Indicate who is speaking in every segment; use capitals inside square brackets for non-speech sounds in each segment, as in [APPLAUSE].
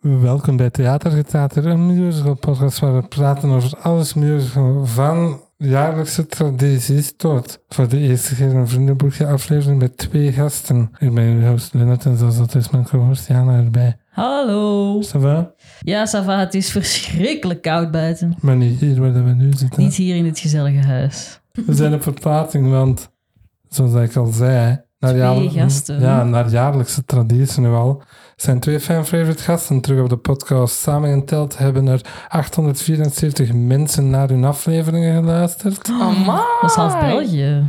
Speaker 1: Welkom bij Theater Theater, een musical podcast waar we praten over alles musical van jaarlijkse tradities tot voor de eerste keer een vriendenboekje aflevering met twee gasten. Ik ben uw host Lennart en zoals altijd is mijn co-host Jana erbij.
Speaker 2: Hallo.
Speaker 1: Ça va?
Speaker 2: Ja, Sava, het is verschrikkelijk koud buiten.
Speaker 1: Maar niet hier waar we nu zitten.
Speaker 2: Niet hier in dit gezellige huis.
Speaker 1: We zijn op verplaatsing, want zoals ik al zei, naar,
Speaker 2: Twee
Speaker 1: jaarl-
Speaker 2: gasten.
Speaker 1: ja, naar jaarlijkse traditie nu al, zijn twee fan favorite gasten terug op de podcast. Samengeteld hebben er 874 mensen naar hun afleveringen geluisterd.
Speaker 2: Oh.
Speaker 3: Amai.
Speaker 2: Dat is half België.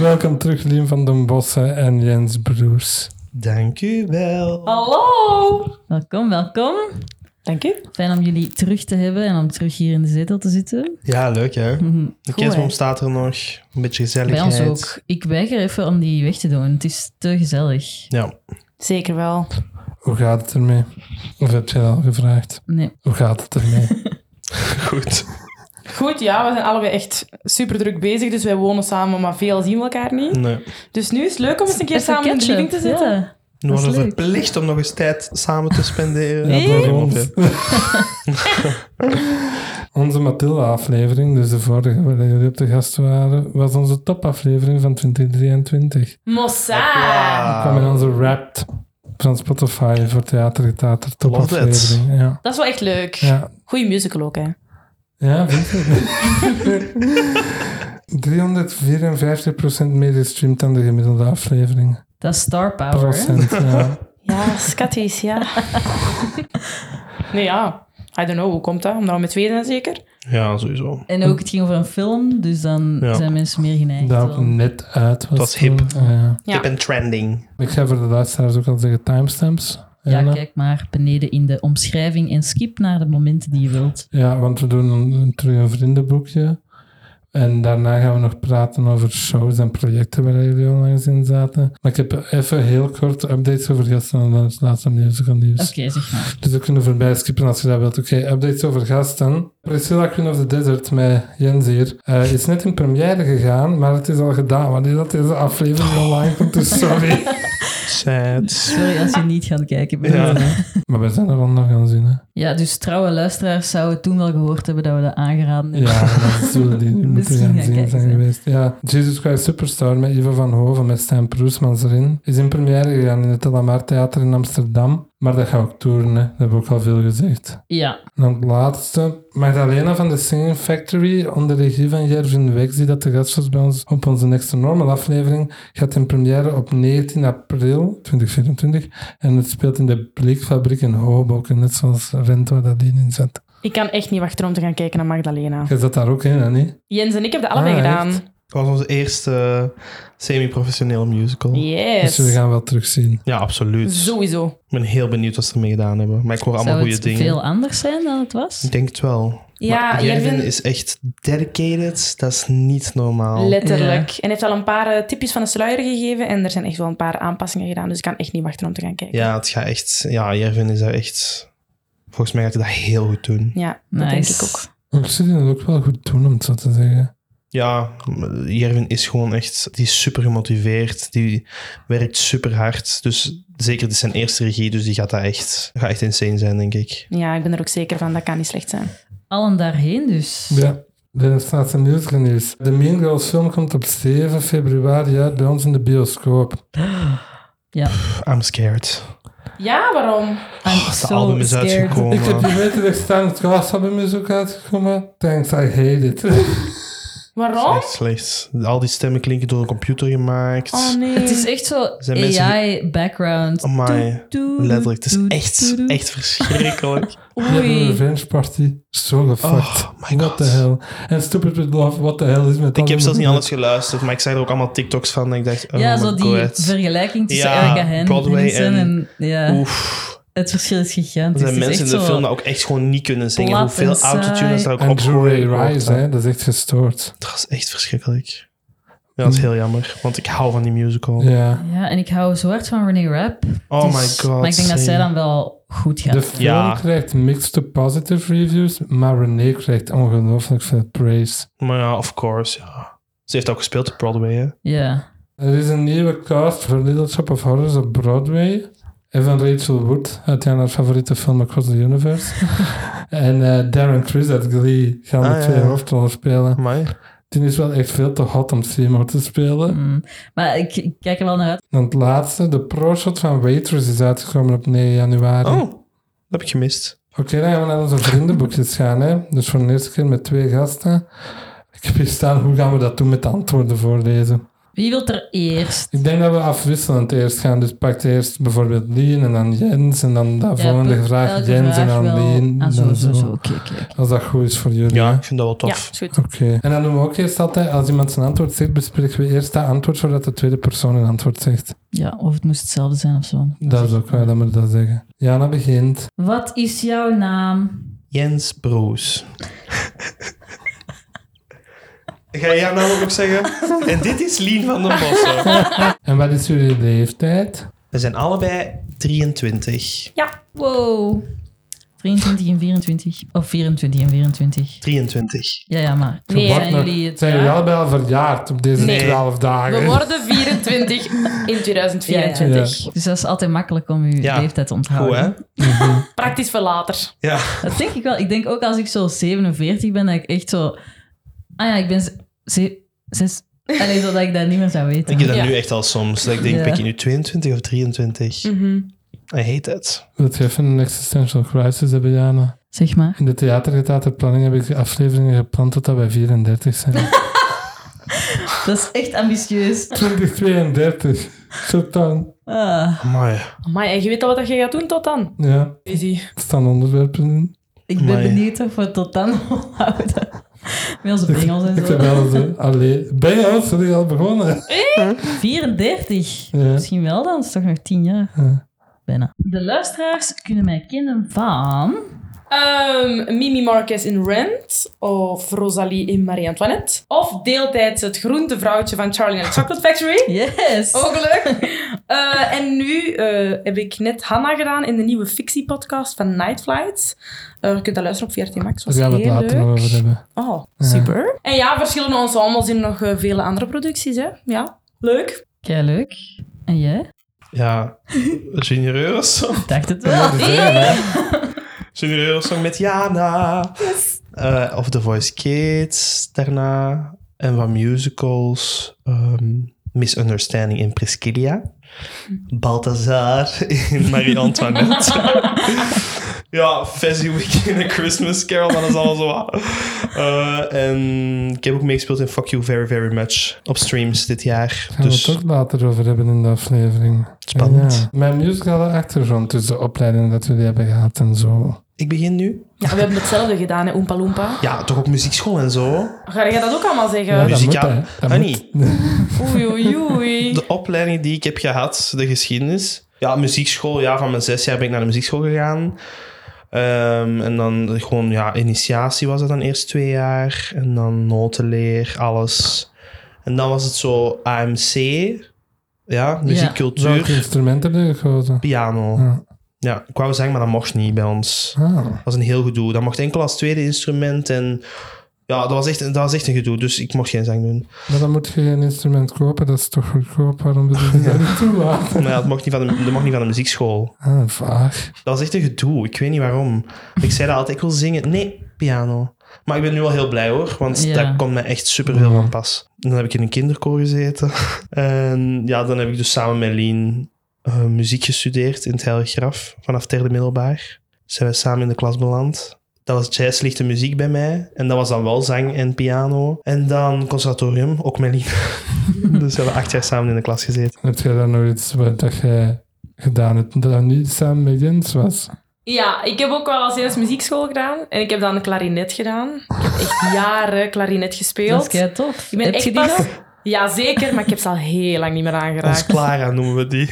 Speaker 1: Welkom terug, Lien van den Bossen en Jens Broers.
Speaker 4: Dank u wel.
Speaker 2: Oh.
Speaker 3: Hallo.
Speaker 2: Welkom, welkom.
Speaker 3: Dank u.
Speaker 2: Fijn om jullie terug te hebben en om terug hier in de zetel te zitten.
Speaker 4: Ja, leuk hè.
Speaker 2: Mhm.
Speaker 4: De
Speaker 3: Goed,
Speaker 4: kerstboom
Speaker 3: hè?
Speaker 4: staat er nog. Een beetje
Speaker 2: Bij
Speaker 4: gezelligheid.
Speaker 2: ons ook. Ik weiger even om die weg te doen. Het is te gezellig.
Speaker 4: Ja. [LAUGHS]
Speaker 3: Zeker wel.
Speaker 1: Hoe gaat het ermee? Of heb je dat al gevraagd?
Speaker 2: Nee.
Speaker 1: Hoe gaat het ermee?
Speaker 4: Goed.
Speaker 3: Goed, ja, we zijn allebei echt super druk bezig. Dus wij wonen samen, maar veel zien we elkaar niet.
Speaker 4: Nee.
Speaker 3: Dus nu is het leuk om eens een keer
Speaker 2: Even
Speaker 3: samen in de
Speaker 2: catch-up,
Speaker 3: living te zitten.
Speaker 2: ja.
Speaker 4: We
Speaker 2: Dat is
Speaker 4: worden
Speaker 2: leuk.
Speaker 4: verplicht om nog eens tijd samen te spenderen.
Speaker 2: Ja,
Speaker 1: Door
Speaker 4: Kom op,
Speaker 1: ons.
Speaker 4: hè.
Speaker 1: [LAUGHS] onze Matilda-aflevering, dus de vorige waar jullie op de gast waren, was onze topaflevering van 2023.
Speaker 3: Mossa.
Speaker 4: Ah.
Speaker 1: kwam in onze Wrapped van Spotify voor Theater Getater topaflevering. Ja.
Speaker 3: Dat is wel echt leuk.
Speaker 1: Ja.
Speaker 3: Goeie musical ook, hè.
Speaker 1: ja, vind je? 354% meer gestreamd dan de gemiddelde aflevering.
Speaker 2: Dat is star power. hè?
Speaker 1: Procent, ja.
Speaker 3: Ja, [LAUGHS] schatjes, ja. nee, ja. I don't know, hoe komt dat? Omdat we met twee zijn zeker?
Speaker 4: Ja, sowieso.
Speaker 2: En ook, het ging over een film, dus dan
Speaker 4: Ja.
Speaker 2: zijn mensen meer geneigd.
Speaker 1: Dat
Speaker 2: om-
Speaker 1: net uit was.
Speaker 4: Dat is hip.
Speaker 1: toen. Ja.
Speaker 3: Ja.
Speaker 4: Hip en trending.
Speaker 1: Ik ga voor de luisteraars ook al zeggen timestamps.
Speaker 2: Ja,
Speaker 1: Jana.
Speaker 2: kijk maar beneden in de omschrijving en skip naar de momenten die je wilt.
Speaker 1: Ja, want we doen een, een- terug een vriendenboekje. En daarna gaan we nog praten over shows en projecten waar jullie onlangs in zaten. Maar ik heb even heel kort updates over gasten en dan het laatste musical nieuws.
Speaker 2: Oké, zeg maar.
Speaker 1: Dus we kunnen voorbij skippen als je dat wilt. Oké, updates over gasten. Priscilla Queen of the Desert met Jens hier eh, is net in première gegaan, maar het is al gedaan. Wanneer dat deze aflevering online komt, dus sorry.
Speaker 4: Sad.
Speaker 2: Sorry als je niet gaat kijken. bent.
Speaker 4: Ja.
Speaker 1: maar we zijn er al nog aan zien, hè.
Speaker 2: Ja, dus trouwe luisteraars zouden toen wel gehoord hebben dat we dat aangeraden hebben.
Speaker 1: Ja, dat zullen
Speaker 2: [LAUGHS]
Speaker 1: die nu moeten
Speaker 2: Misschien
Speaker 1: gaan
Speaker 2: gaan
Speaker 1: zien
Speaker 2: kijken,
Speaker 1: zijn
Speaker 2: hè.
Speaker 1: geweest. Ja, Jesus Christ Superstar met Ivo van Hoven met Stijn Proesmans erin is in première gegaan in het Telamar Theater in Amsterdam. Maar dat gaat ook toeren, hè. dat heb ik ook al veel gezegd.
Speaker 2: Ja,
Speaker 1: En dan het laatste, Magdalena van de Singing Factory onder regie van Jervin Wex, die dat de gast was bij ons op onze Next to Normal aflevering, gaat in première op 19 april 2024. En het speelt in de Blikfabriek in Hoboken, net zoals Rent waar dat die in zat.
Speaker 3: Ik kan echt niet wachten om te gaan kijken naar Magdalena.
Speaker 2: Ah.
Speaker 1: Je zat daar ook in, hè, niet?
Speaker 3: Jens en ik hebben dat allebei
Speaker 1: Ah,
Speaker 3: gedaan.
Speaker 1: echt?
Speaker 4: Dat was onze eerste semi-professionele musical.
Speaker 3: Yes.
Speaker 1: Dus we gaan wel terugzien.
Speaker 4: Ja, absoluut.
Speaker 3: Sowieso.
Speaker 4: Ik ben heel benieuwd wat ze ermee gedaan hebben. Maar ik hoor allemaal
Speaker 2: zou
Speaker 4: goede
Speaker 2: het
Speaker 4: dingen.
Speaker 2: veel anders zijn dan het was?
Speaker 4: Ik denk het wel.
Speaker 3: Ja,
Speaker 4: maar
Speaker 3: Jervin-
Speaker 4: Jervin is echt dedicated. Dat is niet normaal.
Speaker 3: Letterlijk. En heeft al een paar eh, tipjes van de sluier gegeven. En er zijn echt wel een paar aanpassingen gedaan. Dus ik kan echt niet wachten om te gaan kijken.
Speaker 4: Ja, het gaat echt... Ja, Jervin is daar echt... Volgens mij gaat hij dat heel goed doen.
Speaker 3: Ja, dat denk ik ook.
Speaker 1: Ik zie die dat ook wel goed doen, om het zo te zeggen.
Speaker 4: Ja, Jervin is gewoon echt... Die is super gemotiveerd. Die werkt super hard. Dus zeker, dit is zijn eerste regie. Dus die gaat dat echt... Gaat echt insane zijn, denk ik.
Speaker 3: Ja, ik ben er ook zeker van. Dat kan niet slecht zijn.
Speaker 2: Allen daarheen dus.
Speaker 1: Ja. De staatse musical nieuws. De Mean Girls film komt op 7 februari uit bij ons in de bioscoop.
Speaker 4: Pff, I'm scared.
Speaker 3: Ja, waarom?
Speaker 2: I'm
Speaker 4: Het
Speaker 2: so
Speaker 4: album is
Speaker 2: scared. [LAUGHS]
Speaker 1: Ik heb
Speaker 4: uitgekomen.
Speaker 1: je weten dat staan het album is dus ook uitgekomen. Thanks, I hate it.
Speaker 3: Waarom?
Speaker 4: Slecht, slecht. Al die stemmen klinken door een computer gemaakt.
Speaker 3: Oh nee.
Speaker 2: Het is echt zo
Speaker 4: Zijn mensen
Speaker 2: AI-background.
Speaker 4: Amai. Letterlijk, het is echt,
Speaker 2: [LAUGHS]
Speaker 4: echt verschrikkelijk.
Speaker 1: We hebben een
Speaker 3: Oei.
Speaker 1: revenge party. Zo gefucked.
Speaker 4: Oh my
Speaker 1: What
Speaker 4: god.
Speaker 1: the hell. En Stupid With Love, what the hell is met
Speaker 4: Ik heb zelfs niet alles geluisterd, maar ik zag er ook allemaal TikToks van. En ik dacht, oh
Speaker 2: Ja,
Speaker 4: my
Speaker 2: zo die
Speaker 4: god.
Speaker 2: vergelijking tussen
Speaker 4: Ja,
Speaker 2: Erica Hen-
Speaker 4: Broadway
Speaker 2: Henderson en...
Speaker 4: en-
Speaker 2: ja,
Speaker 4: Oef.
Speaker 2: het verschil is
Speaker 4: Er
Speaker 2: gigantisch.
Speaker 4: zijn
Speaker 2: Het is
Speaker 4: mensen
Speaker 2: echt
Speaker 4: in de
Speaker 2: zo-
Speaker 4: film dat ook echt gewoon niet kunnen zingen.
Speaker 2: plat en
Speaker 4: Hoeveel
Speaker 2: saai.
Speaker 4: autotune is daar ook
Speaker 1: En
Speaker 4: op
Speaker 1: Drew Ray
Speaker 4: gegooid
Speaker 1: Rise,
Speaker 4: wordt,
Speaker 1: hè, dat is echt gestoord.
Speaker 4: Dat is echt verschrikkelijk. Ja, dat is heel jammer, want ik hou van die musical.
Speaker 1: Ja.
Speaker 2: Ja, en ik hou zo hard van Renee Rapp.
Speaker 4: Oh
Speaker 2: Dus-
Speaker 4: my god.
Speaker 2: Maar ik denk dat zij dan wel goed gaat.
Speaker 1: De film
Speaker 4: Ja.
Speaker 1: krijgt mixed to positive reviews, maar René krijgt ongelooflijk veel praise.
Speaker 4: Maar ja, of course, ja. Ze heeft ook gespeeld op Broadway, hè.
Speaker 2: Ja.
Speaker 1: Er is een nieuwe cast voor Little Shop of Horrors op Broadway. en van Rachel Wood uit haar favoriete film Across the
Speaker 4: [LAUGHS]
Speaker 1: Universe. en eh, Darren Criss uit Glee gaan de
Speaker 4: Ah, ja,
Speaker 1: twee
Speaker 4: ja.
Speaker 1: hoofdrollen spelen.
Speaker 4: Maar
Speaker 1: Die is wel echt veel te hot om Seymour te spelen.
Speaker 2: Mm. Maar ik, ik kijk er wel naar uit.
Speaker 1: Dan het laatste, de pro-shot van Waitress is uitgekomen op 9 januari.
Speaker 4: Oh, dat heb ik gemist.
Speaker 1: Oké, dan gaan we naar onze vriendenboekjes gaan. Hè? Dus voor de eerste keer met twee gasten. Ik heb hier staan, hoe gaan we dat doen met de antwoorden voorlezen?
Speaker 2: Wie wil er eerst?
Speaker 1: Ik denk dat we afwisselend eerst gaan. Dus pak eerst bijvoorbeeld Lien en dan Jens. En dan de volgende
Speaker 2: per-
Speaker 1: vraag
Speaker 2: elke
Speaker 1: Jens en
Speaker 2: vraag
Speaker 1: dan
Speaker 2: wel.
Speaker 1: Lien.
Speaker 2: Ah, zo,
Speaker 1: dan
Speaker 2: zo, zo. Oké, oké. oké.
Speaker 1: Als dat goed is voor jullie.
Speaker 4: Ja, ik vind dat wel
Speaker 3: Ja,
Speaker 4: tof.
Speaker 2: [LAUGHS]
Speaker 3: is goed.
Speaker 1: Oké. En dan doen we ook eerst altijd, als iemand zijn antwoord zegt, bespreken we eerst dat antwoord voordat de tweede persoon een antwoord zegt.
Speaker 2: Ja, of het moest hetzelfde zijn of zo.
Speaker 1: Dat is ook waar dat we dat zeggen. Jana begint.
Speaker 2: Wat is jouw naam?
Speaker 4: Jens Broos. [LAUGHS] Ga jij nou ook zeggen? En dit is Lien van den
Speaker 2: [LAUGHS]
Speaker 4: Bossen.
Speaker 1: En wat is jullie leeftijd?
Speaker 4: We zijn allebei 23.
Speaker 2: Wow. 23 en 24. Of 24 en 24.
Speaker 4: 23.
Speaker 2: Ja, ja, maar.
Speaker 3: Nee,
Speaker 1: Wat
Speaker 2: zijn
Speaker 1: nog-
Speaker 2: jullie het?
Speaker 1: zijn jullie allebei al verjaard op deze
Speaker 3: Nee.
Speaker 1: 12 dagen?
Speaker 3: We
Speaker 1: [LAUGHS]
Speaker 3: worden 24 in 2024.
Speaker 2: Dus dat is altijd makkelijk om je
Speaker 4: Ja.
Speaker 2: leeftijd te
Speaker 4: Goed,
Speaker 2: onthouden.
Speaker 4: hè?
Speaker 1: Mhm.
Speaker 3: Praktisch voor later.
Speaker 4: Ja.
Speaker 2: Dat denk ik wel. Ik denk ook als ik zo 47 ben, dat ik echt zo... Ah ja, ik ben ze- ze- zes... Alleen zodat ik dat niet meer zou weten.
Speaker 4: Ik heb dat
Speaker 3: Ja.
Speaker 4: nu echt al soms. Dat ik denk,
Speaker 2: Ja.
Speaker 4: ben ik nu 22 of 23?
Speaker 3: Hm. Mhm.
Speaker 4: I hate that.
Speaker 1: Wil je even een existential crisis hebben, Jana?
Speaker 2: Zeg maar.
Speaker 1: In de theatergetheaterplanning heb ik afleveringen gepland totdat wij 34 zijn.
Speaker 2: Dat is echt ambitieus.
Speaker 1: 2032. Zo dan.
Speaker 2: Ah,
Speaker 4: Maar
Speaker 3: Maar en je weet al wat je gaat doen tot dan?
Speaker 1: Ja,
Speaker 3: Easy.
Speaker 1: er staan onderwerpen in.
Speaker 2: ik ben
Speaker 4: Amai.
Speaker 2: benieuwd of we het tot dan [LAUGHS] houden. Met onze
Speaker 1: Ik,
Speaker 2: pingels en
Speaker 1: ik heb
Speaker 2: zo.
Speaker 1: wel eens... eh, Allee, ben je al, sorry, al begonnen?
Speaker 2: 34?
Speaker 1: Ja.
Speaker 2: Misschien wel dan, is toch nog 10 jaar.
Speaker 1: Ja.
Speaker 2: Bijna. De luisteraars kunnen mij kennen van...
Speaker 3: Ehm, Mimi Marquez in Rent. Of Rosalie in Marie Antoinette. Of deeltijds het groentevrouwtje van Charlie and the Chocolate Factory.
Speaker 2: Yes!
Speaker 3: Ook leuk. [LAUGHS] Eh, en nu eh, heb ik net Hanna gedaan in de nieuwe fictiepodcast van Night Flights. Eh, je kunt dat luisteren op VRT Max.
Speaker 1: Daar
Speaker 3: was
Speaker 1: gaan we het
Speaker 3: heel
Speaker 1: later
Speaker 3: leuk.
Speaker 1: nog over hebben.
Speaker 3: Oh, super. En ja, verschillende ensembles in nog eh, vele andere producties, hè. Ja, leuk.
Speaker 2: Kei leuk. En jij?
Speaker 4: ja, junior Eurosong.
Speaker 2: Ik dacht het
Speaker 1: Dat
Speaker 2: wel.
Speaker 1: moet je zeggen, hè?
Speaker 4: Junior Eurosong met Jana. Eh, of The Voice Kids daarna. En wat musicals. ehm, Misunderstanding in Priscilla. Balthazar in Marie Antoinette. ja, Fezzy Week in A Christmas Carol, dat is alles wat. Eh, en ik heb ook meegespeeld in Fuck You Very Very Much op streams dit jaar.
Speaker 1: Gaan
Speaker 4: dus
Speaker 1: we het ook later over hebben in de aflevering.
Speaker 4: Spannend.
Speaker 1: Ja. Mijn muzikale achtergrond, dus de opleiding dat jullie hebben gehad en zo.
Speaker 4: ik begin nu.
Speaker 3: Ja, we hebben hetzelfde gedaan, hè, Oompa Loompa.
Speaker 4: Ja, toch op muziekschool en zo.
Speaker 3: Ga jij dat ook allemaal
Speaker 1: Ja,
Speaker 3: zeggen?
Speaker 1: dat moet,
Speaker 4: muzikaal.
Speaker 1: hè. Dat
Speaker 4: Annie.
Speaker 1: moet.
Speaker 3: Oei,
Speaker 2: [LAUGHS]
Speaker 3: oei, oei.
Speaker 4: De opleiding die ik heb gehad, de geschiedenis. Ja, muziekschool. Ja, van mijn zes jaar ben ik naar de muziekschool gegaan. Ehm, en dan gewoon, ja, initiatie was dat dan eerst twee jaar. En dan notenleer, alles. En dan was het zo AMC. Ja, muziekcultuur.
Speaker 1: Welke instrumenten heb je gekozen?
Speaker 4: Piano.
Speaker 1: Ja.
Speaker 4: Ja, ik wou zeggen, maar dat mocht niet bij ons.
Speaker 1: Ah.
Speaker 4: Dat was een heel gedoe. Dat mocht enkel als tweede instrument. En ja, dat was echt, dat was echt een gedoe. Dus ik mocht geen zang doen.
Speaker 1: Maar dan moet je geen instrument kopen, dat is toch goedkoop? Waarom wil je
Speaker 4: [LAUGHS]
Speaker 1: dat niet toelaten?
Speaker 4: Maar ja, dat mocht niet van de, dat mocht niet van de muziekschool.
Speaker 1: Ah, vaag.
Speaker 4: Dat was echt een gedoe. Ik weet niet waarom. Ik zei dat altijd, ik wil zingen. Nee, piano. Maar ik ben nu wel heel blij hoor, want
Speaker 2: Ja.
Speaker 4: daar komt mij echt superveel van pas. Dan heb ik in een kinderkoor gezeten. [LAUGHS] En ja, dan heb ik dus samen met Lien eh, muziek gestudeerd in het Heilige Graf. Vanaf derde middelbaar zijn we samen in de klas beland. Dat was jazzlichte muziek bij mij. En dat was dan wel zang en piano. En dan conservatorium, ook met Lien. [LAUGHS] dus we hebben acht jaar samen in de klas gezeten.
Speaker 1: Heb jij dan nog iets wat dat jij gedaan hebt dat niet samen met Jens was?
Speaker 3: Ja, ik heb ook wel als eerst muziekschool gedaan. En ik heb dan klarinet gedaan. Ik heb echt jaren klarinet
Speaker 2: Dat is
Speaker 3: gespeeld.
Speaker 2: kei tof.
Speaker 3: Ik ben
Speaker 2: Heb
Speaker 3: echt
Speaker 2: je die
Speaker 3: pas-
Speaker 2: nog?
Speaker 3: Ja, zeker, maar ik heb ze al heel lang niet meer
Speaker 4: Ons
Speaker 3: aangeraakt.
Speaker 4: Clara noemen we die.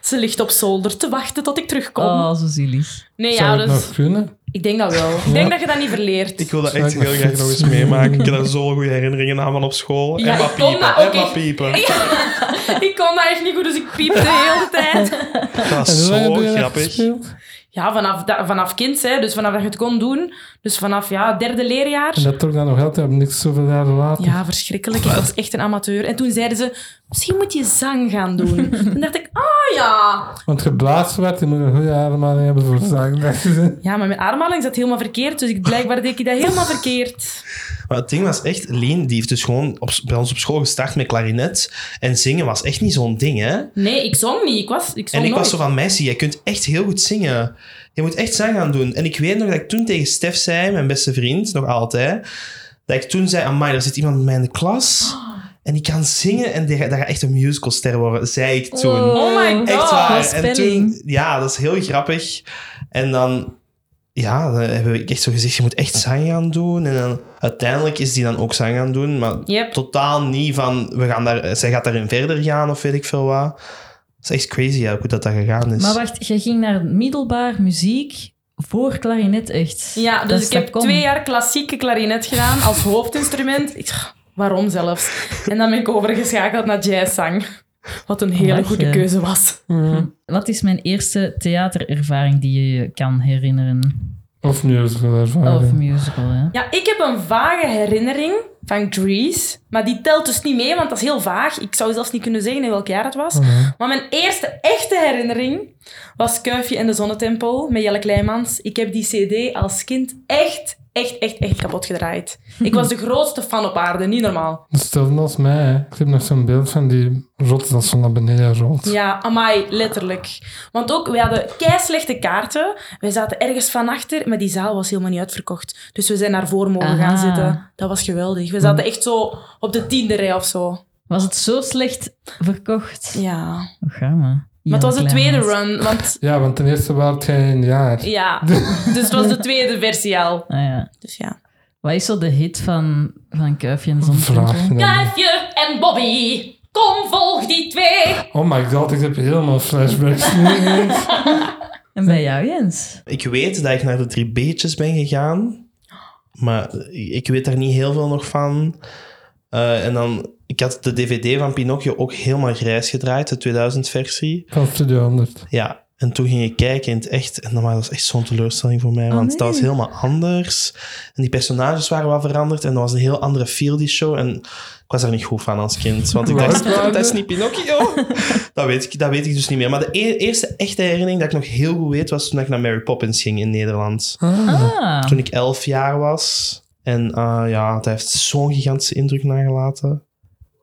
Speaker 3: Ze ligt op zolder te wachten tot ik terugkom.
Speaker 2: Oh, zo zielig.
Speaker 3: nee,
Speaker 1: Zou
Speaker 3: ja,
Speaker 1: het
Speaker 3: dus
Speaker 1: nog kunnen?
Speaker 3: ik denk dat wel. Ik denk dat je dat niet verleert. [LAUGHS]
Speaker 4: Ik wil dat
Speaker 1: Zou
Speaker 4: echt
Speaker 1: ik nog
Speaker 4: heel graag nog eens
Speaker 1: fietsen?
Speaker 4: meemaken. Ik heb daar zo goede herinneringen aan van op school.
Speaker 3: Ja,
Speaker 4: en maar
Speaker 3: ik kon
Speaker 4: piepen,
Speaker 3: dat
Speaker 4: en
Speaker 3: ook
Speaker 4: maar
Speaker 3: echt.
Speaker 4: piepen.
Speaker 3: Ik kon dat echt niet goed, dus ik piepte de hele tijd. [LAUGHS]
Speaker 4: Dat
Speaker 1: En
Speaker 4: is
Speaker 1: hoe lang
Speaker 4: zo
Speaker 1: heb je dat
Speaker 4: grappig.
Speaker 1: gespeeld?
Speaker 3: ja, vanaf, da- vanaf kind, hè, dus vanaf dat je het kon doen. Dus vanaf ja, derde leerjaar.
Speaker 1: En dat toch dan nog altijd op niks zoveel jaren later.
Speaker 3: Ja, verschrikkelijk. Ik was echt een amateur. En toen zeiden ze, misschien moet je zang gaan doen. Toen dacht ik, ah ja.
Speaker 1: Want geblazen werd, je moet een goede ademhaling hebben voor [LAUGHS] zaken. dat je zegt.
Speaker 3: Ja, maar mijn ademhaling zat helemaal verkeerd. Dus ik, blijkbaar deed ik dat helemaal verkeerd.
Speaker 4: Maar het ding was echt, Leen die heeft dus gewoon op, bij ons op school gestart met klarinet. En zingen was echt niet zo'n ding, hè?
Speaker 3: Nee, ik zong niet. Ik, was, ik zong
Speaker 4: En ik
Speaker 3: nooit.
Speaker 4: was zo van, meisje, jij kunt echt heel goed zingen. Je moet echt zang gaan doen. En ik weet nog dat ik toen tegen Stef zei, mijn beste vriend, nog altijd, dat ik toen zei, amai, er zit iemand bij mij in de klas
Speaker 3: Ah.
Speaker 4: en die kan zingen en die, gaat- dat gaat echt een musicalster worden, zei ik toen.
Speaker 3: Oh my god.
Speaker 4: Echt
Speaker 2: wat
Speaker 4: waar. En
Speaker 2: spelling.
Speaker 4: toen, ja, dat is heel grappig. En dan, ja, dan hebben we echt zo gezegd, je moet echt zang gaan doen. En dan, uiteindelijk is die dan ook zang gaan doen, maar
Speaker 3: Yep.
Speaker 4: totaal niet van, we gaan daar, zij gaat daarin verder gaan of weet ik veel wat. Dat is echt crazy ja, hoe dat, dat gegaan is.
Speaker 2: Maar wacht, jij ging naar het middelbaar muziek voor klarinet echt.
Speaker 3: Ja,
Speaker 2: Dat
Speaker 3: dus
Speaker 2: is
Speaker 3: ik heb
Speaker 2: dat kon.
Speaker 3: twee jaar klassieke klarinet gedaan als hoofdinstrument. Ik, waarom zelfs? En dan ben ik overgeschakeld naar jazzzang. Wat een hele
Speaker 2: Lach
Speaker 3: goede
Speaker 2: je.
Speaker 3: keuze was.
Speaker 2: Wat is mijn eerste theaterervaring die je je kan herinneren?
Speaker 1: Of musical
Speaker 2: Of
Speaker 1: ervaring.
Speaker 2: musical, hè?
Speaker 3: Ja, ik heb een vage herinnering van Grease. Maar die telt dus niet mee, want dat is heel vaag. Ik zou zelfs niet kunnen zeggen in welk jaar het was.
Speaker 1: Mhm.
Speaker 3: Maar mijn eerste echte herinnering was Kuifje en de Zonnetempel met Jelle Kleimans. Ik heb die cd als kind echt, echt, echt, echt kapot gedraaid. Ik was de grootste fan op aarde, niet normaal.
Speaker 1: Hetzelfde Dus als mij. hè. Ik heb nog zo'n beeld van die rot dat zo naar beneden rolt.
Speaker 3: Ja, amai, letterlijk. Want ook, we hadden keislechte kaarten. Wij zaten ergens van achter, maar die zaal was helemaal niet uitverkocht. Dus we zijn daarvoor mogen
Speaker 2: Aha.
Speaker 3: gaan zitten. Dat was geweldig. We zaten echt zo op de tiende rij of zo.
Speaker 2: Was het zo slecht verkocht?
Speaker 3: Ja.
Speaker 2: Oh, ga maar.
Speaker 3: maar het was de tweede
Speaker 2: run.
Speaker 3: run, want...
Speaker 1: Ja, want ten eerste was het geen jaar.
Speaker 3: Ja, dus het was de tweede versie al.
Speaker 2: Ah, ja.
Speaker 3: [LAUGHS] Dus ja.
Speaker 2: Wat is zo de hit van, van Kuifje en de
Speaker 1: Vraag je
Speaker 2: Zonnetempel?
Speaker 1: dan.
Speaker 3: Kuifje en Bobby, kom volg die twee.
Speaker 1: Oh my god, ik heb helemaal
Speaker 3: [LAUGHS]
Speaker 1: flashbacks.
Speaker 2: En bij jou, Jens?
Speaker 4: Ik weet dat ik naar de drie beetjes ben gegaan, maar ik weet daar niet heel veel nog van. Eh, en dan, ik had de DVD van Pinocchio ook helemaal grijs gedraaid, de 2000-versie.
Speaker 1: van Studio 100.
Speaker 4: Ja, en toen ging ik kijken in het echt. En dan was dat echt zo'n teleurstelling voor mij,
Speaker 2: Oh,
Speaker 4: want dat
Speaker 2: nee.
Speaker 4: was helemaal anders. En die personages waren wel veranderd en dat was een heel andere feel, die show. En ik was daar niet goed van als kind, want ik
Speaker 1: Hoe
Speaker 4: dacht,
Speaker 1: oud waren
Speaker 4: dat is
Speaker 1: we?
Speaker 4: niet Pinocchio. [LAUGHS] dat, weet ik, dat weet ik dus niet meer. Maar de e- eerste echte herinnering dat ik nog heel goed weet, was toen ik naar Mary Poppins ging in Nederland.
Speaker 2: Ah,
Speaker 4: Toen ik elf jaar was. En eh, ja, dat heeft zo'n gigantische indruk nagelaten.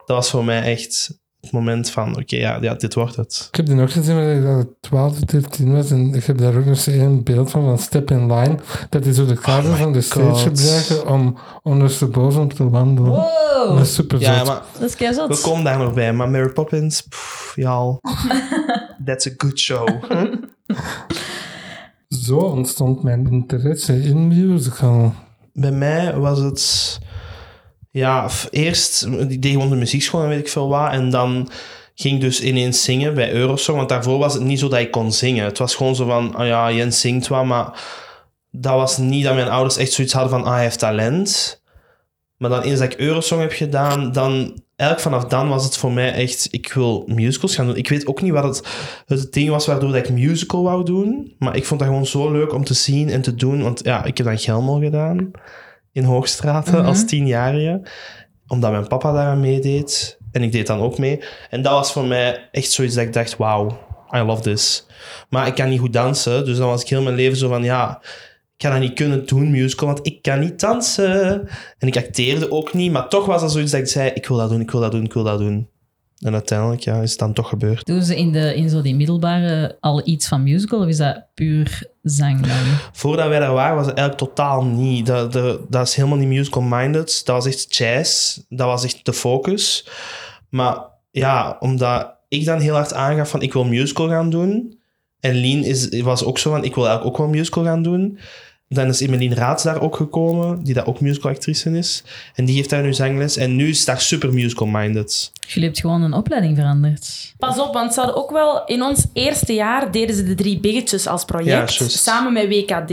Speaker 4: Dat was voor mij echt het moment van, oké, ja, ja, dit wordt het.
Speaker 1: Ik heb die nog gezien wanneer ik dat 12, 13 was. En ik heb daar ook nog eens één beeld van, van Step in Line. Dat is zo de kaarten
Speaker 4: Oh my
Speaker 1: van de stage
Speaker 4: God.
Speaker 1: gebruiken om ondersteboven te wandelen. Dat
Speaker 2: wow.
Speaker 1: is super
Speaker 4: Ja,
Speaker 1: zot.
Speaker 4: maar
Speaker 2: Dat is keizot.
Speaker 4: We komen daar nog bij, maar Mary Poppins, pff, y'all. That's a good show.
Speaker 1: Zo ontstond mijn interesse in musical.
Speaker 4: bij mij was het... Ja, f- eerst, ik deed gewoon de muziekschool en weet ik veel wat. En dan ging ik dus ineens zingen bij Eurosong. Want daarvoor was het niet zo dat ik kon zingen. Het was gewoon zo van, ah ja, Jens zingt wat. Maar dat was niet dat mijn ouders echt zoiets hadden van, ah, hij heeft talent. Maar dan eens dat ik Eurosong heb gedaan, dan... Eigenlijk vanaf dan was het voor mij echt, ik wil musicals gaan doen. Ik weet ook niet wat het, het ding was waardoor dat ik musical wou doen. Maar ik vond dat gewoon zo leuk om te zien en te doen. Want ja, ik heb dan Gelmol gedaan in Hoogstraten
Speaker 2: Mhm.
Speaker 4: als tienjarige. Omdat mijn papa daaraan meedeed. En ik deed dan ook mee. En dat was voor mij echt zoiets dat ik dacht, wauw, I love this. Maar ik kan niet goed dansen. Dus dan was ik heel mijn leven zo van, ja, ik ga dat niet kunnen doen, musical. Want ik kan niet dansen. En ik acteerde ook niet. Maar toch was dat zoiets dat ik zei, ik wil dat doen, ik wil dat doen, ik wil dat doen. En uiteindelijk ja, is het dan toch gebeurd.
Speaker 2: Doen ze in, de, in zo die middelbare al iets van musical of is dat puur zang dan?
Speaker 4: Voordat wij daar waren, was het eigenlijk totaal niet. Dat, dat, dat is helemaal niet musical-minded. Dat was echt jazz. Dat was echt de focus. Maar ja, omdat ik dan heel hard aangaf van ik wil musical gaan doen. En Lien is, was ook zo van ik wil eigenlijk ook wel musical gaan doen. Dan is Emeline Raads daar ook gekomen, die daar ook musicalactrice is. En die geeft daar nu zangles. En nu is daar super musical-minded.
Speaker 2: Jullie hebben gewoon een opleiding veranderd.
Speaker 3: Pas op, want ze hadden ook wel... In ons eerste jaar deden ze de drie biggetjes als project.
Speaker 4: Ja, juist.
Speaker 3: samen met WKD.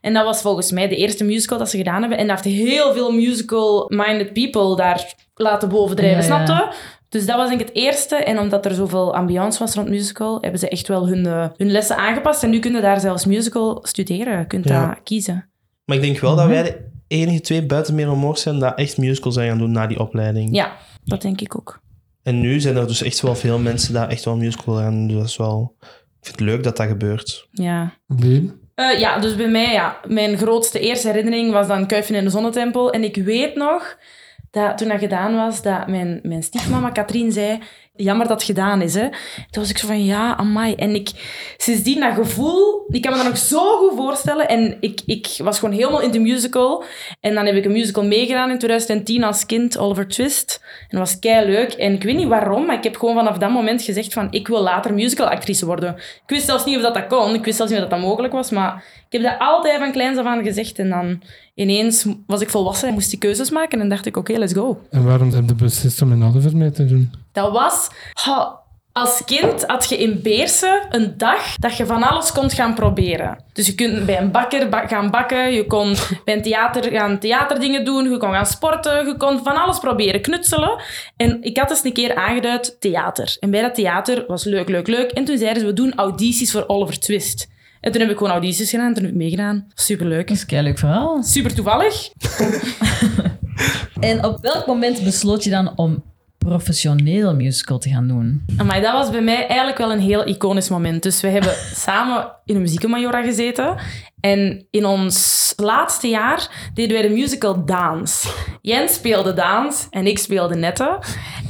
Speaker 3: En dat was volgens mij de eerste musical dat ze gedaan hebben. En dat heeft heel veel musical-minded people daar laten bovendrijven,
Speaker 2: Ja, ja.
Speaker 3: snapte? Dus dat was denk ik het eerste. En omdat er zoveel ambiance was rond musical, hebben ze echt wel hun, eh, hun lessen aangepast. En nu kun je daar zelfs musical studeren. Je kunt
Speaker 4: Ja.
Speaker 3: dat kiezen.
Speaker 4: Maar ik denk wel dat wij de enige twee buiten meer omhoog zijn dat echt musicals zijn gaan doen na die opleiding.
Speaker 3: Ja, dat denk ik ook.
Speaker 4: En nu zijn er dus echt wel veel mensen die echt wel musical gaan doen. Dus dat is wel... Ik vind het leuk dat dat gebeurt.
Speaker 3: Ja.
Speaker 1: Liep.
Speaker 3: Eh, ja, dus bij mij, ja. Mijn grootste eerste herinnering was dan Kuifje in de Zonnetempel. En ik weet nog dat toen dat gedaan was, dat mijn, mijn stiefmama Katrien zei... Jammer dat het gedaan is, hè. Toen was ik zo van, ja, amai. En ik, sindsdien dat gevoel, ik kan me dat nog zo goed voorstellen. En ik, ik was gewoon helemaal in de musical. En dan heb ik een musical meegedaan in 2010 als kind, Oliver Twist. En dat was kei leuk. En ik weet niet waarom, maar ik heb gewoon vanaf dat moment gezegd van, ik wil later musicalactrice worden. Ik wist zelfs niet of dat, dat kon. Ik wist zelfs niet of dat, dat mogelijk was. Maar ik heb dat altijd van kleins af aan gezegd. En dan ineens was ik volwassen en moest ik keuzes maken. En dacht ik, oké, let's go.
Speaker 1: En waarom heb je beslist om in Oliver mee te doen?
Speaker 3: Dat was... ha, als kind had je in Beersen een dag dat je van alles kon gaan proberen. Dus je kunt bij een bakker ba- gaan bakken, je kon bij een theater gaan theaterdingen doen, je kon gaan sporten, je kon van alles proberen, knutselen. En ik had eens een keer aangeduid theater. En bij dat theater was leuk, leuk, leuk. En toen zeiden ze, we doen audities voor Oliver Twist. En toen heb ik gewoon audities gedaan, toen heb ik meegedaan. Superleuk.
Speaker 2: Dat is een keihard verhaal.
Speaker 3: Super toevallig.
Speaker 2: En op welk moment besloot je dan om professioneel musical te gaan doen?
Speaker 3: Maar dat was bij mij eigenlijk wel een heel iconisch moment. Dus we
Speaker 4: [LAUGHS]
Speaker 3: hebben samen in een muziekmajora gezeten. En in ons laatste jaar deden wij de musical Dance. Jens speelde Dance en ik speelde Nette.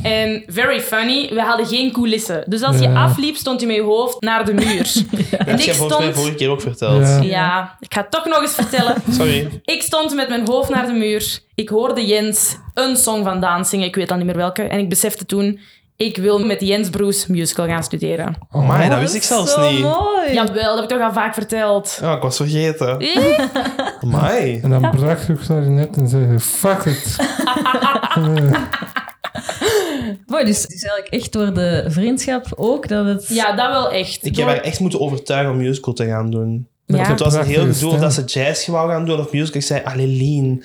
Speaker 3: En very funny, we hadden geen coulissen. Dus als je
Speaker 1: Ja.
Speaker 3: afliep, stond je met je hoofd naar de muur. En
Speaker 4: Dat heb
Speaker 3: ik
Speaker 4: je volgens mij
Speaker 3: stond...
Speaker 4: vorige keer ook verteld.
Speaker 1: Ja.
Speaker 3: Ja, ik ga het toch nog eens
Speaker 4: [LAUGHS]
Speaker 3: vertellen.
Speaker 4: Sorry.
Speaker 3: Ik stond met mijn hoofd naar de muur. Ik hoorde Jens een song van Daan zingen, ik weet al niet meer welke. En ik besefte toen, ik wil met Jens Broes musical gaan studeren.
Speaker 1: Oh,
Speaker 4: Maar dat wist ik zelfs niet.
Speaker 2: mooi.
Speaker 3: Jawel, dat heb ik toch al vaak verteld.
Speaker 4: Ja, ik was vergeten.
Speaker 3: Eh?
Speaker 4: [LAUGHS] Amai.
Speaker 1: En dan brak je klarinet en zei je, fuck it.
Speaker 2: Mooi, dus het is eigenlijk echt door de vriendschap ook dat het...
Speaker 3: Ja, dat wel echt.
Speaker 4: Ik heb
Speaker 3: Door-
Speaker 4: haar echt moeten overtuigen om musical te gaan doen.
Speaker 3: Ja.
Speaker 4: Want het was een heel
Speaker 1: Prachtige
Speaker 4: gedoe
Speaker 1: stem.
Speaker 4: dat ze jazz wou gaan doen of musical. Ik zei, Alelien,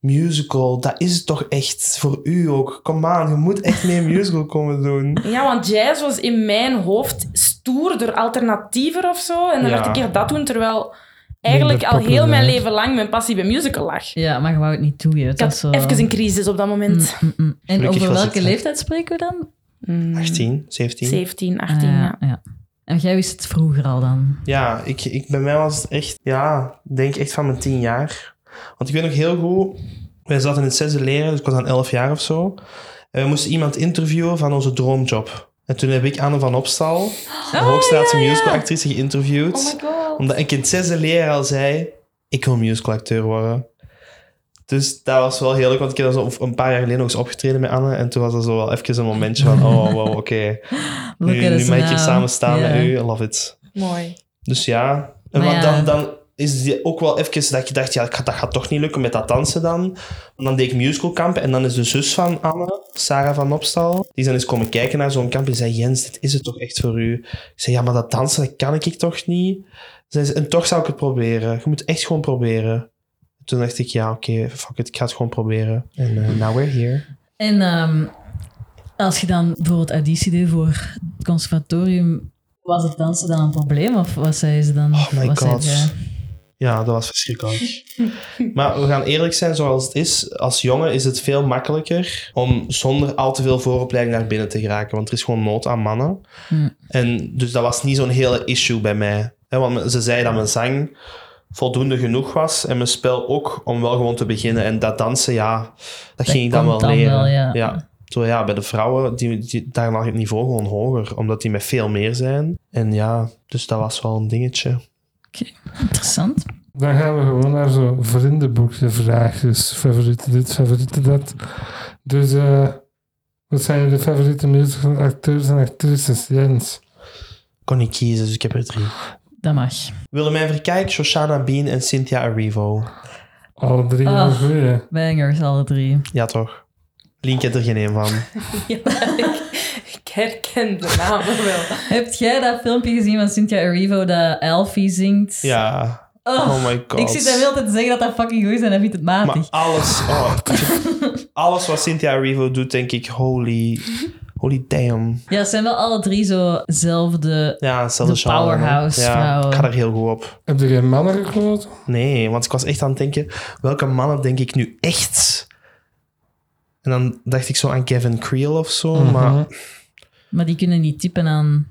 Speaker 4: musical, dat is het toch echt voor u ook. Kom aan, je moet echt meer musical komen [LAUGHS] doen.
Speaker 3: Ja, want jazz was in mijn hoofd stoerder, alternatiever of zo. En dan
Speaker 4: Ja.
Speaker 3: dacht ik, ja, dat doen terwijl eigenlijk
Speaker 1: Minder
Speaker 3: al heel mijn
Speaker 1: populair.
Speaker 3: leven lang mijn passie bij musical lag.
Speaker 2: Ja, maar je wou het niet doen. hè. Het
Speaker 3: Ik had
Speaker 2: was zo...
Speaker 3: even een crisis op dat moment.
Speaker 2: Mm, mm. En
Speaker 4: Gelukkig
Speaker 2: over
Speaker 4: was
Speaker 2: welke
Speaker 4: het-
Speaker 2: leeftijd spreken we dan?
Speaker 3: Mm,
Speaker 4: 18, 17.
Speaker 3: 17, 18,
Speaker 2: Ah,
Speaker 3: ja.
Speaker 2: ja. En jij wist het vroeger al dan?
Speaker 4: Ja, ik, ik, bij mij was het echt, ja, ik denk echt van mijn tien jaar. Want ik weet nog heel goed, wij zaten in het zesde leren, dus ik was dan elf jaar of zo. En we moesten iemand interviewen van onze droomjob. En toen heb ik Anne van Opstal, de
Speaker 2: Oh,
Speaker 4: Hoogstraatse musicalactrice, geïnterviewd.
Speaker 3: Oh my god.
Speaker 4: omdat ik in het zesde leren al zei, ik wil musicalacteur worden. Dus dat was wel heel leuk, want ik heb dat zo op- een paar jaar geleden nog eens opgetreden met Anne. En toen was dat zo wel even een momentje van, oh wow, oké.
Speaker 2: [LAUGHS] Look
Speaker 4: Nu,
Speaker 2: at
Speaker 4: nu
Speaker 2: us
Speaker 4: mag ik hier
Speaker 2: now.
Speaker 4: samen staan
Speaker 2: Ja.
Speaker 4: met u, I love it.
Speaker 3: Mooi.
Speaker 4: Dus ja. En
Speaker 2: Maar
Speaker 4: want
Speaker 2: ja.
Speaker 4: Dan, dan is die ook wel even dat je dacht, ja, dat gaat- dat gaat toch niet lukken met dat dansen dan. En dan deed ik musicalkamp en dan is de zus van Anne, Sarah van Opstal, die is dan eens komen kijken naar zo'n kamp en zei, Jens, dit is het toch echt voor u? Ik zei, ja, maar dat dansen, dat kan ik toch niet? Zei ze, en toch zou ik het proberen. Je moet echt gewoon proberen. Toen dacht ik, ja, oké, fuck it, ik ga het gewoon proberen. En eh, now we're here.
Speaker 2: En ehm, als je dan bijvoorbeeld auditie deed voor het conservatorium, was het dansen dan een probleem? Of was zij ze dan...
Speaker 4: Oh my
Speaker 2: was zij
Speaker 4: god.
Speaker 2: ze-
Speaker 4: Ja, dat was
Speaker 2: [LAUGHS]
Speaker 4: verschrikkelijk. maar we gaan eerlijk zijn zoals het is. Als jongen is het veel makkelijker om zonder al te veel vooropleiding naar binnen te geraken. Want er is gewoon nood aan mannen.
Speaker 2: Hm.
Speaker 4: En dus dat was niet zo'n hele issue bij mij. Hè, want ze zei dat mijn zang voldoende genoeg was en mijn spel ook om wel gewoon te beginnen. En dat dansen, ja, dat, ging ik dan wel
Speaker 2: komt dan
Speaker 4: leren.
Speaker 2: wel, ja.
Speaker 4: Zo ja, bij de vrouwen, die, die, daar lag het niveau gewoon hoger, omdat die met veel meer zijn. En ja, dus dat was wel een dingetje.
Speaker 2: Interessant.
Speaker 1: Dan gaan we gewoon naar zo'n vriendenboekje vraagjes. Favoriete dit, favoriete dat. Dus eh, wat zijn jullie favoriete musical acteurs en actrices? Jens.
Speaker 4: kon niet kiezen, dus ik heb er drie.
Speaker 2: Dat mag.
Speaker 4: Willemijn Verkijk, Shoshana Bean en Cynthia Erivo.
Speaker 1: Alle drie
Speaker 2: Ah.
Speaker 1: een goeie.
Speaker 2: Bangers, alle drie.
Speaker 4: Ja, toch? Link heeft er geen een van.
Speaker 3: Ja, ik, ik herken de namen wel.
Speaker 2: Heb jij dat filmpje gezien van Cynthia Erivo dat Alfie zingt?
Speaker 4: Ja.
Speaker 2: Oh,
Speaker 4: Oh my god.
Speaker 2: ik zit daar wel te zeggen dat dat fucking goed is en hij vindt het matig. [LAUGHS]
Speaker 4: Maar alles... Oh, alles wat Cynthia Erivo doet, denk ik, holy... Holy damn.
Speaker 2: Ja, ze zijn wel alle drie zo'zelfde.
Speaker 4: Ja, hetzelfde
Speaker 2: De
Speaker 4: genre, hè.
Speaker 2: powerhouse
Speaker 4: ja,
Speaker 2: vrouwen.
Speaker 4: Ik ga er heel goed op.
Speaker 1: Heb je geen mannen gekozen?
Speaker 4: Nee, want ik was echt aan het denken, welke mannen denk ik nu echt? En dan dacht ik zo aan Kevin Creel of zo,
Speaker 2: Mhm.
Speaker 4: maar
Speaker 2: Maar die kunnen niet typen aan.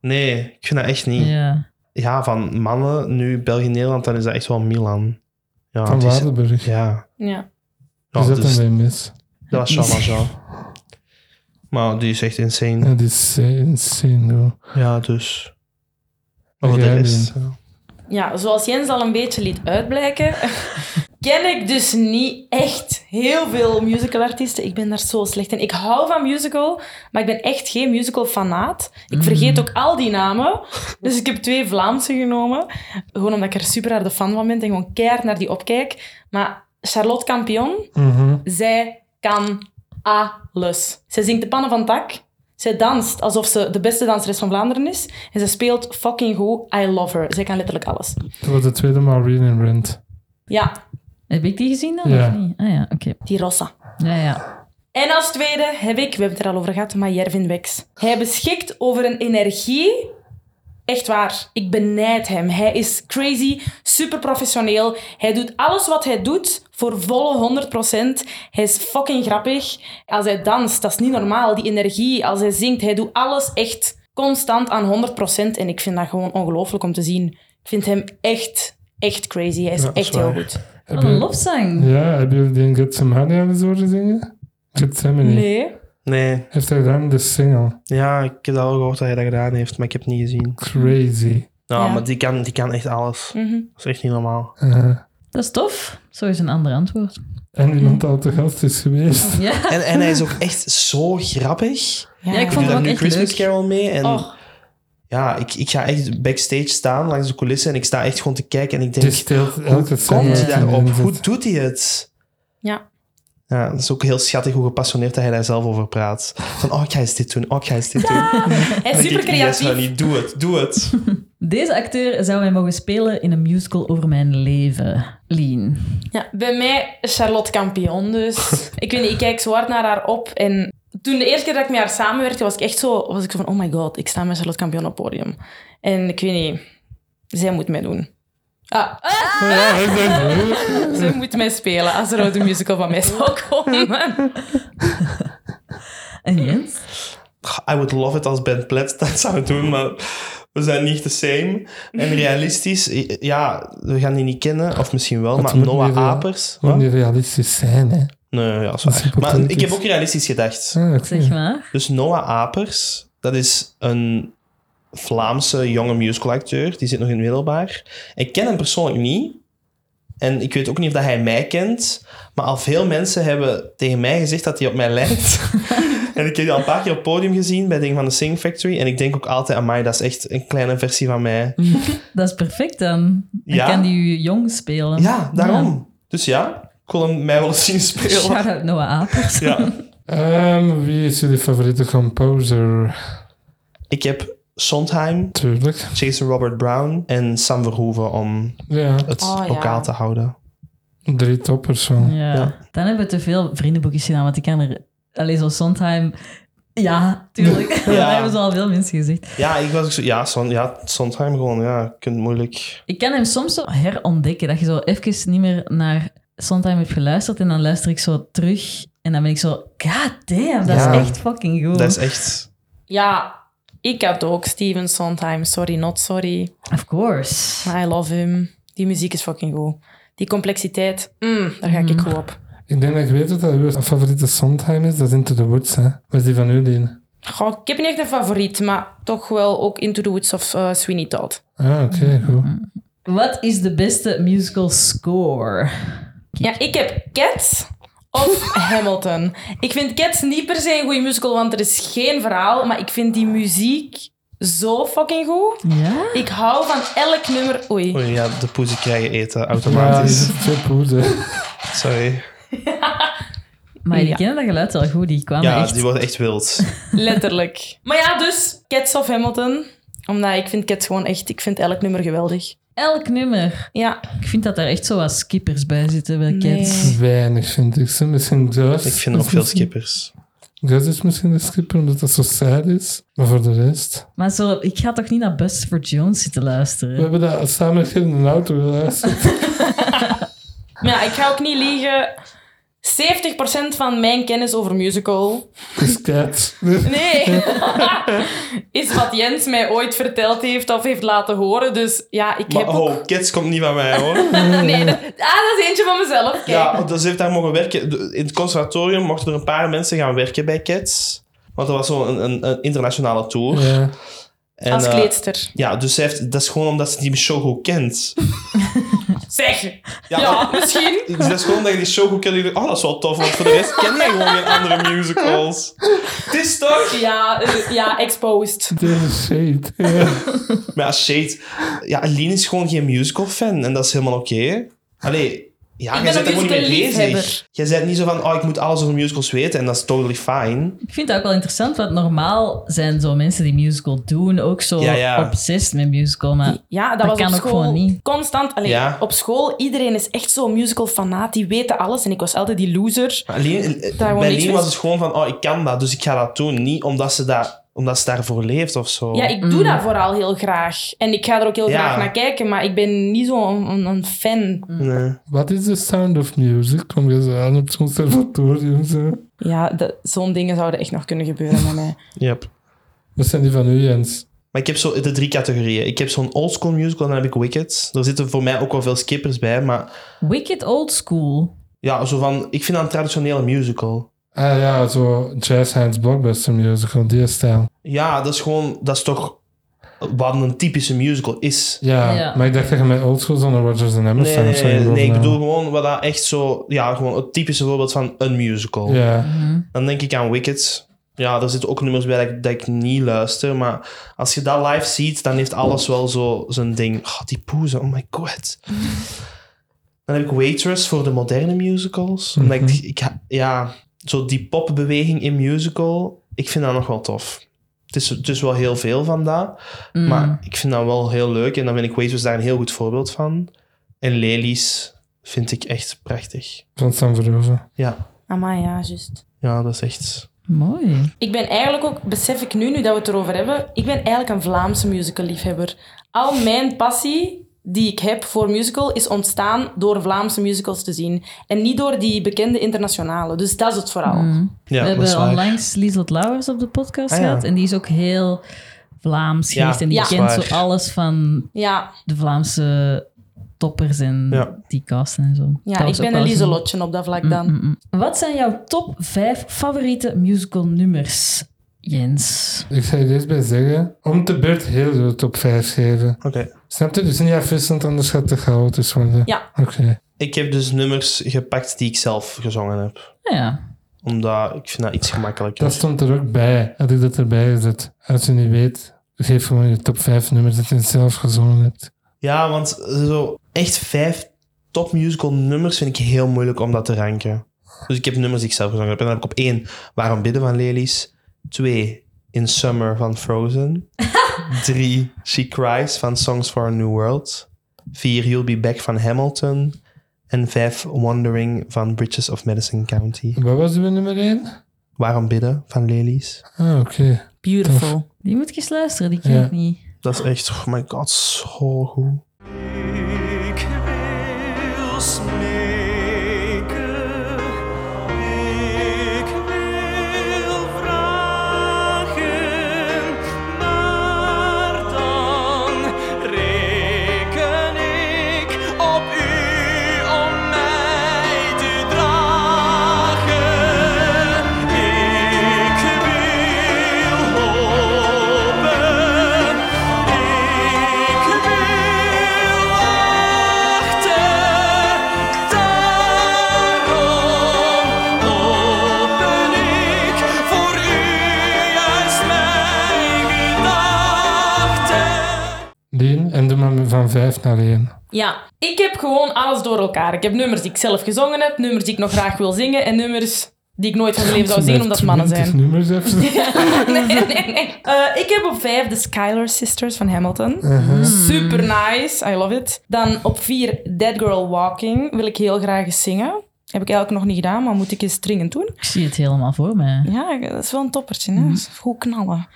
Speaker 4: nee, ik vind dat echt niet. Ja,
Speaker 2: Ja.
Speaker 4: van mannen, nu België-Nederland, dan is dat echt wel Milan. Ja,
Speaker 1: Van
Speaker 4: het is-
Speaker 1: Waardenburg.
Speaker 4: Ja.
Speaker 3: Ja.
Speaker 4: Ja,
Speaker 1: Die zat
Speaker 4: dus-
Speaker 1: hem bij mis.
Speaker 4: Dat was Jean Valjean. Maar die is echt insane.
Speaker 1: Ja, die is eh, insane, hoor.
Speaker 4: Ja, dus. Maar voor
Speaker 1: Oké,
Speaker 4: de rest. ja.
Speaker 3: ja, zoals Jens al een beetje liet uitblijken, ken ik dus niet echt heel veel musicalartiesten. Ik ben daar zo slecht in. Ik hou van musical, maar ik ben echt geen musical-fanaat. Ik vergeet ook al die namen. Dus ik heb twee Vlaamse genomen. Gewoon omdat ik er super harde fan van ben en gewoon keihard naar die opkijk. Maar Charlotte Campion,
Speaker 1: Mhm.
Speaker 3: zij kan alles. Zij zingt de pannen van tak. Zij danst alsof ze de beste danseres van Vlaanderen is. En ze speelt fucking goed. I love her. Zij kan letterlijk alles.
Speaker 1: Dat was de tweede Maureen in Rent.
Speaker 3: Ja,
Speaker 2: Heb ik die gezien dan?
Speaker 1: Ja.
Speaker 2: Of niet? Ah ja, oké.
Speaker 3: die Rossa.
Speaker 2: Ja, ja.
Speaker 3: En als tweede heb ik, we hebben het er al over gehad, maar Jervin Wex. Hij beschikt over een energie. Echt waar, ik benijd hem. Hij is crazy, super professioneel. Hij doet alles wat hij doet voor volle 100%. Hij is fucking grappig. Als hij danst, dat is niet normaal. Die energie, als hij zingt, hij doet alles echt constant aan 100%. En ik vind dat gewoon ongelooflijk om te zien. Ik vind hem echt, echt crazy. Hij is
Speaker 4: Ja, dat is
Speaker 3: echt heel
Speaker 4: waar.
Speaker 3: goed.
Speaker 1: Heb
Speaker 2: Wat een
Speaker 1: je-
Speaker 2: lofzang.
Speaker 1: Ja, hebben jullie die in Get Some Honey al eens horen zingen? Get
Speaker 4: Mm.
Speaker 1: Semini.
Speaker 3: Nee.
Speaker 4: Nee,
Speaker 1: Heeft hij gedaan de single.
Speaker 4: ja, ik heb al gehoord dat hij dat gedaan heeft, maar ik heb het niet gezien.
Speaker 1: Crazy.
Speaker 4: Nou,
Speaker 3: Ja.
Speaker 4: maar die kan, die kan echt alles.
Speaker 3: Mhm.
Speaker 4: Dat is echt niet
Speaker 2: [LAUGHS]
Speaker 4: normaal.
Speaker 1: Eh,
Speaker 2: Dat is tof. Zo is een ander antwoord.
Speaker 4: Mhm.
Speaker 1: en iemand al te gast is geweest.
Speaker 2: Ja,
Speaker 4: En, en hij is ook echt zo grappig.
Speaker 2: ja ik
Speaker 4: Ik doe
Speaker 2: vond
Speaker 4: daar
Speaker 2: hem ook
Speaker 4: nu
Speaker 2: echt
Speaker 4: Christmas
Speaker 2: leuk.
Speaker 4: Carol mee. En
Speaker 3: Och.
Speaker 4: ja, ik, ik ga echt backstage staan langs de coulissen en ik sta echt gewoon te kijken en ik
Speaker 1: Die
Speaker 4: denk,
Speaker 1: steelt
Speaker 4: hoe
Speaker 1: elke
Speaker 4: komt hij
Speaker 1: die
Speaker 4: daarop?
Speaker 1: erin
Speaker 4: Hoe
Speaker 1: zit.
Speaker 4: doet hij het?
Speaker 3: Ja.
Speaker 4: Ja, dat is ook heel schattig hoe gepassioneerd hij daar zelf over praat. Van, oh, ik ga eens dit doen, oh, ik ga eens dit doen.
Speaker 3: Hij is
Speaker 4: Dan denk ik,
Speaker 3: super
Speaker 4: Yes,
Speaker 3: creatief.
Speaker 4: honey, doe het, doe het.
Speaker 2: Deze acteur zou mij mogen spelen in een musical over mijn leven. Lean.
Speaker 3: Ja, bij mij Charlotte Campion dus. ik weet niet, ik kijk zo hard naar haar op. En toen de eerste keer dat ik met haar samenwerkte, was ik echt zo, was ik zo van, oh my god, ik sta met Charlotte Campion op het podium. En ik weet niet, zij moet mij doen. Ah, ah,
Speaker 1: Ja, ik denk,
Speaker 3: [LAUGHS] zij moet mij spelen als er ooit een musical van mij zou komen.
Speaker 2: En Jens?
Speaker 4: I would love it als Ben Platt dat zou doen, maar we zijn niet the same. En realistisch, i- ja, we gaan die niet kennen, of misschien wel,
Speaker 1: Het
Speaker 4: maar
Speaker 1: moet
Speaker 4: Noah
Speaker 1: niet, eh,
Speaker 4: Apers.
Speaker 1: Moet
Speaker 4: wat?
Speaker 1: niet realistisch zijn, hè.
Speaker 4: Nee, ja, dat is
Speaker 1: Dat is
Speaker 4: waar. Maar
Speaker 1: hypothetisch.
Speaker 4: ik heb ook realistisch gedacht.
Speaker 1: Ah, oké.
Speaker 2: Zeg maar.
Speaker 4: Dus Noah Apers, dat is een Vlaamse jonge musicalacteur, die zit nog in het middelbaar. Ik ken hem persoonlijk niet. En ik weet ook niet of dat hij mij kent. Maar al veel mensen hebben tegen mij gezegd dat hij op mij lijkt.
Speaker 3: [LAUGHS]
Speaker 4: en ik heb die al een paar keer op het podium gezien bij dingen van de Sing Factory. En ik denk ook altijd aan mij, dat is echt een kleine versie van mij.
Speaker 3: Mm.
Speaker 2: Dat is perfect dan. Ik
Speaker 4: Ja.
Speaker 2: kan die jong spelen.
Speaker 4: Ja, daarom. Dus ja, ik wil hem mij wel eens zien spelen.
Speaker 2: Shout-out Noah Apers.
Speaker 4: Ja.
Speaker 1: Ehm, wie is jullie favoriete composer?
Speaker 4: Ik heb Sondheim,
Speaker 1: Tuurlijk.
Speaker 4: Jason Robert Brown en Sam Verhoeven om
Speaker 1: Ja,
Speaker 4: het
Speaker 3: Oh, ja.
Speaker 4: lokaal te houden.
Speaker 1: drie toppers zo.
Speaker 2: Ja.
Speaker 4: Ja.
Speaker 2: Dan hebben we te veel vriendenboekjes gedaan, want ik kan er... Alleen zo Sondheim... Ja,
Speaker 4: [LAUGHS]
Speaker 2: tuurlijk. [LAUGHS] Dat hebben ze al veel mensen gezegd.
Speaker 4: Ja, ik was ook zo... Ja, son, ja Sondheim gewoon. Ja, je kunt moeilijk...
Speaker 2: Ik kan hem soms zo herontdekken, dat je zo even niet meer naar Sondheim hebt geluisterd en dan luister ik zo terug en dan ben ik zo... God damn, dat
Speaker 4: Ja.
Speaker 2: is echt fucking goed.
Speaker 4: Dat is echt...
Speaker 3: Ja, ik had ook Steven Sondheim. Sorry, not sorry.
Speaker 2: Of course.
Speaker 3: I love him. Die muziek is fucking goed. Die complexiteit, mm, daar ga ik goed op.
Speaker 1: Ik denk dat ik weet wat dat uw favoriete Sondheim is. Dat is Into the Woods, hè. Wat is die van jullie?
Speaker 3: Goh, ik heb niet echt een favoriet, maar toch wel ook Into the Woods of eh, Sweeney Todd.
Speaker 1: Ah, oké,
Speaker 4: Mhm.
Speaker 1: goed.
Speaker 2: Wat is de beste musical score?
Speaker 3: Ja, ik heb Cats of Hamilton. Ik vind Cats niet per se een goede musical, want er is geen verhaal. Maar ik vind die muziek zo fucking goed.
Speaker 2: Ja?
Speaker 3: Ik hou van elk nummer... Oei.
Speaker 4: Oei, oh ja, de poezen krijgen eten
Speaker 1: Ja, dit
Speaker 4: automatisch.
Speaker 1: is twee
Speaker 4: [LAUGHS]
Speaker 1: poezen.
Speaker 4: Sorry.
Speaker 2: Maar die
Speaker 3: Ja.
Speaker 2: kennen dat geluid wel goed, die kwamen
Speaker 4: Ja,
Speaker 2: echt...
Speaker 4: die worden echt wild.
Speaker 3: Letterlijk. Maar ja, dus Cats of Hamilton. Omdat ik vind Cats gewoon echt... Ik vind elk nummer geweldig.
Speaker 2: Elk nummer.
Speaker 3: Ja.
Speaker 2: Ik vind dat daar echt zo wat skippers bij zitten bij
Speaker 3: Nee.
Speaker 2: Cats.
Speaker 1: Weinig, vind ik. Ze misschien zelfs.
Speaker 4: Ik vind ook veel skippers.
Speaker 1: Gus is misschien de skipper, omdat dat zo sad is. Maar voor de rest...
Speaker 2: Maar zo, ik ga toch niet naar Bust for Jones zitten
Speaker 1: We
Speaker 2: luisteren?
Speaker 1: hebben dat samen in een auto
Speaker 4: [LAUGHS]
Speaker 1: geluisterd.
Speaker 3: Maar ja, ik ga ook niet liegen. 70% van mijn kennis over musical
Speaker 1: Dus cat.
Speaker 4: [LAUGHS]
Speaker 3: nee, is wat Jens mij ooit verteld heeft of heeft laten horen. Dus ja, ik heb
Speaker 4: Maar
Speaker 3: ook...
Speaker 4: oh, Cats komt niet van mij hoor.
Speaker 3: Nee, dat... Ah, dat is eentje van mezelf. Kijk.
Speaker 4: ja, dus heeft daar mogen werken. De- In het conservatorium mochten er een paar mensen gaan werken bij Cats. Want dat was zo'n een, een, een internationale tour.
Speaker 1: Ja.
Speaker 4: En,
Speaker 3: Als
Speaker 4: eh,
Speaker 3: kleedster.
Speaker 4: ja, dus zij heeft, dat is gewoon omdat ze die show goed kent.
Speaker 3: Zeg! Ja,
Speaker 4: maar-
Speaker 3: misschien.
Speaker 4: Dus dat is gewoon dat je die show goed kent. en je denkt, Oh, dat is wel tof, want voor de rest ken jij gewoon geen andere musicals. Het is toch?
Speaker 3: Ja, eh, ja, exposed.
Speaker 1: Deze shade. Ja.
Speaker 4: Maar ja, shade. Ja, Aline is gewoon geen musical fan en dat is helemaal oké. Allee, ja,
Speaker 3: Ik
Speaker 4: jij
Speaker 3: ben een
Speaker 4: bent daar gewoon niet mee
Speaker 3: musical-liefhebber.
Speaker 4: bezig. Jij bent niet zo van, oh, ik moet alles over musicals weten en dat is totally fine.
Speaker 2: Ik vind dat ook wel interessant, want normaal zijn zo mensen die musical doen ook zo
Speaker 4: Ja, ja.
Speaker 2: obsessed met musical. Maar
Speaker 3: Ja, dat,
Speaker 2: Dat
Speaker 3: was
Speaker 2: kan
Speaker 3: op
Speaker 2: ook
Speaker 3: school
Speaker 2: gewoon niet.
Speaker 3: constant. Allee,
Speaker 4: Ja.
Speaker 3: Op school, iedereen is echt zo'n musical fanaat. Die weten alles. En ik was altijd die loser.
Speaker 4: Maar Aline,
Speaker 3: Daar
Speaker 4: eh, bij
Speaker 3: gewoon niks
Speaker 4: Aline
Speaker 3: mee.
Speaker 4: was het gewoon van, oh, ik kan dat, dus ik ga dat doen. Niet omdat ze, dat, omdat ze daarvoor leeft of zo.
Speaker 3: Ja, ik doe
Speaker 2: Mm.
Speaker 3: dat vooral heel graag. En ik ga er ook heel
Speaker 4: Oh. Ja.
Speaker 3: graag naar kijken. Maar ik ben niet zo'n een, een fan.
Speaker 2: Mm.
Speaker 4: Nee.
Speaker 1: [LAUGHS] Wat is de sound of music? Kom je zo aan op het conservatorium? Zo.
Speaker 3: Ja, dat- zo'n dingen zouden echt nog kunnen gebeuren met mij.
Speaker 4: Yep.
Speaker 1: Wat zijn die van u, Jens?
Speaker 4: Maar ik heb zo de drie categorieën. Ik heb zo'n oldschool musical en dan heb ik Wicked. Er zitten voor mij ook wel veel skippers bij, maar
Speaker 2: Wicked Old School.
Speaker 4: ja, zo van, ik vind dat een traditionele musical.
Speaker 1: Ah ja, zo jazz hands blockbuster musical, die stijl.
Speaker 4: Ja, dat is gewoon, dat is toch wat een typische musical is.
Speaker 1: Ja,
Speaker 2: Ja.
Speaker 1: maar ik dacht dat je met oldschool zonder Rodgers en
Speaker 4: Nee,
Speaker 1: Emerson
Speaker 4: nee,
Speaker 1: of zo
Speaker 4: nee,
Speaker 1: bedoelde.
Speaker 4: nee, ik bedoel gewoon wat dat echt zo, ja, gewoon het typische voorbeeld van een musical.
Speaker 1: Ja,
Speaker 4: Dan denk ik aan Wicked. Ja, daar zitten ook nummers bij dat ik, dat ik niet luister, maar als je dat live ziet, dan heeft alles wel zo zijn ding. Oh, die poezen, oh my
Speaker 2: [LAUGHS]
Speaker 4: god. Dan heb ik Waitress voor de moderne musicals. Omdat ik,
Speaker 2: Mhm.
Speaker 4: ik, ha- ja, zo die popbeweging in musical, ik vind dat nog wel tof. Het is, het is wel heel veel van dat.
Speaker 2: Mm.
Speaker 4: Maar ik vind dat wel heel leuk. En dan vind ik Waitress daar een heel goed voorbeeld van. En Lelies vind ik echt prachtig.
Speaker 1: van Sam Verhoeven.
Speaker 4: Ja,
Speaker 3: Amai, ja, juist.
Speaker 4: ja dat is echt...
Speaker 2: Mooi.
Speaker 3: Ik ben eigenlijk ook, besef ik nu, nu dat we het erover hebben, ik ben eigenlijk een Vlaamse musical-liefhebber. Al mijn passie die ik heb voor musical is ontstaan door Vlaamse musicals te zien. En niet door die bekende internationale. Dus dat is het vooral.
Speaker 4: Ja,
Speaker 2: We
Speaker 4: dat is
Speaker 2: hebben
Speaker 4: waar.
Speaker 2: onlangs Lieslot Lauwers op de podcast
Speaker 4: Ah, ja.
Speaker 2: gehad. En die is ook heel Vlaams
Speaker 4: Ja,
Speaker 2: geweest. en die
Speaker 3: ja.
Speaker 2: kent
Speaker 4: dat is
Speaker 2: zo alles van
Speaker 3: Ja,
Speaker 2: de Vlaamse toppers en
Speaker 4: Ja.
Speaker 2: die casten en zo.
Speaker 3: ja ik ben een Lieselotje op dat vlak dan.
Speaker 2: Wat zijn jouw top 5 favoriete musical nummers, Jens?
Speaker 1: Ik zou je deze bij zeggen, om de beurt heel de top 5 geven.
Speaker 4: Oké.
Speaker 1: Snap je? Dus niet afwisselend, anders gaat het chaotisch worden.
Speaker 3: Ja.
Speaker 1: Oké.
Speaker 4: Ik heb dus nummers gepakt die ik zelf gezongen heb.
Speaker 2: Nou ja,
Speaker 4: Omdat ik vind dat iets gemakkelijker.
Speaker 1: Dat stond er ook bij, had ik dat erbij gezet. Als je niet weet, geef gewoon je top 5 nummers dat je zelf gezongen hebt.
Speaker 4: Ja, want zo echt vijf top musical nummers vind ik heel moeilijk om dat te ranken. Dus ik heb nummers die ik zelf gezongen heb. En dan heb ik op één Waarom Bidden van Lelies. Twee In Summer van Frozen. Drie She Cries van Songs for a New World. Vier You'll Be Back van Hamilton. En vijf Wandering van Bridges of Madison County.
Speaker 1: Wat was uw nummer 1?
Speaker 4: Waarom Bidden van Lelies.
Speaker 1: Ah, oké.
Speaker 3: Beautiful.
Speaker 2: die moet ik eens luisteren, die ken
Speaker 1: Ja.
Speaker 2: ik niet.
Speaker 4: Dat is echt, oh my god, zo goed.
Speaker 5: Ik wil smeken, ik wil vragen, maar dan reken ik op u om mij te dragen. Ik wil hopen, ik wil wachten, daarom open ik voor u juist mijn gedachten.
Speaker 1: Dien, en doe maar van 5 naar 1.
Speaker 3: Ja, ik heb gewoon alles door elkaar. Ik heb nummers die ik zelf gezongen heb, nummers die ik nog graag wil zingen en nummers die ik nooit van mijn leven zou zingen omdat het mannen zijn.
Speaker 1: nummers heb
Speaker 3: [LAUGHS]
Speaker 1: je.
Speaker 3: nee, nee, nee. Eh, ik heb op vijf de Skylar Sisters van Hamilton.
Speaker 1: Mhm.
Speaker 3: Super nice, I love it. Dan op vier Dead Girl Walking wil ik heel graag eens zingen. Heb ik eigenlijk nog niet gedaan, maar moet ik eens dringend doen.
Speaker 2: Ik zie het helemaal voor me.
Speaker 3: Ja, dat is wel een toppertje. Hè?
Speaker 1: Mhm.
Speaker 3: Dat is Goed knallen.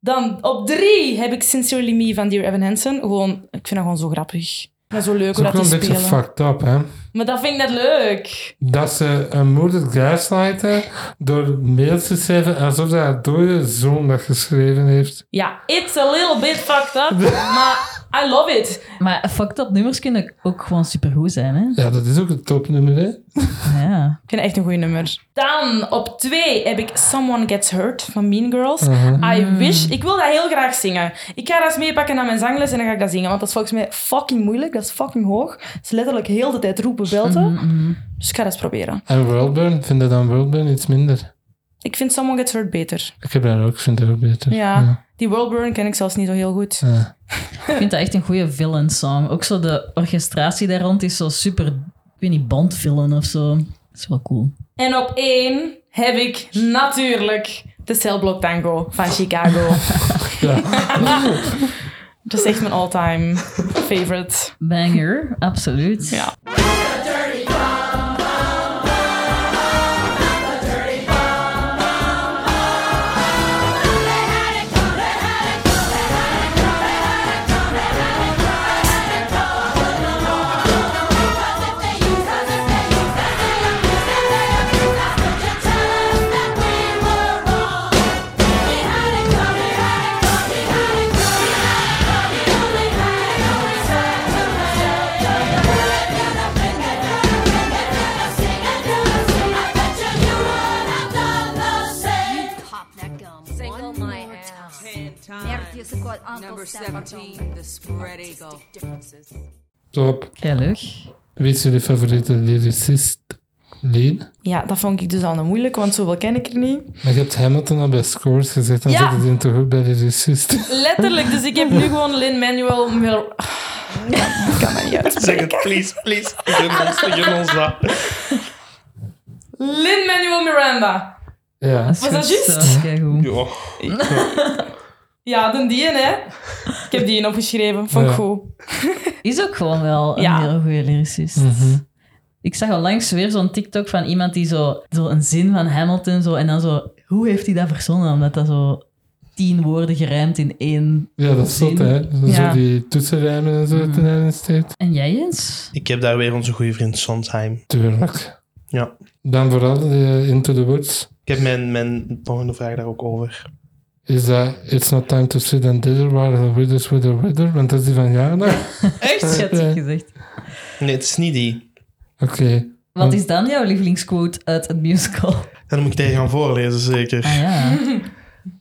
Speaker 3: Dan op drie heb ik Sincerely Me van Dear Evan Hansen. Gewoon, ik vind dat gewoon zo grappig. Dat is zo leuk
Speaker 1: Het is
Speaker 3: hoe
Speaker 1: ook
Speaker 3: dat
Speaker 1: wel
Speaker 3: die
Speaker 1: een beetje
Speaker 3: spelen.
Speaker 1: fucked up, hè.
Speaker 3: Maar dat vind ik net leuk.
Speaker 1: Dat ze een moeder gaslighten door mails te schrijven alsof dat haar dode zoon dat geschreven heeft.
Speaker 3: Ja, it's a little bit fucked
Speaker 1: [LAUGHS]
Speaker 3: up, maar I love it.
Speaker 2: Maar fucked up nummers kunnen ook gewoon supergoed zijn, hè?
Speaker 1: Ja, dat is ook een topnummer, hè.
Speaker 2: Ja.
Speaker 3: Ik vind het echt een goed nummer. Dan op twee heb ik Someone Gets Hurt van Mean Girls.
Speaker 1: Mhm.
Speaker 3: I wish. Ik wil dat heel graag zingen. Ik ga dat eens meepakken naar mijn zangles en dan ga ik dat zingen. Want dat is volgens mij fucking moeilijk. Dat is fucking hoog. Het is letterlijk heel de tijd roepen belten.
Speaker 1: Mhm.
Speaker 3: Dus ik ga dat eens proberen.
Speaker 1: En Worldburn, vind je dan Worldburn iets minder?
Speaker 3: Ik vind Someone Gets Hurt beter.
Speaker 1: Ik heb dat ook, ik vind dat ook beter. Ah.
Speaker 3: Ja. Die Worldburn ken ik zelfs niet zo heel goed.
Speaker 1: Ja.
Speaker 2: Ik vind dat echt een goede villain song. Ook zo de orchestratie daar rond is zo super, ik weet niet, bandvillen of zo. Dat is wel cool.
Speaker 3: En op één heb ik natuurlijk de Celblok Tango van Chicago.
Speaker 1: [LAUGHS] Ja.
Speaker 3: [LAUGHS] Dat is echt mijn all-time favorite.
Speaker 2: Banger, absoluut.
Speaker 3: Ja.
Speaker 6: Pop that gum one more time. Nertjes have got Uncle
Speaker 7: Number
Speaker 6: Sam on
Speaker 7: 17, the spread eagle.
Speaker 6: differences.
Speaker 1: Top.
Speaker 2: Gelukkig.
Speaker 1: Wie is jullie favoriete lyricist? Lean?
Speaker 3: ja, dat vond ik dus al een moeilijk, want zoveel ken ik er niet.
Speaker 1: Maar je hebt Hamilton al bij scores gezet, dan
Speaker 3: Ja.
Speaker 1: zit het in toch ook bij lyricist. [LAUGHS]
Speaker 3: Letterlijk, dus ik heb [LAUGHS] nu gewoon Lin-Manuel Mil-
Speaker 4: Zeg het, please, please. Gun ons, gun ons dat.
Speaker 3: Lin-Manuel Miranda.
Speaker 1: Ja.
Speaker 2: goed,
Speaker 3: dat juist?
Speaker 2: dat is keigoed.
Speaker 4: Ja.
Speaker 3: Ja, dan die, hè. Ik heb die in opgeschreven. Vond ik
Speaker 1: Ja.
Speaker 3: goed.
Speaker 2: Is ook gewoon wel een
Speaker 3: Ja.
Speaker 2: heel goede lyricist.
Speaker 1: Mhm.
Speaker 2: Ik zag al langs weer zo'n TikTok van iemand die zo, zo een zin van Hamilton zo en dan zo, hoe heeft hij dat verzonnen? Omdat dat zo tien woorden gerijmd in één.
Speaker 1: Ja, dat is zot, hè.
Speaker 3: Ja.
Speaker 1: Zo die toetsenrijmen en zo dat hij daarin steekt.
Speaker 2: En jij Jens?
Speaker 4: Ik heb daar weer onze goede vriend Sondheim.
Speaker 1: Tuurlijk.
Speaker 4: Ja.
Speaker 1: Dan vooral de Into the Woods.
Speaker 4: Ik heb mijn, mijn volgende vraag daar ook over.
Speaker 1: Is dat It's Not Time to Sit and Dither, waar de Withers with the Wither, want dat is die van Eh, Jana.
Speaker 2: Echt? Je
Speaker 1: Ja.
Speaker 2: gezegd.
Speaker 4: Nee, het is niet die.
Speaker 1: Oké.
Speaker 2: Wat is dan jouw lievelingsquote uit het musical?
Speaker 4: Dan moet ik tegen gaan voorlezen, zeker.
Speaker 2: Ah ja.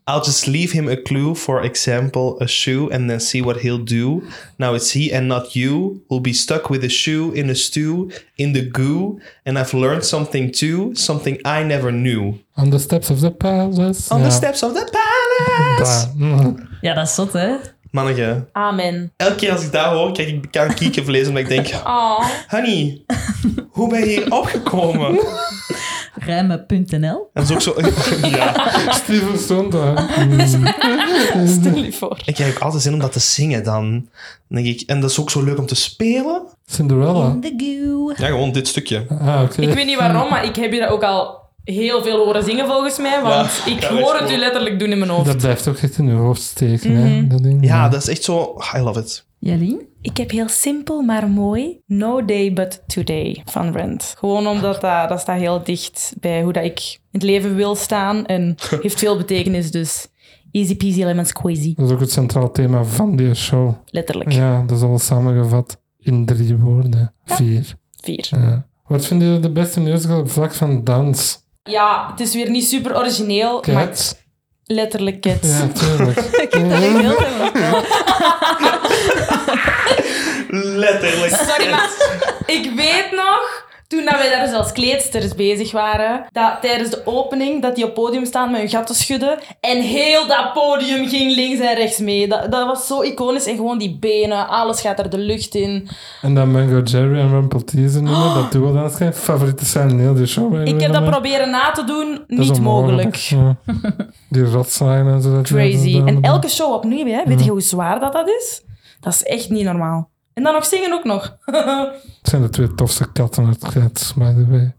Speaker 4: I'll just leave him a clue, for example, a shoe, and then see what he'll do. Now it's he and not you who'll be stuck with a shoe in a stew, in the goo. And I've learned something too, something I never knew.
Speaker 1: On the steps of the palace.
Speaker 4: On
Speaker 1: Ja.
Speaker 4: the steps of the palace!
Speaker 1: Bah. Mm.
Speaker 2: Ja, dat is zot, hè?
Speaker 4: Manneke,
Speaker 3: Amen.
Speaker 4: elke keer als ik daar hoor, krijg ik kan kieken verlezen, omdat ik denk...
Speaker 3: Oh.
Speaker 4: Honey, hoe ben je hier opgekomen?
Speaker 2: Rijmen.nl.
Speaker 4: En zo ook zo... [LAUGHS] ja.
Speaker 1: Steven Sondheim.
Speaker 3: [LAUGHS] Stel je voor.
Speaker 4: Ik heb ook altijd zin om dat te zingen dan. Dan denk ik, en dat is ook zo leuk om te spelen.
Speaker 1: Cinderella.
Speaker 2: The goo.
Speaker 4: Ja, gewoon dit stukje.
Speaker 1: Ah, oké.
Speaker 3: Ik weet niet waarom, maar ik heb je dat ook al heel veel horen zingen volgens mij. Want
Speaker 4: Ja,
Speaker 3: ik
Speaker 4: dat is
Speaker 3: hoor het
Speaker 4: cool.
Speaker 3: u letterlijk doen in mijn hoofd. Mhm.
Speaker 1: Dat blijft ook echt in uw hoofd steken, hè. Dat ding.
Speaker 4: Ja, dat is echt zo... Ah, I love it.
Speaker 2: Jolien?
Speaker 3: Ik heb heel simpel, maar mooi No Day But Today van Rent. Gewoon omdat dat, dat staat heel dicht bij hoe dat ik in het leven wil
Speaker 1: [LAUGHS]
Speaker 3: staan. En heeft veel betekenis, dus easy peasy lemon squeezy.
Speaker 1: Dat is ook het centraal thema van die show.
Speaker 3: Letterlijk.
Speaker 1: Ja, dat is alles samengevat in drie woorden. Vier.
Speaker 3: Vier.
Speaker 1: Ja. Wat vinden jullie de beste musical op vlak van dans?
Speaker 3: Ja, het is weer niet super origineel, maar
Speaker 1: Cats?
Speaker 3: letterlijk het.
Speaker 1: Ja,
Speaker 3: [LAUGHS]
Speaker 1: tuurlijk.
Speaker 4: [LAUGHS] Letterlijk.
Speaker 3: Sorry, maar ik weet nog, toen dat wij daar dus als kleedsters bezig waren, dat tijdens de opening, dat die op podium staan met hun gat te schudden en heel dat podium ging links en rechts mee. Dat, dat was zo iconisch en gewoon die benen, alles gaat er de lucht in.
Speaker 1: En dan Mango Jerry en Rumpelteazer nummer, dat duo dansen. Favoriete zijn in heel die show.
Speaker 3: Oh. Ik heb dat proberen na te doen,
Speaker 1: Dat is
Speaker 3: niet
Speaker 1: onmogelijk,
Speaker 3: mogelijk.
Speaker 1: ja.
Speaker 3: [LAUGHS]
Speaker 1: Die rotslagen en zo. dat die dat
Speaker 3: Crazy.
Speaker 1: doen.
Speaker 3: En elke show opnieuw, hè. weet je hoe zwaar dat, dat is? Dat is echt niet normaal. En dan nog zingen ook nog.
Speaker 1: Het zijn de twee tofste katten uit Cats, by the way.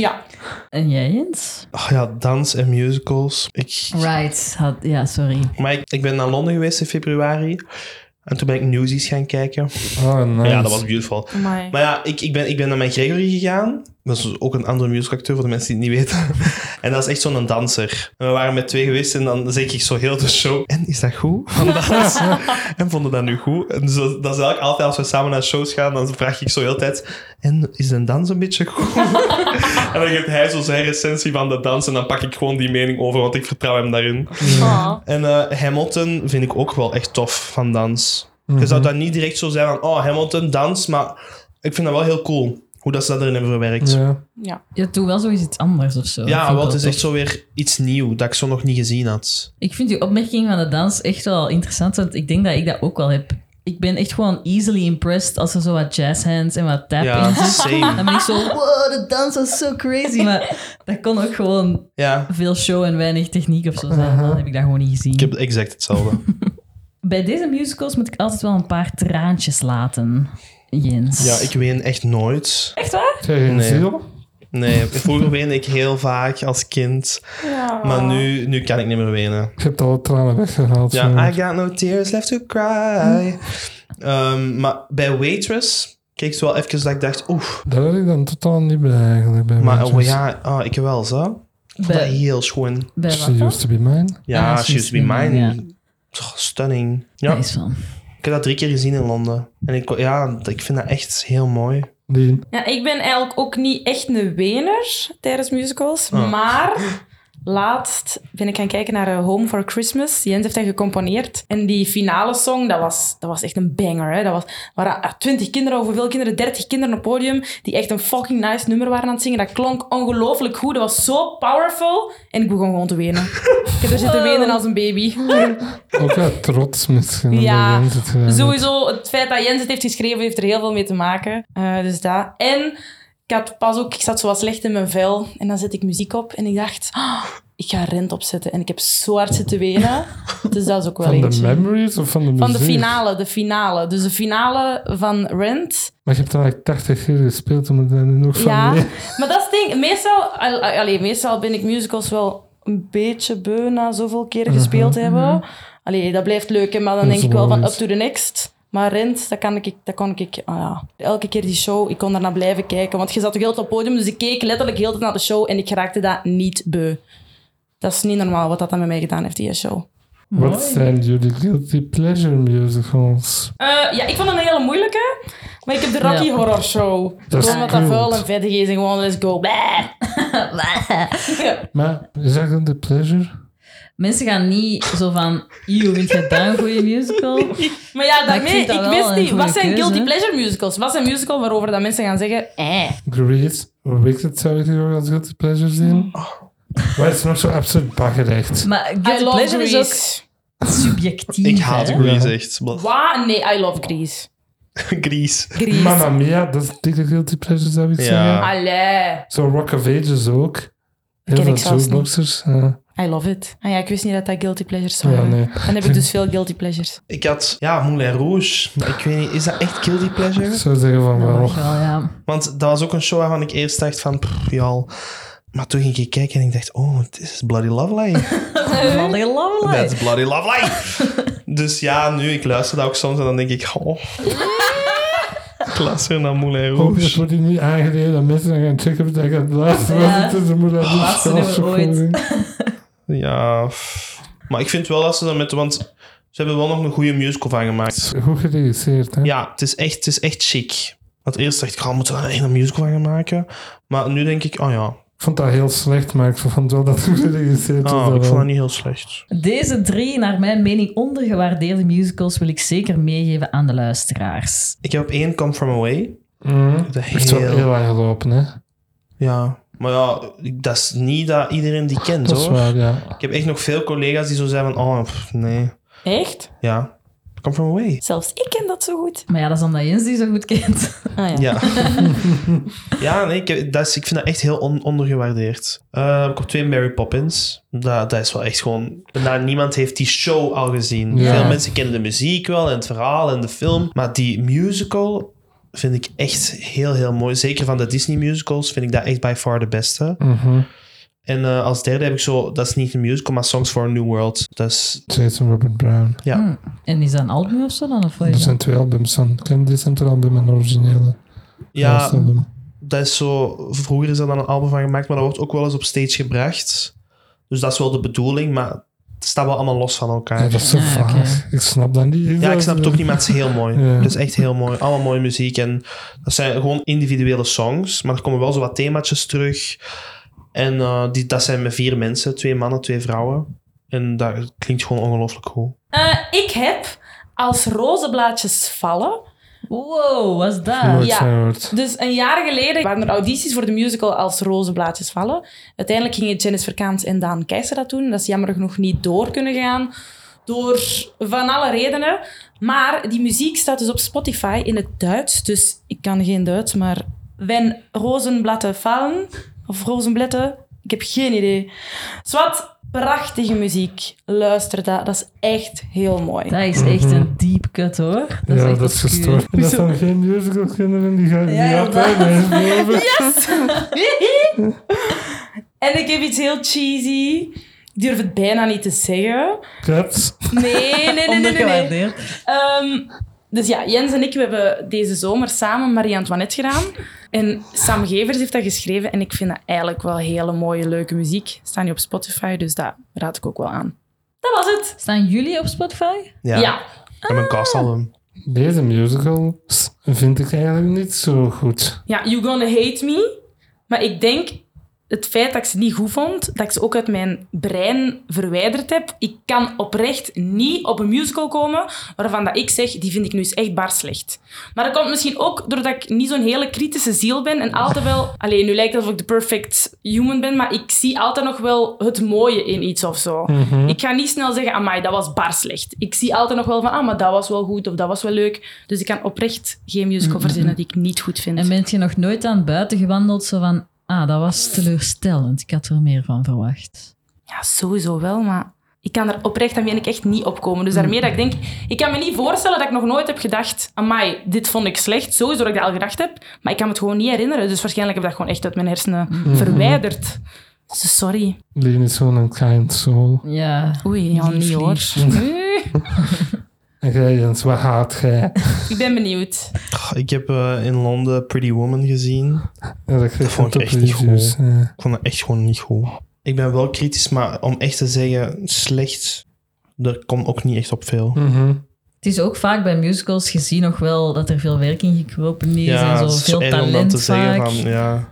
Speaker 3: Ja.
Speaker 2: En jij, Jens?
Speaker 4: Oh ja, dans en musicals. Ik,
Speaker 2: Right. Had, ja, sorry.
Speaker 4: maar ik, ik ben naar Londen geweest in februari. En toen ben ik Newsies gaan kijken.
Speaker 1: Oh, nice.
Speaker 4: Ja, dat was beautiful.
Speaker 3: Amai.
Speaker 4: Maar ja, ik, ik, ben, ik ben naar mijn Gregory gegaan. Dat is dus ook een andere musicalacteur, voor de mensen die het niet weten. [LAUGHS] En dat is echt zo'n danser. En we waren met twee geweest en dan zeg ik zo heel de show... En is dat goed? [LAUGHS] Van dans? en vonden dat nu goed? En zo, dat is eigenlijk altijd als we samen naar shows gaan, dan vraag ik zo heel de tijd... En is de dans een beetje goed? [LAUGHS] en dan geeft hij zo zijn recensie van de dans en dan pak ik gewoon die mening over, want ik vertrouw hem daarin.
Speaker 3: Ah.
Speaker 4: En eh, Hamilton vind ik ook wel echt tof van dans. Je zou dat niet direct zo zijn van, oh, Hamilton, dans. Maar ik vind dat wel heel cool, hoe dat ze dat erin hebben verwerkt. Ja,
Speaker 1: Ja.
Speaker 3: Ja.
Speaker 2: Ja, doe wel zoiets iets anders of zo. Vind ik
Speaker 4: wel, het is
Speaker 2: tof.
Speaker 4: echt zo weer iets nieuw dat ik zo nog niet gezien had.
Speaker 2: Ik vind die opmerking van de dans echt wel interessant, want ik denk dat ik dat ook wel heb. Ik ben echt gewoon easily impressed als er zo wat jazz hands en wat tap
Speaker 4: Ja,
Speaker 2: in zit. Dan
Speaker 4: same.
Speaker 2: ben ik zo, wow, de dans was zo crazy. Maar dat kon ook gewoon
Speaker 4: Ja,
Speaker 2: veel show en weinig techniek of zo zijn. Dan heb ik dat gewoon niet gezien.
Speaker 4: ik heb exact hetzelfde.
Speaker 2: Bij deze musicals moet ik altijd wel een paar traantjes laten, Jens.
Speaker 4: [LAUGHS] Ja, ik ween echt nooit.
Speaker 2: Echt waar?
Speaker 1: Heb je geen
Speaker 4: Nee.
Speaker 1: ziel?
Speaker 4: Nee, vroeger weende ik heel vaak als kind.
Speaker 3: Ja.
Speaker 4: Maar nu, nu kan ik niet meer wenen.
Speaker 1: Je hebt alle tranen weggehaald. zo.
Speaker 4: Ja, I got no tears left to cry. Ehm, maar bij Waitress keek ik wel even dat ik dacht, oef,
Speaker 1: Daar ben ik dan totaal niet bij eigenlijk. Bij
Speaker 4: Maar
Speaker 1: Manchester.
Speaker 4: oh, ja, oh, ik wel zo. Ik vond dat
Speaker 2: Bij,
Speaker 4: heel schoon.
Speaker 2: bij wat
Speaker 1: She
Speaker 2: dan?
Speaker 1: used to be mine.
Speaker 4: Ja,
Speaker 2: Ah,
Speaker 4: She Used To Be Mine. Toch, stunning. Ja,
Speaker 2: Nice van.
Speaker 4: ik heb dat drie keer gezien in Londen. En ik, ja, ik vind dat echt heel mooi.
Speaker 1: Die
Speaker 3: Ja, ik ben eigenlijk ook niet echt een wener tijdens musicals.
Speaker 4: Oh.
Speaker 3: Maar laatst ben ik gaan kijken naar eh, Home for Christmas. Jens heeft dat gecomponeerd. En die finale song, dat was, dat was echt een banger. Hè? Dat was, er waren eh, 20 kinderen, of hoeveel kinderen? 30 kinderen op het podium. Die echt een fucking nice nummer waren aan het zingen. Dat klonk ongelooflijk goed. Dat was zo powerful. En ik begon gewoon te wenen. ik heb er zitten wenen als een baby.
Speaker 1: Ook
Speaker 4: [LAUGHS]
Speaker 1: uit trots misschien.
Speaker 3: Ja,
Speaker 1: dat Jens het gedaan heeft.
Speaker 3: Sowieso, het feit dat Jens het heeft geschreven, heeft er heel veel mee te maken. Eh, dus dat. En ik had pas ook, ik zat zo wat slecht in mijn vel. En dan zet ik muziek op en ik dacht, "Ah, ik ga rent opzetten. En ik heb zo hard
Speaker 1: [LAUGHS]
Speaker 3: zitten wenen. Dus dat is ook wel
Speaker 1: Van de
Speaker 3: eentje.
Speaker 1: memories of van de
Speaker 3: van
Speaker 1: muziek?
Speaker 3: de finale, de finale. Dus de finale van Rent.
Speaker 1: Maar je hebt dan eigenlijk 80 keer gespeeld om het daar nu nog van
Speaker 3: Ja,
Speaker 1: mee.
Speaker 3: maar dat is het ding. Meestal, al- al- allee, meestal ben ik musicals wel een beetje beu na zoveel keer gespeeld hebben. Allee, dat blijft leuk, hè, maar dan
Speaker 1: Mhm, Dat
Speaker 3: denk
Speaker 1: is
Speaker 3: ik wel van up
Speaker 1: logisch.
Speaker 3: to the next. Maar Rent, dat, kan ik, dat kon ik... ah ja. Elke keer die show, ik kon daarna blijven kijken. Want je zat ook heel de tijd op het podium, dus ik keek letterlijk heel de tijd naar de show en ik raakte dat niet beu. Dat is niet normaal wat dat dan met mij gedaan heeft, die show.
Speaker 1: Wat zijn jullie guilty pleasure musicals?
Speaker 3: Eh, ja, ik vond het een hele moeilijke. Maar ik heb de Rocky
Speaker 2: Ja.
Speaker 3: Horror Show.
Speaker 1: Dat is
Speaker 3: Gewoon wat dat
Speaker 1: cool.
Speaker 3: vuil en vettig is en gewoon let's go. Bah.
Speaker 1: Maar is dat guilty pleasure?
Speaker 2: Mensen gaan niet zo van, eeuw, vind jij daar een goede
Speaker 4: [LAUGHS]
Speaker 2: musical?
Speaker 3: Maar ja,
Speaker 2: Maar ik
Speaker 3: daarmee,
Speaker 2: vind
Speaker 3: ik,
Speaker 2: dat wel
Speaker 3: wist
Speaker 2: een
Speaker 3: niet.
Speaker 2: goede
Speaker 3: Wat zijn
Speaker 2: keuze,
Speaker 3: guilty
Speaker 2: hè?
Speaker 3: pleasure musicals? Wat zijn musical waarover dat mensen gaan zeggen... Eh.
Speaker 1: Grease, Wicked zou ik hier ook als guilty pleasure zien. Maar het is nog zo absoluut baggerecht.
Speaker 2: Maar
Speaker 3: I
Speaker 2: guilty
Speaker 3: love
Speaker 2: pleasure is
Speaker 3: Grease.
Speaker 2: ook subjectief.
Speaker 4: Ik haat
Speaker 2: hè?
Speaker 4: Grease echt. [LAUGHS]
Speaker 3: Wa- Nee, I love Grease.
Speaker 4: Grease.
Speaker 3: Grease.
Speaker 1: Mamma Mia, dat is dikke guilty pleasure zou ik
Speaker 4: Ja.
Speaker 1: zeggen.
Speaker 3: Allee.
Speaker 1: Zo Rock of Ages ook. Heel
Speaker 3: Ken
Speaker 1: veel
Speaker 3: ik zelfs niet.
Speaker 1: jukeboxers. Ja.
Speaker 3: I love it. Ah ja, ik wist niet dat dat guilty pleasures
Speaker 2: Ah,
Speaker 3: waren.
Speaker 1: Ja, nee.
Speaker 3: Dan heb ik dus veel guilty pleasures.
Speaker 4: Ik had, ja, Moulin Rouge. Maar ik weet niet, is dat echt Guilty
Speaker 1: Ik
Speaker 4: Pleasure?
Speaker 1: zou zeggen
Speaker 2: [LAUGHS]
Speaker 1: van
Speaker 2: Dat
Speaker 1: wel.
Speaker 2: mag wel, Nou, ja.
Speaker 4: Want dat was ook een show waarvan ik eerst dacht van, pff, ja. Maar toen ging ik kijken en ik dacht, oh, dit is Bloody Love Line.
Speaker 2: [LAUGHS] Bloody love life.
Speaker 4: That's Bloody Love Line. dus ja, nu, ik luister dat ook soms en dan denk ik,
Speaker 2: [LAUGHS]
Speaker 4: oh. ik luister naar Moulin
Speaker 1: Hoop
Speaker 4: Rouge.
Speaker 1: Oh, het wordt hier niet aangeleerd dat mensen dan gaan checken of dat ik aan het luisteren was.
Speaker 2: Ja.
Speaker 1: Het is een moeder die
Speaker 2: Laatste
Speaker 1: zelfs
Speaker 2: nummer ooit.
Speaker 1: gewoon-
Speaker 4: Ja, pff. maar ik vind wel dat ze dat met... Want ze hebben wel nog een goede musical van gemaakt.
Speaker 1: Goed geregisseerd, hè?
Speaker 4: Ja, het is echt, het is echt chic. Want eerst dacht ik, oh, moeten we daar echt een musical van gaan maken? Maar nu denk ik, oh ja,
Speaker 1: Ik vond dat heel slecht, maar ik vond wel dat het goed geregisseerd was.
Speaker 4: oh,
Speaker 1: dat
Speaker 4: ik vond
Speaker 1: wel.
Speaker 4: dat niet heel slecht.
Speaker 2: Deze drie, naar mijn mening, ondergewaardeerde musicals wil ik zeker meegeven aan de luisteraars.
Speaker 4: Ik heb op één Come From Away.
Speaker 1: Mhm.
Speaker 4: Dat
Speaker 1: Echt wel heel
Speaker 4: heel...
Speaker 1: lang gelopen, hè?
Speaker 4: Ja, maar ja, dat is niet dat iedereen die kent,
Speaker 1: Dat is
Speaker 4: hoor.
Speaker 1: waar, ja.
Speaker 4: Ik heb echt nog veel collega's die zo zijn van, oh, pff, nee.
Speaker 3: Echt?
Speaker 4: Ja, Come From Away.
Speaker 3: Zelfs ik ken dat zo goed.
Speaker 2: Maar ja, dat is omdat Jens die zo goed kent.
Speaker 3: Ah ja.
Speaker 4: Ja, ja nee, ik, heb- dat is, ik vind dat echt heel on- ondergewaardeerd. Eh, ik heb twee Mary Poppins. Dat, dat is wel echt gewoon... bijna niemand heeft die show al gezien.
Speaker 1: Ja.
Speaker 4: Veel mensen kennen de muziek wel en het verhaal en de film. Maar die musical... vind ik echt heel, heel mooi. Zeker van de Disney musicals vind ik dat echt by far de beste.
Speaker 1: Mhm.
Speaker 4: En eh, als derde heb ik zo, dat is niet een musical, maar Songs for a New World. Dat is,
Speaker 1: Jason Robert Brown.
Speaker 4: ja.
Speaker 2: Hm. En is dat een album of zo dan? Of wat
Speaker 1: Er
Speaker 2: is
Speaker 1: zijn
Speaker 2: dat?
Speaker 1: twee albums van. Klein Decenter album en originele.
Speaker 4: ja, Ah,
Speaker 1: Last album.
Speaker 4: dat is zo, vroeger is er dan een album van gemaakt, maar dat wordt ook wel eens op stage gebracht. Dus dat is wel de bedoeling, maar het staat wel allemaal los van elkaar.
Speaker 1: Ja, dat is zo
Speaker 2: Ah,
Speaker 1: vaag.
Speaker 2: oké.
Speaker 1: Ik snap dat niet.
Speaker 4: Ja, ik snap het ook niet, maar het is heel
Speaker 1: [LAUGHS]
Speaker 4: mooi.
Speaker 1: Ja.
Speaker 4: Het is echt heel mooi. Allemaal mooie muziek. En dat zijn gewoon individuele songs, maar er komen wel zo wat themaatjes terug. En eh, die, dat zijn met vier mensen, twee mannen, twee vrouwen. En dat klinkt gewoon ongelooflijk goed.
Speaker 3: Eh, ik heb als rozenblaadjes vallen.
Speaker 2: Wow, wat is dat?
Speaker 1: Nooit
Speaker 3: Ja.
Speaker 1: van gehoord.
Speaker 3: Dus een jaar geleden waren er audities voor de musical als rozenblaadjes vallen. Uiteindelijk gingen Janice Verkaans en Daan Keizer dat doen. Dat is jammer genoeg niet door kunnen gaan. Door van alle redenen. Maar die muziek staat dus op Spotify in het Duits. Dus ik kan geen Duits, maar... Wenn rozenblatten vallen... Of rozenblätter... Ik heb geen idee. Zwat, prachtige muziek. Luister dat. Dat is echt heel mooi.
Speaker 2: Dat is echt een deep cut hoor. Dat is
Speaker 1: ja,
Speaker 2: echt
Speaker 1: dat is
Speaker 2: obscuur.
Speaker 1: gestoord. Dat zijn geen musicals kinderen die gaan
Speaker 2: Ja,
Speaker 1: die gaat
Speaker 2: inderdaad.
Speaker 1: bijna boven.
Speaker 3: En ik heb iets heel cheesy. Ik durf het bijna niet te zeggen.
Speaker 1: Cats.
Speaker 3: Nee, nee, nee, nee. nee, nee.
Speaker 2: Ondergewaardeerd.
Speaker 3: Ehm, dus ja, Jens en ik we hebben deze zomer samen Marie-Antoinette gedaan. En Sam Gevers heeft dat geschreven. En ik vind dat eigenlijk wel hele mooie, leuke muziek. Staan nu op Spotify, dus dat raad ik ook wel aan. Dat was het.
Speaker 2: Staan jullie op Spotify?
Speaker 4: Ja,
Speaker 3: ja.
Speaker 4: en mijn castalbum.
Speaker 1: Deze musical vind ik eigenlijk niet zo goed.
Speaker 3: Ja, You Gonna Hate Me. Maar ik denk, het feit dat ik ze niet goed vond, dat ik ze ook uit mijn brein verwijderd heb. Ik kan oprecht niet op een musical komen waarvan dat ik zeg, die vind ik nu eens echt bar slecht. Maar dat komt misschien ook doordat ik niet zo'n hele kritische ziel ben en altijd wel... Alleen nu lijkt het alsof ik de perfect human ben, maar ik zie altijd nog wel het mooie in iets of zo. Ik ga niet snel zeggen, amai, dat was bar slecht. Ik zie altijd nog wel van, ah, maar dat was wel goed of dat was wel leuk. Dus ik kan oprecht geen musical verzinnen die ik niet goed vind.
Speaker 2: En bent je nog nooit aan het buiten gewandeld zo van... Ah, dat was teleurstellend. Ik had er meer van verwacht.
Speaker 3: Ja, sowieso wel, maar ik kan er oprecht, dan ben ik echt niet opkomen. Dus daarmee dat ik denk, ik kan me niet voorstellen dat ik nog nooit heb gedacht, amai, dit vond ik slecht. Sowieso dat ik dat al gedacht heb, maar ik kan me het gewoon niet herinneren. Dus waarschijnlijk heb ik dat gewoon echt uit mijn hersenen
Speaker 4: Mhm.
Speaker 3: verwijderd. Dus sorry.
Speaker 1: Leen is gewoon een kind soul.
Speaker 2: Ja.
Speaker 3: Oei, ja, niet hoor. Eh,
Speaker 1: En jij Jens, wat haat jij?
Speaker 3: ik ben benieuwd.
Speaker 4: Goh, Ik heb eh, in Londen Pretty Woman gezien.
Speaker 1: Ja, dat kreeg ik
Speaker 4: vond ik
Speaker 1: ook
Speaker 4: echt niet
Speaker 1: reviews. Ja.
Speaker 4: Ik vond dat echt gewoon niet goed. Ik ben wel kritisch, maar om echt te zeggen slecht, daar komt ook niet echt op veel.
Speaker 1: Mhm.
Speaker 2: Het is ook vaak bij musicals gezien nog wel dat er veel werk in gekropen is. en
Speaker 4: het
Speaker 2: zo
Speaker 4: is
Speaker 2: veel
Speaker 4: erg
Speaker 2: talent vaak.
Speaker 4: van, ja.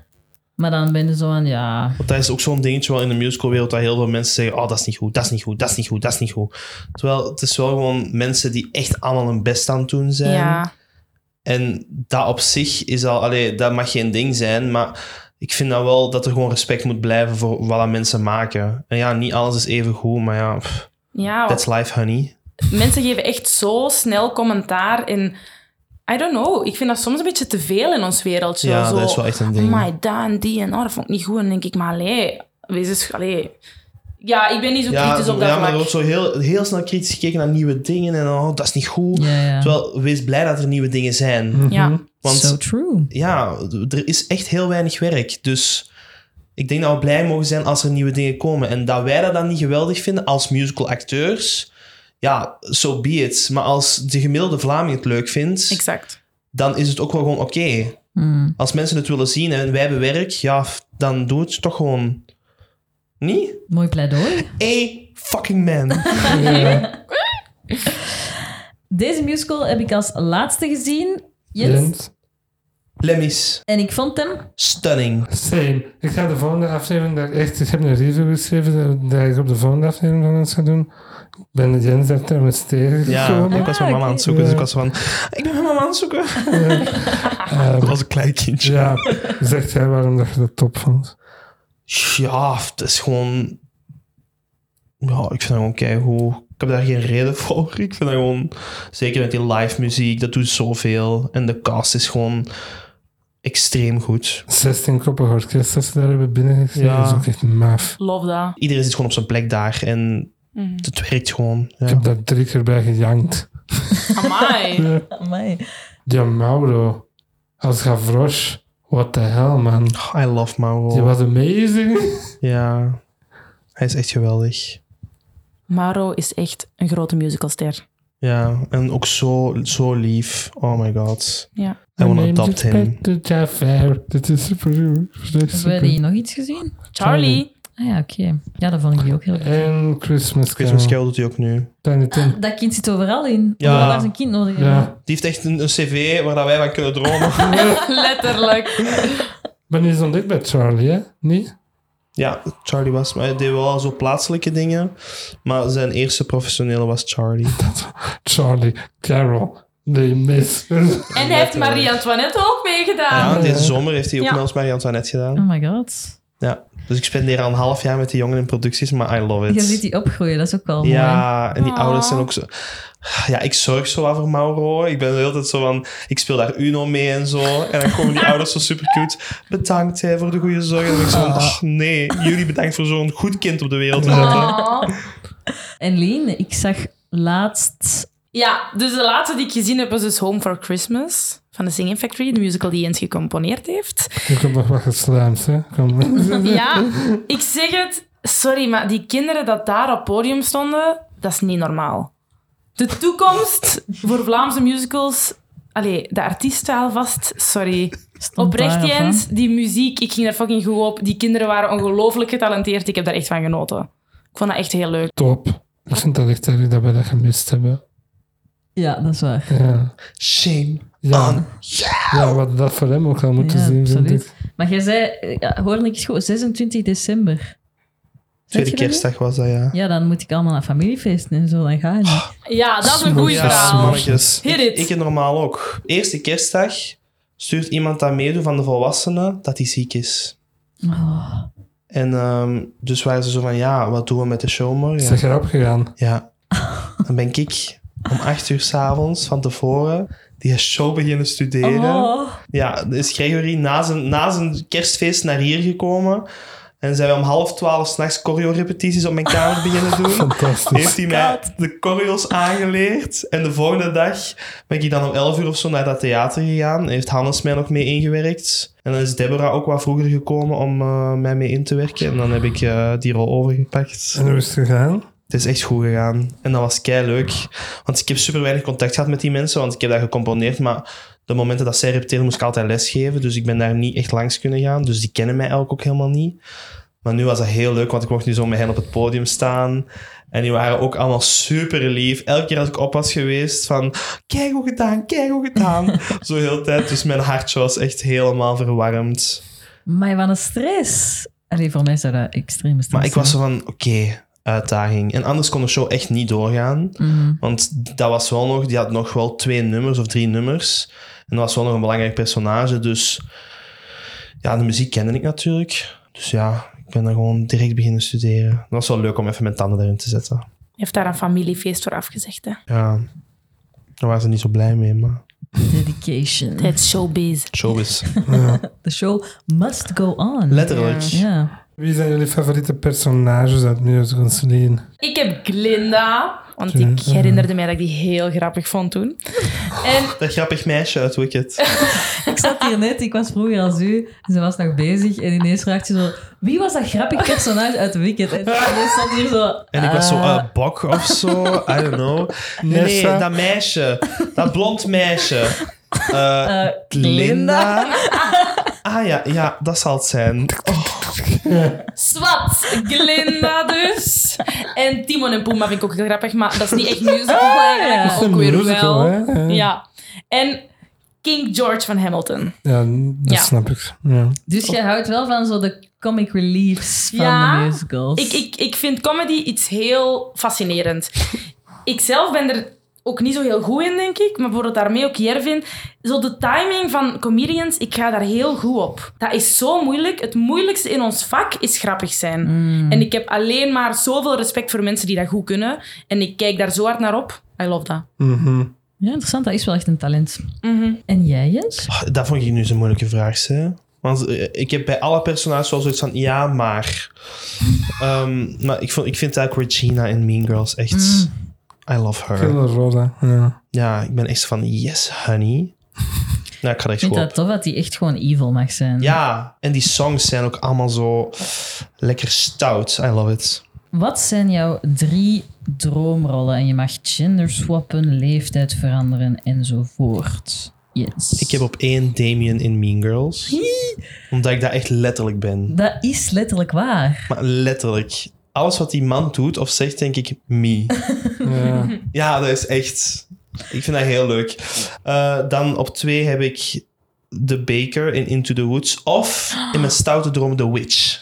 Speaker 2: Maar dan ben je zo aan, ja...
Speaker 4: Want dat is ook zo'n dingetje wel in de musicalwereld dat heel veel mensen zeggen, oh, dat is niet goed, dat is niet goed, dat is niet goed, dat is niet goed. Terwijl het is wel gewoon mensen die echt allemaal hun best aan het doen zijn.
Speaker 3: Ja,
Speaker 4: En dat op zich is al, allee, dat mag geen ding zijn, maar ik vind dan wel dat er gewoon respect moet blijven voor wat dat mensen maken. En ja, niet alles is even goed, maar ja, pff,
Speaker 2: Oh.
Speaker 3: ja want
Speaker 4: that's life, honey.
Speaker 3: mensen geven echt zo snel commentaar en... I don't know, ik vind dat soms een beetje te veel in ons wereldje.
Speaker 4: Ja,
Speaker 3: zo.
Speaker 4: dat is wel echt een ding.
Speaker 3: Maar dat en die en oh, dat vond ik niet goed. En dan denk ik, maar allee, wees eens, allee. Ja, ik ben niet zo kritisch op dat
Speaker 4: ja, maar er
Speaker 3: vlak.
Speaker 4: wordt zo heel, heel snel kritisch gekeken naar nieuwe dingen en oh, dat is niet goed.
Speaker 2: Ja, ja.
Speaker 4: Terwijl, wees blij dat er nieuwe dingen zijn.
Speaker 3: Ja.
Speaker 4: Want
Speaker 2: So true.
Speaker 4: ja, d- er is echt heel weinig werk. Dus ik denk dat we blij mogen zijn als er nieuwe dingen komen. En dat wij dat dan niet geweldig vinden als musical acteurs, ja, so be it. Maar als de gemiddelde Vlaming het leuk vindt,
Speaker 3: Exact.
Speaker 4: dan is het ook wel gewoon oké.
Speaker 2: Hmm.
Speaker 4: Als mensen het willen zien en wij hebben werk, ja, f- dan doe het toch gewoon. Niet?
Speaker 2: Mooi pleidooi.
Speaker 4: Hey, fucking man. [LAUGHS]
Speaker 2: Deze musical heb ik als laatste gezien. Jens.
Speaker 1: Jens?
Speaker 4: Lemmy's.
Speaker 2: En ik vond hem
Speaker 4: Stunning.
Speaker 1: Same. Ik ga de volgende aflevering, dat ik echt, ik heb een review geschreven dat, dat ik op de volgende aflevering van ons ga doen. Ik ben de Jens daar trouwens
Speaker 4: Ja,
Speaker 1: tegengekomen.
Speaker 4: ik was mijn mama aan het zoeken, dus ik was van... Ik ben mijn mama aan het zoeken. [LAUGHS] Dat was een klein kindje.
Speaker 1: Ja, zegt jij waarom dat je dat top vond?
Speaker 4: Ja, het is gewoon. Ja, ik vind dat gewoon keigoed. Ik heb daar geen reden voor. Ik vind dat gewoon. Zeker met die live muziek, dat doet zoveel. En de cast is gewoon extreem goed.
Speaker 1: 16 koppig orkest dat ze daar hebben binnengekregen,
Speaker 4: Ja.
Speaker 1: dat is ook echt maf.
Speaker 3: Love dat.
Speaker 4: Iedereen zit gewoon op zijn plek daar en het werkt gewoon.
Speaker 1: Ik
Speaker 4: Ja.
Speaker 1: heb daar drie keer bij gejankt.
Speaker 3: [LAUGHS] Amai.
Speaker 2: Amai.
Speaker 1: Ja, Mauro. als Gavroche. What the hell, man.
Speaker 4: I love Mauro.
Speaker 1: Die was
Speaker 4: [LAUGHS]
Speaker 1: amazing.
Speaker 4: Ja, hij is echt geweldig.
Speaker 3: Maro is echt een grote musicalster.
Speaker 4: Ja, en ook zo, zo lief. Oh my god.
Speaker 3: Ja.
Speaker 4: I want to
Speaker 1: My name
Speaker 4: adopt
Speaker 1: is
Speaker 4: him.
Speaker 1: Peter Jafar. Dit is super. super.
Speaker 2: Hebben we die nog iets gezien?
Speaker 3: Charlie. [LAUGHS]
Speaker 2: Ah ja, oké. Ja, dat vond ik die ook heel leuk.
Speaker 1: En Christmas Carol.
Speaker 4: Christmas Carol doet hij ook nu.
Speaker 1: Tiny Tim.
Speaker 2: Dat kind zit overal in.
Speaker 4: Ja.
Speaker 2: Ja. Daar is een kind nodig. hebben.
Speaker 1: Ja.
Speaker 4: Die heeft echt een, een cv waar dat wij van kunnen
Speaker 2: [LAUGHS]
Speaker 4: dromen.
Speaker 3: Letterlijk.
Speaker 1: Maar die is ontdekt bij Charlie, hè? Nee?
Speaker 4: ja, Charlie was... Hij deed wel zo plaatselijke dingen. Maar zijn eerste professionele was Charlie.
Speaker 2: Ah.
Speaker 1: Charlie, Carol, they [LAUGHS] miss.
Speaker 3: En hij heeft Marie-Antoinette ook meegedaan.
Speaker 4: Ja, deze zomer heeft hij ook
Speaker 3: Ja.
Speaker 4: nog eens Marie-Antoinette gedaan.
Speaker 2: Oh my god.
Speaker 4: Ja. Dus ik spendeer al een half jaar met die jongen in producties, maar I love it.
Speaker 2: Je ziet die opgroeien, dat is ook wel mooi. Oh.
Speaker 4: Ja, en die
Speaker 3: Aw.
Speaker 4: ouders zijn ook zo... Ja, ik zorg zo wel voor Mauro. Ik ben de hele tijd zo van... Ik speel daar Uno mee en zo. En dan
Speaker 2: [LAUGHS]
Speaker 4: komen die ouders zo super cute. Bedankt hè, voor de goede zorg. En dan ben ik zo
Speaker 2: Oh.
Speaker 4: van... "Ach, nee, jullie bedankt voor zo'n goed kind op de wereld te zetten.
Speaker 3: Oh.
Speaker 2: En Leen, ik zag laatst...
Speaker 3: Ja, dus de laatste die ik gezien heb was dus Home for Christmas van de Singing Factory, de musical die Jens gecomponeerd heeft.
Speaker 1: Ik heb nog wat geslijmd, hè? Kom.
Speaker 3: Ja, ik zeg het, sorry, maar die kinderen dat daar op podium stonden, dat is niet normaal. De toekomst voor Vlaamse musicals, allee, de artiesten alvast, sorry.
Speaker 2: stond
Speaker 3: Oprecht
Speaker 2: daarop, hè.
Speaker 3: Jens, die muziek, ik ging daar fucking goed op. Die kinderen waren ongelooflijk getalenteerd, ik heb daar echt van genoten. Ik vond dat echt heel leuk.
Speaker 1: Top. Ik vind dat echt erg dat we dat gemist hebben.
Speaker 2: Ja, dat is waar.
Speaker 1: Ja.
Speaker 4: Shame.
Speaker 1: Ja. ja, we hadden dat voor hem ook al moeten
Speaker 2: Ja,
Speaker 1: zien, vind
Speaker 2: absoluut.
Speaker 1: ik.
Speaker 2: Maar jij zei, eh, ja, hoorde ik eens goed, 26 december. Weet
Speaker 4: Tweede
Speaker 2: je dat niet?
Speaker 4: kerstdag was dat, ja.
Speaker 2: Ja, dan moet ik allemaal naar familiefeesten en zo, dan ga je niet.
Speaker 3: Ja, dat is een
Speaker 1: Smooth.
Speaker 3: goed
Speaker 1: Ja,
Speaker 3: verhaal.
Speaker 1: smooth.
Speaker 4: mannetjes.
Speaker 3: Hit
Speaker 4: Ik,
Speaker 3: it.
Speaker 4: ik normaal ook. Eerste kerstdag stuurt iemand dat meedoet van de volwassenen dat hij ziek is.
Speaker 2: Oh,
Speaker 4: En ehm, dus waren ze zo van, ja, wat doen we met de show morgen?
Speaker 1: Is dat erop gegaan?
Speaker 4: Ja. Dan ben ik om acht uur s'avonds van tevoren die show beginnen studeren.
Speaker 2: Oh,
Speaker 4: Ja, is Gregory na zijn, na zijn kerstfeest naar hier gekomen. En zijn we om half twaalf s'nachts choreo-repetities op mijn kamer beginnen
Speaker 1: Oh
Speaker 4: doen.
Speaker 1: [LAUGHS] Fantastisch.
Speaker 4: Heeft hij mij de choreo's aangeleerd. En de volgende dag ben ik dan om elf uur of zo naar dat theater gegaan. Heeft Hannes mij nog mee ingewerkt. En dan is Deborah ook wat vroeger gekomen om eh, mij mee in te werken. En dan heb ik eh, die rol overgepakt.
Speaker 1: En hoe is het gegaan?
Speaker 4: Het is echt goed gegaan. En dat was kei leuk. Want ik heb super weinig contact gehad met die mensen, want ik heb dat gecomponeerd. Maar de momenten dat zij repeteren, moest ik altijd lesgeven. Dus ik ben daar niet echt langs kunnen gaan. Dus die kennen mij eigenlijk ook helemaal niet. Maar nu was dat heel leuk, want ik mocht nu zo met hen op het podium staan. En die waren ook allemaal super lief. Elke keer als ik op was geweest, van kijk hoe gedaan, kijk hoe gedaan. zo heel de tijd. Dus mijn hartje was echt helemaal verwarmd.
Speaker 2: maar wat een stress. Allee, voor mij zou dat extreme stress
Speaker 4: Maar ik was zo
Speaker 2: zijn.
Speaker 4: van, oké, uitdaging. En anders kon de show echt niet doorgaan.
Speaker 2: Mhm.
Speaker 4: Want dat was wel nog, die had nog wel twee nummers of drie nummers. En dat was wel nog een belangrijk personage. Dus ja, de muziek kende ik natuurlijk. Dus ja, ik ben daar gewoon direct beginnen studeren. Dat was wel leuk om even mijn tanden daarin te zetten.
Speaker 3: Hij heeft daar een familiefeest voor afgezegd. Hè.
Speaker 4: Ja, daar waren ze niet zo blij mee, maar
Speaker 2: Dedication.
Speaker 3: Het is showbiz.
Speaker 4: showbiz.
Speaker 2: The show must go on.
Speaker 4: Letterlijk.
Speaker 2: Ja.
Speaker 1: Wie zijn jullie favoriete personages uit musicals, Leen?
Speaker 3: Ik heb Glinda, want ik herinnerde mij dat ik die heel grappig vond toen. En
Speaker 4: Dat grappig meisje uit Wicked.
Speaker 2: Ik zat hier net, ik was vroeger als u, en ze was nog bezig en ineens vraagt ze zo, wie was dat grappig personage uit Wicked? En ineens stond hier zo...
Speaker 4: En ik was zo,
Speaker 2: ah,
Speaker 4: eh bok of zo, I don't
Speaker 2: [LAUGHS]
Speaker 4: know. Nee, nee,
Speaker 1: Nessa.
Speaker 4: dat meisje. Dat blond
Speaker 2: [LAUGHS]
Speaker 4: meisje. Eh,
Speaker 2: eh,
Speaker 4: Linda. [LAUGHS] Ah ja, ja, dat zal het zijn.
Speaker 3: zwart, Glinda dus. En Timon en Pumba vind ik ook heel grappig, maar dat is niet echt musical eigenlijk, maar
Speaker 2: Dat
Speaker 1: Ah, is
Speaker 3: ook
Speaker 1: een
Speaker 3: weer
Speaker 1: musical,
Speaker 3: wel.
Speaker 1: hè? Ja.
Speaker 3: Ja. En King George van Hamilton.
Speaker 1: Ja, dat
Speaker 3: Ja.
Speaker 1: snap ik. Ja.
Speaker 2: Dus jij houdt wel van zo de comic reliefs van
Speaker 3: Ja,
Speaker 2: de musicals.
Speaker 3: Ik, ik, ik vind comedy iets heel fascinerend. Ik zelf ben er ook niet zo heel goed in, denk ik. Maar bijvoorbeeld daarmee ook Jervin. Zo de timing van comedians, ik ga daar heel goed op. Dat is zo moeilijk. Het moeilijkste in ons vak is grappig zijn. En ik heb alleen maar zoveel respect voor mensen die dat goed kunnen. En ik kijk daar zo hard naar op. I love dat.
Speaker 1: Mhm.
Speaker 2: Ja, interessant. Dat is wel echt een talent.
Speaker 3: Mhm.
Speaker 2: En jij, Jens?
Speaker 4: Oh, Dat vond ik nu zo'n moeilijke vraag, hè? Want eh, ik heb bij alle personages wel zoiets van ja, maar. Ehm, maar ik, vond, ik vind eigenlijk Regina in Mean Girls echt.
Speaker 2: Mm.
Speaker 4: I love her.
Speaker 1: Killer Roda. Ja.
Speaker 4: Ja, ik ben echt zo van yes, honey. Nou, ik
Speaker 2: Ik
Speaker 4: ga echt
Speaker 2: vind
Speaker 4: gewoon...
Speaker 2: dat tof dat hij echt gewoon evil mag zijn.
Speaker 4: Ja, en die songs zijn ook allemaal zo lekker stout. I love it.
Speaker 2: Wat zijn jouw drie droomrollen? En je mag gender swappen, leeftijd veranderen enzovoort. Yes.
Speaker 4: Ik heb op één Damien in Mean Girls. Omdat ik daar echt letterlijk ben.
Speaker 2: Dat is letterlijk waar.
Speaker 4: Maar letterlijk. Alles wat die man doet of zegt, denk ik, me.
Speaker 1: Ja.
Speaker 3: [LAUGHS]
Speaker 4: Ja, dat is echt... Ik vind dat heel leuk. Eh, dan op twee heb ik The Baker in Into the Woods. Of in mijn stoute droom The Witch.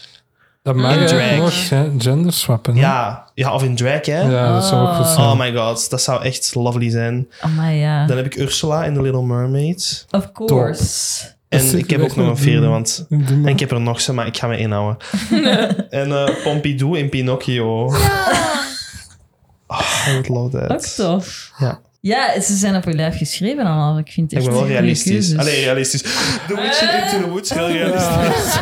Speaker 1: Dat mag eigenlijk
Speaker 4: drag.
Speaker 1: nog, hè? gender swappen. hè?
Speaker 4: Ja, ja of in drag, hè?
Speaker 1: ja, dat zou ook goed zijn.
Speaker 4: Oh my god, dat zou echt lovely zijn.
Speaker 2: Oh my ja.
Speaker 4: Dan heb ik Ursula in The Little Mermaid.
Speaker 2: Of course.
Speaker 1: Dat
Speaker 4: En
Speaker 1: zit
Speaker 4: ik heb
Speaker 1: er
Speaker 4: ook
Speaker 1: echt
Speaker 4: nog
Speaker 1: in.
Speaker 4: een vierde, want...
Speaker 1: Ik doe
Speaker 4: En
Speaker 1: maar-
Speaker 4: ik heb er nog ze, maar ik ga me inhouden. en eh, Pompidou in Pinocchio. Oh, I would love that.
Speaker 2: Ook tof.
Speaker 4: Ja.
Speaker 2: Ja, ze zijn op je lijf geschreven allemaal. Ik vind het
Speaker 4: Ik
Speaker 2: echt
Speaker 4: ben wel
Speaker 2: goede
Speaker 4: realistisch.
Speaker 2: keuzes.
Speaker 4: Allee, realistisch. The Witch in Into the Woods, heel realistisch.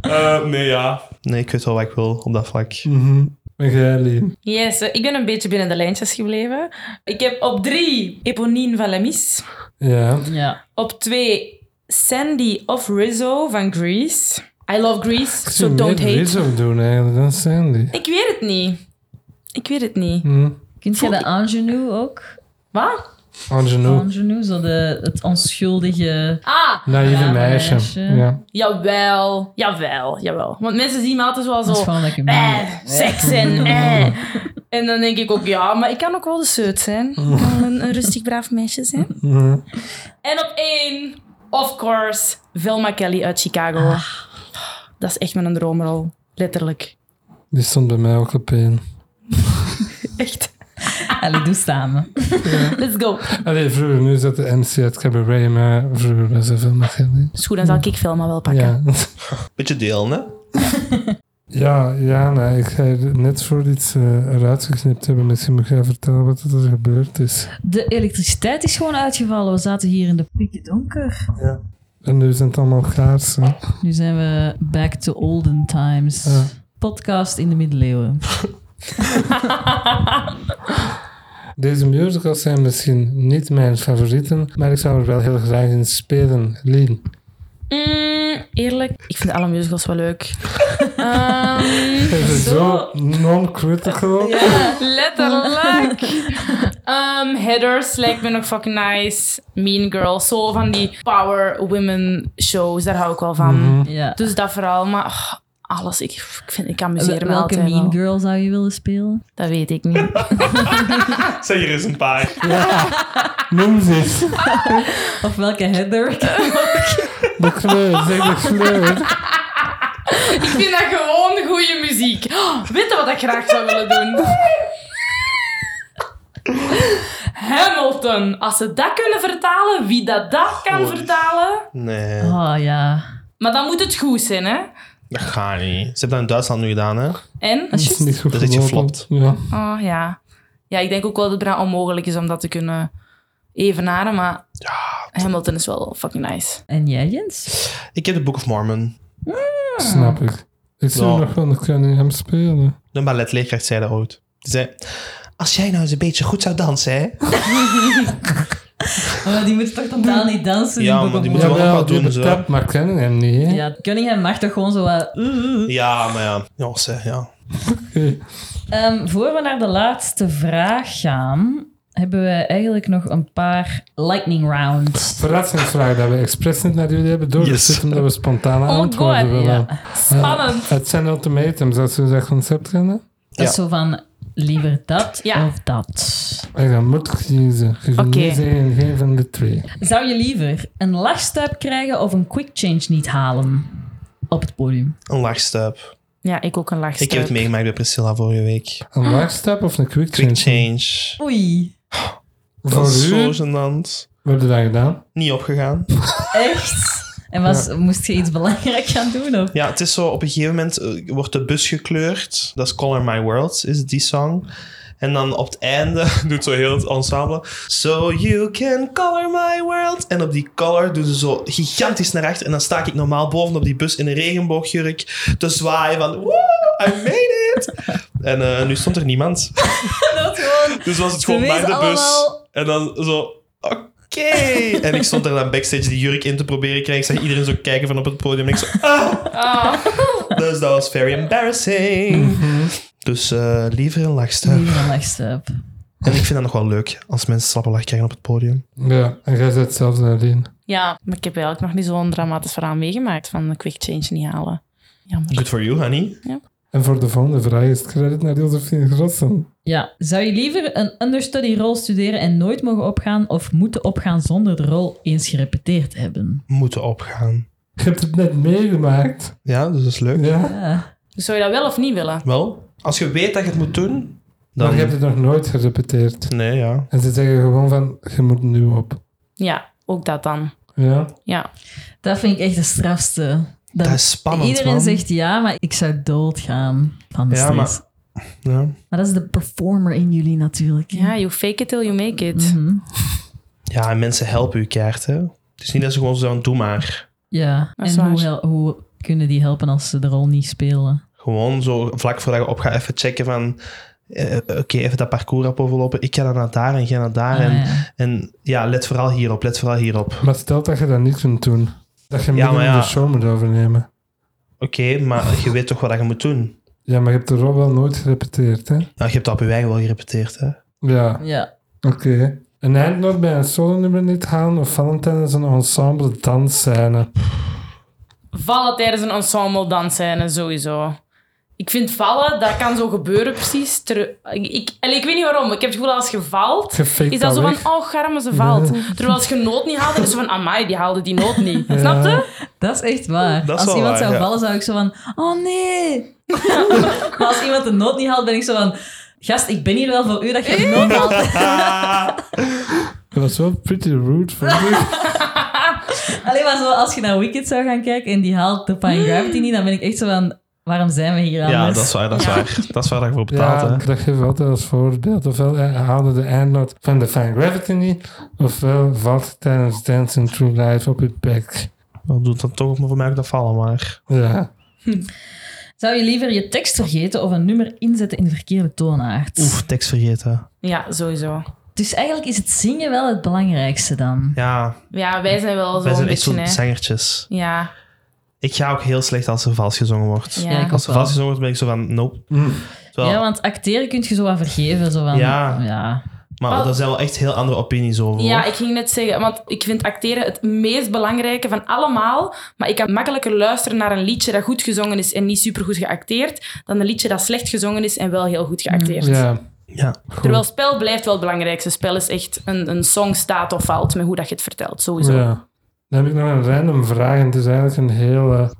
Speaker 4: Eh, nee, ja. Nee, ik weet wel wat ik wil op dat vlak.
Speaker 1: Mhm. En jij, Lien?
Speaker 3: Yes, eh, ik ben een beetje binnen de lijntjes gebleven. Ik heb op drie Eponine van Lemis.
Speaker 1: Ja.
Speaker 2: Ja.
Speaker 3: Op twee Sandy of Rizzo van Grease. I love Grease,
Speaker 1: Ik
Speaker 3: so
Speaker 1: zie
Speaker 3: don't
Speaker 1: meer
Speaker 3: hate.
Speaker 1: Rizzo doen eigenlijk dan Sandy.
Speaker 3: Ik weet het niet. Ik weet het niet.
Speaker 1: Hm.
Speaker 2: Kun je de ingenue ook?
Speaker 3: Wat?
Speaker 4: Oh.
Speaker 1: Angenou.
Speaker 2: Ingenue, zo de, het onschuldige...
Speaker 3: Ah,
Speaker 1: Naïeve
Speaker 2: Ja,
Speaker 1: meisje.
Speaker 2: meisje.
Speaker 1: Ja.
Speaker 3: jawel. Jawel, jawel. Want mensen zien me altijd wel
Speaker 2: Dat is
Speaker 3: zo...
Speaker 2: gewoon dat ik
Speaker 3: Eh, seks
Speaker 1: [LAUGHS]
Speaker 3: en eh. En dan denk ik ook, ja, maar ik kan ook wel de zeut zijn.
Speaker 1: [LAUGHS]
Speaker 3: Ik kan wel een, een rustig, braaf meisje zijn.
Speaker 1: Mhm.
Speaker 3: En op één, of course, Velma Kelly uit Chicago. Dat is echt mijn droomrol. Letterlijk.
Speaker 1: Die stond bij mij ook op één.
Speaker 3: Echt.
Speaker 2: Allee, doe samen.
Speaker 3: Let's go.
Speaker 1: Allee, vroeger, nu zat de MC uit Cabaret, maar vroeger was er veel met Sandy.
Speaker 3: Is goed, dan zal ik Velma wel pakken.
Speaker 1: Mm. Ja. [LAUGHS]
Speaker 4: Beetje delen, hè?
Speaker 1: Ja, ja nee, ik ga er net voor iets eh, eruit geknipt hebben. Misschien moet jij vertellen wat er gebeurd is.
Speaker 2: De elektriciteit is gewoon uitgevallen. We zaten hier in de pikje donker.
Speaker 1: En nu zijn het allemaal kaarsen.
Speaker 2: Nu zijn we back to olden times.
Speaker 1: Ja.
Speaker 2: Podcast in de middeleeuwen.
Speaker 1: Deze musicals zijn misschien niet mijn favorieten, maar ik zou er wel heel graag in spelen. Lien.
Speaker 3: Mm, eerlijk, ik vind alle musicals wel leuk. Ehm,
Speaker 1: Even zo non-critical.
Speaker 3: Letterlijk. [LAUGHS] Ehm, headers lijkt me nog fucking nice. Mean Girls. Zo van die power women shows. Daar hou ik wel van.
Speaker 2: Ja.
Speaker 3: Dus dat vooral. Maar oh, alles. Ik, ik, vind, ik amuseer
Speaker 2: Wel-
Speaker 3: me
Speaker 2: Welke
Speaker 3: altijd
Speaker 2: Mean
Speaker 3: wel.
Speaker 2: Girl zou je willen spelen?
Speaker 3: Dat weet ik niet.
Speaker 2: [LAUGHS]
Speaker 4: Zeg, hier eens een paar.
Speaker 1: Noem ze eens.
Speaker 2: Of welke Heather?
Speaker 1: De kleur, zeg de kleur.
Speaker 3: ik vind dat gewoon goede muziek. Oh, weet je wat ik graag zou willen doen? Hamilton. Als ze dat kunnen vertalen, wie dat dat kan
Speaker 4: Oei.
Speaker 3: vertalen.
Speaker 4: Nee,
Speaker 2: Oh ja.
Speaker 3: Maar dan moet het goed zijn, hè?
Speaker 4: dat gaat niet. Ze hebben dat in Duitsland nu gedaan, hè?
Speaker 3: En?
Speaker 1: Dat is niet goed
Speaker 4: Dat is iets
Speaker 1: gelopen.
Speaker 4: geflopt.
Speaker 1: Ja.
Speaker 3: Oh ja. Ja, ik denk ook wel dat het bijna onmogelijk is om dat te kunnen evenaren, maar Hamilton is wel fucking nice.
Speaker 2: En jij, Jens?
Speaker 4: Ik heb The Book of Mormon.
Speaker 1: Snap ik. Ik zou
Speaker 4: Ja.
Speaker 1: nog wel nog kunnen hem spelen.
Speaker 4: De balletleerkracht zei dat ooit. Ze zei, als jij nou eens een beetje goed zou dansen, hè?
Speaker 2: Oh, Maar die moet toch totaal niet dansen?
Speaker 4: Ja,
Speaker 2: Book
Speaker 4: maar
Speaker 2: of
Speaker 4: die moet
Speaker 2: Mormon?
Speaker 4: wel
Speaker 1: Jawel,
Speaker 4: wat
Speaker 1: die
Speaker 4: doen, zo.
Speaker 1: betapt, maar kennen hem niet. hè.
Speaker 2: Ja, Cunningham mag toch gewoon zo wat...
Speaker 4: Ja, maar ja. Ja, ze, ja.
Speaker 1: Oké.
Speaker 2: Ehm, voor we naar de laatste vraag gaan, hebben we eigenlijk nog een paar lightning rounds.
Speaker 1: Verrassingsvraag dat we expres niet naar jullie hebben doorgezet,
Speaker 4: Yes.
Speaker 1: omdat we spontane
Speaker 3: my
Speaker 1: antwoorden
Speaker 3: Oh, God,
Speaker 1: willen.
Speaker 2: Oh, Ja.
Speaker 3: Spannend.
Speaker 1: Het zijn ultimatums, als we dat concept kennen.
Speaker 2: Dat is zo van liever dat
Speaker 3: Ja.
Speaker 2: of dat.
Speaker 1: En dan moet je kiezen. Je kunt
Speaker 3: Oké.
Speaker 1: niet zeggen geen van de twee.
Speaker 2: Zou je liever een lachstuip krijgen of een quick change niet halen op het podium?
Speaker 4: Een lachstep.
Speaker 3: Ja, ik ook een lachstuip.
Speaker 4: Ik heb het meegemaakt bij Priscilla vorige week.
Speaker 3: Ah.
Speaker 1: Een lachstap of een quick change?
Speaker 4: Quick change.
Speaker 2: Oei,
Speaker 4: Dat is
Speaker 1: Voor
Speaker 4: zo
Speaker 1: u,
Speaker 4: gênant.
Speaker 1: wat heb je dat gedaan?
Speaker 4: Niet opgegaan.
Speaker 2: echt? En was, moest je iets belangrijk gaan doen? Of?
Speaker 4: [LAUGHS] Ja, het is zo, op een gegeven moment eh, wordt de bus gekleurd. Dat is Color My World, is die song. En dan op het einde [LAUGHS] doet zo heel het ensemble. So you can color my world. En op die color doen ze zo gigantisch naar achter. En dan sta ik normaal bovenop die bus in een regenboogjurk te zwaaien van... Woo, I made it! [LAUGHS] En eh, nu [LAUGHS] stond er niemand.
Speaker 2: Dat gewoon...
Speaker 4: Dus was het
Speaker 2: Ze
Speaker 4: gewoon bij
Speaker 2: wezen
Speaker 4: de bus.
Speaker 2: allemaal-
Speaker 4: En dan zo... Oké. oké. [LAUGHS] En ik stond daar dan backstage die jurk in te proberen krijgen. Ik zag iedereen zo kijken van op het podium. En ik zo, ah.
Speaker 3: Ah.
Speaker 4: Dus dat was very embarrassing. Dus eh, liever een lachstuip.
Speaker 2: Liever een lachstuip.
Speaker 4: En ik vind dat nog wel leuk, als mensen slappe lach krijgen op het podium.
Speaker 1: Ja, en jij zet zelfs daarin.
Speaker 3: Ja, maar ik heb eigenlijk nog niet zo'n dramatisch verhaal meegemaakt van de quick change niet halen. Jammer.
Speaker 4: Good for you, honey.
Speaker 1: En voor de volgende vraag is het credit naar Josephine Grossen.
Speaker 2: Ja, zou je liever een understudy rol studeren en nooit mogen opgaan of moeten opgaan zonder de rol eens gerepeteerd te hebben?
Speaker 4: Moeten opgaan.
Speaker 1: Je hebt het net meegemaakt.
Speaker 4: Ja, dus dat is leuk.
Speaker 1: Ja.
Speaker 2: Ja.
Speaker 3: Zou je dat wel of niet willen?
Speaker 4: Wel, als je weet dat je het moet doen,
Speaker 1: Maar
Speaker 4: dan...
Speaker 1: je hebt het nog nooit gerepeteerd.
Speaker 4: Nee, ja.
Speaker 1: En ze zeggen gewoon van, je moet nu op.
Speaker 3: Ja, ook dat dan.
Speaker 1: Ja.
Speaker 3: Ja.
Speaker 2: Dat vind ik echt de strafste. Dat
Speaker 4: Dat is spannend,
Speaker 2: Iedereen
Speaker 4: man.
Speaker 2: zegt ja, maar ik zou doodgaan van de
Speaker 4: Ja,
Speaker 2: stress.
Speaker 4: maar-
Speaker 2: Maar...
Speaker 4: Ja.
Speaker 2: dat is de performer in jullie natuurlijk.
Speaker 3: Ja, you fake it till you make it.
Speaker 2: Mhm.
Speaker 4: Ja, en mensen helpen je kaart, hè. Het is niet dat ze gewoon zo aan doen, maar...
Speaker 2: ja.
Speaker 3: Dat is
Speaker 2: en hoe,
Speaker 3: waar.
Speaker 2: hel- hoe kunnen die helpen als ze de rol niet spelen?
Speaker 4: Gewoon zo vlak voordat je opgaat even checken van... eh, Oké, even dat parcours op overlopen. Ik ga dan naar daar en ga naar daar.
Speaker 2: Ah,
Speaker 4: en,
Speaker 2: ja.
Speaker 4: en ja, let vooral hierop, let vooral hierop. Oké,
Speaker 1: Maar stel dat je dat niet kunt doen. Dat je midden
Speaker 4: maar
Speaker 1: in
Speaker 4: ja.
Speaker 1: de show moet overnemen.
Speaker 4: maar je weet toch wat je moet doen.
Speaker 1: Ja, maar je hebt de rol wel nooit gerepeteerd, hè?
Speaker 4: Nou, je hebt dat op je eigen wel gerepeteerd, hè.
Speaker 1: Ja,
Speaker 2: ja.
Speaker 1: oké. Een eindnoot bij een solo-nummer niet halen of vallen tijdens een ensemble dansscène.
Speaker 3: Vallen tijdens een ensemble dansscène, sowieso. Ik vind vallen, dat kan zo gebeuren precies. Ter- ik, ik, allee, ik weet niet waarom, ik heb het gevoel als je valt...
Speaker 1: Je fake
Speaker 3: Is dat zo
Speaker 1: weg.
Speaker 3: van, oh, garme, ze valt. Terwijl als je nood niet haalde, is het zo van, amai, die haalde die nood niet.
Speaker 1: Ja.
Speaker 3: Snap je?
Speaker 2: Dat is echt waar.
Speaker 4: Dat
Speaker 2: als
Speaker 4: is wel
Speaker 2: iemand
Speaker 4: waar,
Speaker 2: zou
Speaker 4: ja.
Speaker 2: vallen, zou ik zo van... Oh nee! [LAUGHS] maar als iemand de nood niet haalt, ben ik zo van... Gast, ik ben hier wel voor u dat je de nood [LAUGHS] haalt.
Speaker 1: Dat was wel pretty rude, vond [LAUGHS] ik.
Speaker 2: Alleen maar zo, als je naar Wicked zou gaan kijken en die haalt de Pine Gravity niet, dan ben ik echt zo van... Waarom zijn we hier anders?
Speaker 4: Ja, dat is waar, dat is waar. Dat is waar dat je voor betaalt,
Speaker 1: ja,
Speaker 4: hè.
Speaker 1: dat geef ik altijd als voorbeeld. Ofwel eh, haalde de eindnoot van de Fine Gravity niet, ofwel valt tijdens Dancing Through Life op je bek.
Speaker 4: Dat doet dan toch voor mij ook dat vallen, maar...
Speaker 1: Ja.
Speaker 2: Zou je liever je tekst vergeten of een nummer inzetten in de verkeerde toonaard?
Speaker 4: Oef, tekst vergeten.
Speaker 3: Ja, sowieso.
Speaker 2: Dus eigenlijk is het zingen wel het belangrijkste dan.
Speaker 4: Ja,
Speaker 3: Ja, wij zijn wel
Speaker 4: wij
Speaker 3: zo'n
Speaker 4: zijn echt
Speaker 3: beetje,
Speaker 4: zo'n
Speaker 3: hè.
Speaker 4: zangertjes.
Speaker 3: Ja,
Speaker 4: Ik ga ook heel slecht als er vals gezongen wordt.
Speaker 3: ja.
Speaker 2: Ja, ik
Speaker 4: Als er
Speaker 2: ook wel.
Speaker 4: vals gezongen wordt, ben ik zo van, nope.
Speaker 1: Mm.
Speaker 4: Terwijl-
Speaker 2: Ja, want acteren kun je zo wat vergeven. Zo van,
Speaker 4: Ja.
Speaker 2: ja.
Speaker 4: Maar daar zijn wel echt heel andere opinies over.
Speaker 3: Ja,
Speaker 4: hoor.
Speaker 3: ik ging net zeggen, want ik vind acteren het meest belangrijke van allemaal. Maar ik kan makkelijker luisteren naar een liedje dat goed gezongen is en niet supergoed geacteerd, dan een liedje dat slecht gezongen is en wel heel goed geacteerd.
Speaker 1: Ja,
Speaker 4: ja.
Speaker 1: goed.
Speaker 3: Terwijl spel blijft wel het belangrijkste. Spel is echt een, een song staat of valt met hoe dat je het vertelt, sowieso.
Speaker 1: Ja. Dan heb ik nog een random vraag en het is eigenlijk een hele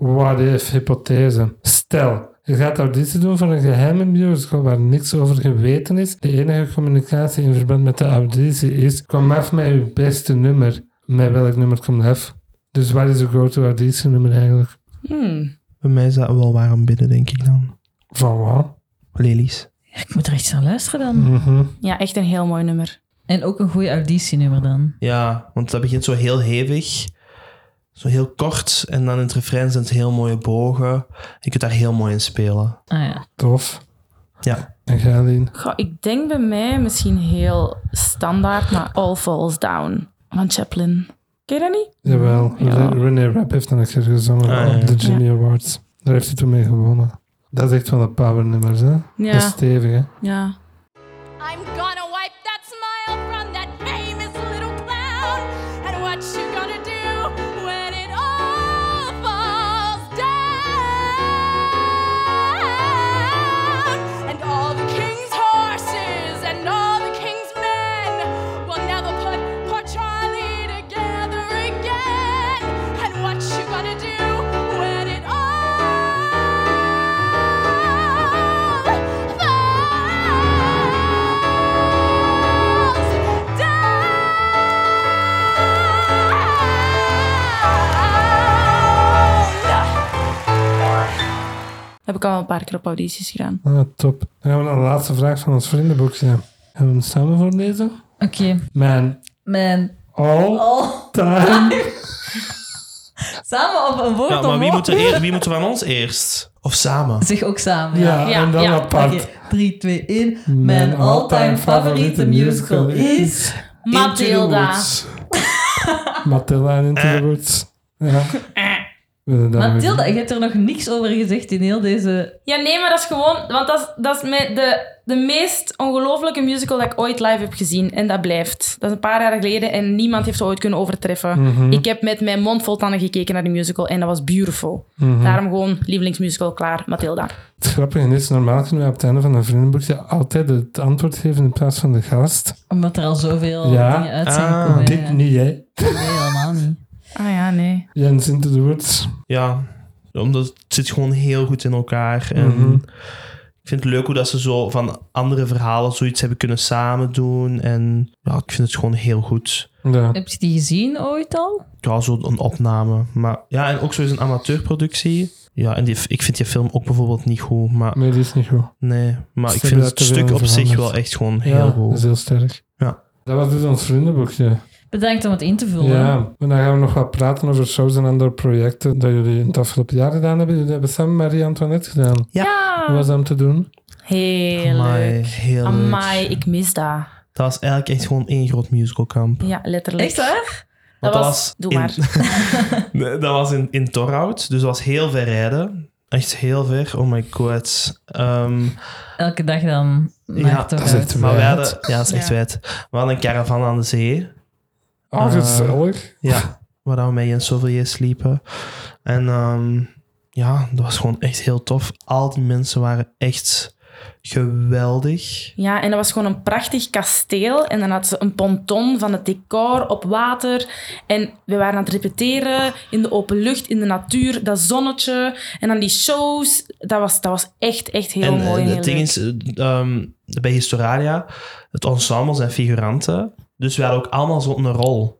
Speaker 1: what-if-hypothese. Stel, je gaat auditie doen voor een geheime musical waar niks over geweten is. De enige communicatie in verband met de auditie is kom af met je beste nummer. Met welk nummer komt af? Dus wat is je go-to auditienummer eigenlijk?
Speaker 3: Hmm.
Speaker 4: Bij mij is dat wel warm binnen, denk ik dan.
Speaker 1: Van wat?
Speaker 4: Lelies.
Speaker 2: Ik moet er echt naar luisteren dan.
Speaker 1: Mhm.
Speaker 3: ja, echt een heel mooi nummer.
Speaker 2: En ook een goede auditienummer dan.
Speaker 4: Ja, want dat begint zo heel hevig. Zo heel kort. En dan in het refrein zijn het heel mooie bogen. Je kunt daar heel mooi in spelen.
Speaker 2: Ah ja.
Speaker 1: Tof.
Speaker 4: Ja.
Speaker 1: En ga Aline?
Speaker 3: Goh, ik denk bij mij misschien heel standaard, maar All Falls Down van Chaplin. Ken je dat niet?
Speaker 1: Jawel.
Speaker 3: Ja.
Speaker 1: Re- René Rapp heeft dat een keer gezongen
Speaker 4: Ah, ja,
Speaker 1: op de
Speaker 4: ja.
Speaker 1: Genie Awards. Daar heeft hij toen mee gewonnen. Dat is echt wel een power nummer, hè?
Speaker 3: Ja.
Speaker 1: Dat is stevig, hè?
Speaker 3: Ja.
Speaker 6: I'm gonna wipe that smile from that famous little clown. And what you gonna do when it all falls down? And all the king's horses and all the king's men will never put poor Charlie together again. And what you gonna do when it all falls?
Speaker 3: Heb ik al een paar keer op audities gedaan.
Speaker 1: Ah, top. Dan gaan we naar de laatste vraag van ons vriendenboekje. Gaan we hem samen voorlezen?
Speaker 2: Oké.
Speaker 1: Mijn
Speaker 2: Man. Oh.
Speaker 1: all-time
Speaker 2: Samen op een woord
Speaker 4: Ja, maar wie
Speaker 2: omhoog. [LAUGHS]
Speaker 4: moet, er eer- wie moet er van ons eerst? Of samen?
Speaker 2: Zeg ook samen. Ja.
Speaker 1: Ja,
Speaker 3: Ja,
Speaker 1: en dan
Speaker 3: ja.
Speaker 1: apart.
Speaker 2: 3, 2, 1.
Speaker 1: Mijn
Speaker 2: Mijn all-time
Speaker 1: all-time
Speaker 2: favoriete musical
Speaker 1: favoriete
Speaker 2: is...
Speaker 4: Into the
Speaker 3: Matilda.
Speaker 4: Woods.
Speaker 1: Matilda
Speaker 4: Eh.
Speaker 1: en Into the Woods. Ja. Wil je dat nog eens
Speaker 2: Mathilda,
Speaker 1: doen?
Speaker 2: je hebt er nog niks over gezegd in heel deze...
Speaker 3: Ja, nee, maar dat is gewoon... Want dat is, dat is me- de, de meest ongelooflijke musical dat ik ooit live heb gezien. En dat blijft. Dat is een paar jaar geleden en niemand heeft het ooit kunnen overtreffen. Ik heb met mijn mond vol tanden gekeken naar die musical en dat was beautiful. Daarom gewoon lievelingsmusical, klaar, Matilda.
Speaker 1: Het grappige is, normaal kunnen wij op het einde van een vriendenboekje altijd het antwoord geven in plaats van de gast.
Speaker 2: Omdat er al zoveel
Speaker 1: Ja.
Speaker 2: dingen uit zijn
Speaker 4: Ah.
Speaker 2: gekomen.
Speaker 1: Dit
Speaker 2: Oh, ja.
Speaker 1: niet, hè?
Speaker 2: Nee, helemaal niet.
Speaker 3: Ah ja, nee.
Speaker 1: Jens Into the Woods.
Speaker 4: Ja, omdat het zit gewoon heel goed in elkaar. En
Speaker 1: Mhm.
Speaker 4: ik vind het leuk hoe dat ze zo van andere verhalen zoiets hebben kunnen samen doen. En ja, ik vind het gewoon heel goed.
Speaker 1: Ja.
Speaker 2: Heb je die gezien ooit al?
Speaker 4: Ja, zo een opname. Maar ja, en ook zo is een amateurproductie. Ja, en die, ik vind die film ook bijvoorbeeld niet goed. Maar
Speaker 1: Nee, die is niet goed.
Speaker 4: nee, maar
Speaker 1: Ze
Speaker 4: ik
Speaker 1: hebben daar
Speaker 4: vind het
Speaker 1: te veel
Speaker 4: stuk
Speaker 1: in
Speaker 4: op zich
Speaker 1: veranderd.
Speaker 4: wel echt gewoon
Speaker 1: Ja,
Speaker 4: heel
Speaker 1: dat is
Speaker 4: goed.
Speaker 1: heel sterk.
Speaker 4: Ja.
Speaker 1: Dat was dus ons vriendenboekje.
Speaker 2: Bedankt om het in te vullen.
Speaker 1: Ja, en dan gaan we nog wat praten over shows en andere projecten dat jullie in het afgelopen jaar gedaan hebben. Jullie hebben samen Marie-Antoinette gedaan. Hoe was dat om te doen?
Speaker 3: Heel
Speaker 4: Amai,
Speaker 3: leuk.
Speaker 4: heel leuk.
Speaker 3: Amai, ik mis dat.
Speaker 4: Dat was eigenlijk echt gewoon één groot musicalkamp.
Speaker 3: Ja, letterlijk.
Speaker 2: Echt waar?
Speaker 3: Dat,
Speaker 4: Want dat
Speaker 3: was...
Speaker 4: was
Speaker 3: Doe
Speaker 4: in-
Speaker 3: maar.
Speaker 4: [LAUGHS] Nee, dat was in, in Torhout, dus dat was heel ver rijden. Echt heel ver, oh my god. Ehm,
Speaker 2: Elke dag dan.
Speaker 4: Ja,
Speaker 2: Maakt toch
Speaker 1: dat is
Speaker 2: uit.
Speaker 1: echt
Speaker 4: maar we
Speaker 1: wijd.
Speaker 4: hadden, ja, dat is echt
Speaker 3: Ja.
Speaker 4: wijd. We hadden een caravan aan de zee,
Speaker 1: Oh,
Speaker 4: Eh,
Speaker 1: gezellig. [LAUGHS]
Speaker 4: ja, waar we met Jens Souvelier sliepen. En ehm, ja, dat was gewoon echt heel tof. Al die mensen waren echt geweldig.
Speaker 3: Ja, en dat was gewoon een prachtig kasteel. En dan had ze een ponton van het decor op water. En we waren aan het repeteren in de open lucht, in de natuur, dat zonnetje. En dan die shows. Dat was, dat was echt, echt heel
Speaker 4: en eh,
Speaker 3: mooi. en heel
Speaker 4: het ding
Speaker 3: leuk.
Speaker 4: is, eh, ehm, bij Historialia, het ensemble zijn figuranten. Dus we hadden ook allemaal zo'n rol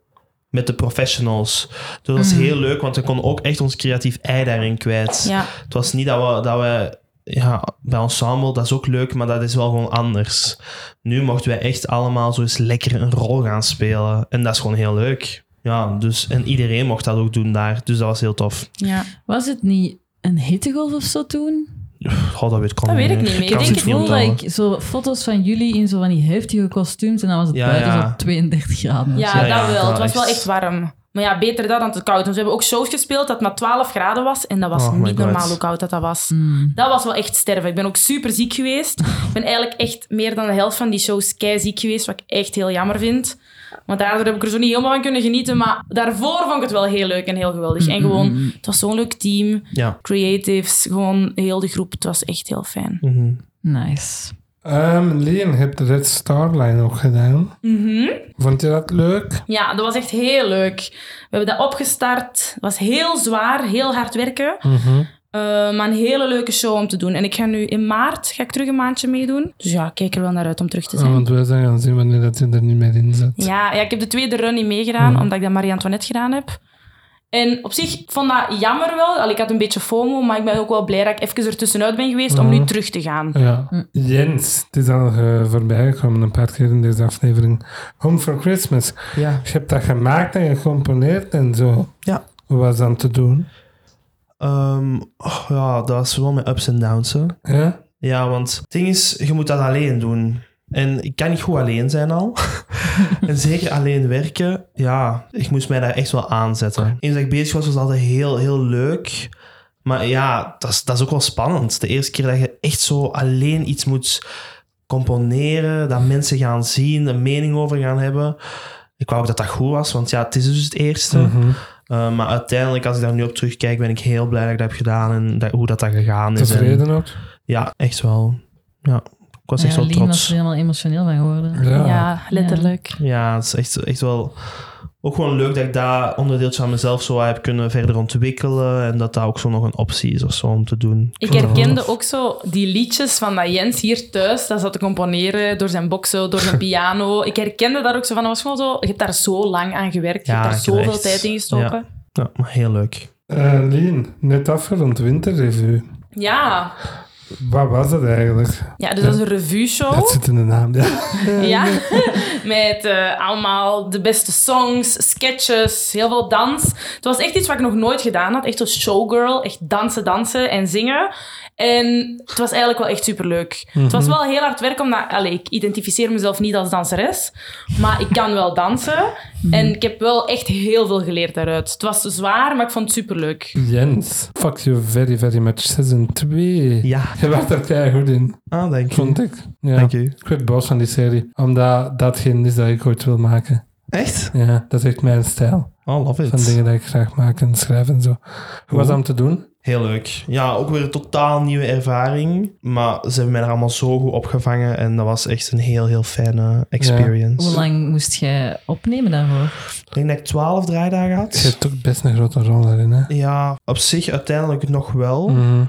Speaker 4: met de professionals. Dus dat was heel leuk, want we konden ook echt ons creatief ei daarin kwijt.
Speaker 3: Mhm. Ja,
Speaker 4: Het was niet dat we, dat we ja, bij ensemble, dat is ook leuk, maar dat is wel gewoon anders. Nu mochten wij echt allemaal zo eens lekker een rol gaan spelen. En dat is gewoon heel leuk. Ja, dus, en iedereen mocht dat ook doen daar. Dus dat was heel tof.
Speaker 3: ja.
Speaker 2: Was het niet een hittegolf of zo toen?
Speaker 4: God, dat weet ik, al
Speaker 3: Dat weet
Speaker 4: niet
Speaker 3: ik niet meer. Ik
Speaker 4: kan
Speaker 3: denk
Speaker 4: het
Speaker 2: Ik
Speaker 3: het
Speaker 4: niet
Speaker 2: voel
Speaker 4: onthouden.
Speaker 2: dat ik zo foto's van jullie in zo van die heftige kostuums en dan was het
Speaker 4: Ja,
Speaker 2: buiten
Speaker 4: ja.
Speaker 2: zo 32 graden.
Speaker 3: Ja,
Speaker 4: Ja, ja,
Speaker 3: dat wel.
Speaker 4: dat
Speaker 3: Het was wel
Speaker 4: echt.
Speaker 3: echt warm. Maar ja, beter dat dan te koud. Want we hebben ook shows gespeeld dat het maar 12 graden was. En dat was
Speaker 4: Oh my
Speaker 3: niet
Speaker 4: God.
Speaker 3: normaal hoe koud dat, dat was.
Speaker 2: Mm.
Speaker 3: Dat was wel echt sterven. Ik ben ook super ziek
Speaker 4: [LAUGHS]
Speaker 3: geweest. Ik ben eigenlijk echt meer dan de helft van die shows kei ziek geweest, wat ik echt heel jammer vind. Want daardoor heb ik er zo niet helemaal van kunnen genieten. Maar daarvoor vond ik het wel heel leuk en heel geweldig. En gewoon, het was zo'n leuk team.
Speaker 4: Ja.
Speaker 3: Creatives, gewoon heel de groep. Het was echt heel fijn.
Speaker 4: Mhm.
Speaker 2: Nice.
Speaker 1: Ehm Lien, je hebt de Red Star Line ook gedaan. Vond je dat leuk?
Speaker 3: Ja, dat was echt heel leuk. We hebben dat opgestart. Het was heel zwaar, heel hard werken. Eh, maar een hele leuke show om te doen. En ik ga nu in maart ga ik terug een maandje meedoen. Dus ja, ik kijk er wel naar uit om terug te zijn.
Speaker 1: Ah,
Speaker 4: Oh,
Speaker 1: want wij zijn gaan zien wanneer dat je er niet meer in zit.
Speaker 3: Ja, ja, ik heb de tweede run niet meegedaan,
Speaker 4: Oh.
Speaker 3: omdat ik dat Marie-Antoinette gedaan heb. En op zich, ik vond dat jammer wel. Allee, ik had een beetje FOMO, maar ik ben ook wel blij dat ik even ertussenuit ben geweest om
Speaker 4: Oh.
Speaker 3: nu terug te gaan.
Speaker 1: Ja. Jens, het is al eh, voorbij gekomen een paar keer in deze aflevering. Home for Christmas.
Speaker 4: Ja.
Speaker 1: Je hebt dat gemaakt en gecomponeerd en zo.
Speaker 4: Ja.
Speaker 1: Hoe was dat te doen?
Speaker 4: Ehm, oh, ja, dat was wel met ups en downs. hè.
Speaker 1: Ja?
Speaker 4: Ja, want het ding is, je moet dat alleen doen. En ik kan niet goed alleen zijn al. [LAUGHS] en zeker alleen werken. Ja, ik moest mij daar echt wel aanzetten. Eens dat ik bezig was, was dat altijd heel, heel leuk. Maar ja, dat is, dat is ook wel spannend. De eerste keer dat je echt zo alleen iets moet componeren. Dat mensen gaan zien, een mening over gaan hebben. Ik wou ook dat dat goed was, want ja, het is dus het eerste.
Speaker 1: Mhm.
Speaker 4: Uh, maar uiteindelijk, als ik daar nu op terugkijk, ben ik heel blij dat ik dat heb gedaan. En dat, hoe dat, dat gegaan is. En-
Speaker 1: Tevreden ook?
Speaker 4: ja, echt wel. Ja, ik was echt
Speaker 2: Ja,
Speaker 4: wel
Speaker 2: Lien was er
Speaker 4: trots.
Speaker 2: helemaal emotioneel van geworden.
Speaker 1: Ja.
Speaker 3: letterlijk.
Speaker 4: Ja, het is echt, echt wel... Ook gewoon leuk dat ik dat onderdeeltje van mezelf zo heb kunnen verder ontwikkelen. En dat dat ook zo nog een optie is of zo om te doen.
Speaker 3: Ik herkende ook zo die liedjes van dat Jens hier thuis, dat zat te componeren door zijn boxen,
Speaker 4: [LAUGHS]
Speaker 3: door zijn piano. Ik herkende dat ook zo van, dat was gewoon zo, je hebt daar zo lang aan gewerkt, je
Speaker 4: Ja,
Speaker 3: hebt daar
Speaker 4: ik heb
Speaker 3: zoveel
Speaker 4: echt-
Speaker 3: tijd in gestoken.
Speaker 4: Ja, maar heel leuk.
Speaker 1: Eh, Lien, net afgerond winterrevue.
Speaker 3: Ja,
Speaker 1: Wat was dat eigenlijk?
Speaker 3: Ja, dus dat is een revue show.
Speaker 1: Dat eh, zit in de naam. Ja.
Speaker 3: Ja, [LAUGHS] met eh, allemaal de beste songs, sketches, heel veel dans. Het was echt iets wat ik nog nooit gedaan had. Echt zo'n showgirl, echt dansen, dansen en zingen. En het was eigenlijk wel echt superleuk. Het
Speaker 1: Mhm.
Speaker 3: was wel heel hard werk, omdat allee, ik identificeer mezelf niet als danseres. Maar ik kan wel dansen.
Speaker 1: Mhm.
Speaker 3: En ik heb wel echt heel veel geleerd daaruit. Het was zwaar, maar ik vond het superleuk.
Speaker 1: Jens, fuck you very, very much. Season 2.
Speaker 4: Ja.
Speaker 1: Je was daar keihard in,
Speaker 4: Ah, dank je.
Speaker 1: vond ik. Ja.
Speaker 4: Dank je.
Speaker 1: Ik werd boos van die serie, omdat dat geen is dat ik ooit wil maken.
Speaker 4: Echt?
Speaker 1: Ja, dat is echt mijn stijl.
Speaker 4: Oh, love
Speaker 1: Van
Speaker 4: it.
Speaker 1: dingen die ik graag maak en schrijf en zo. Hoe was dat om te doen?
Speaker 4: Heel leuk. Ja, ook weer een totaal nieuwe ervaring. Maar ze hebben mij er allemaal zo goed opgevangen. En dat was echt een heel, heel fijne
Speaker 2: Hoe
Speaker 4: experience.
Speaker 2: lang moest jij opnemen daarvoor?
Speaker 4: Ik denk dat ik twaalf draaidagen
Speaker 1: [LAUGHS]
Speaker 4: had.
Speaker 1: Je hebt toch best een grote rol daarin, hè?
Speaker 4: Ja, op zich uiteindelijk nog wel.
Speaker 1: Mhm.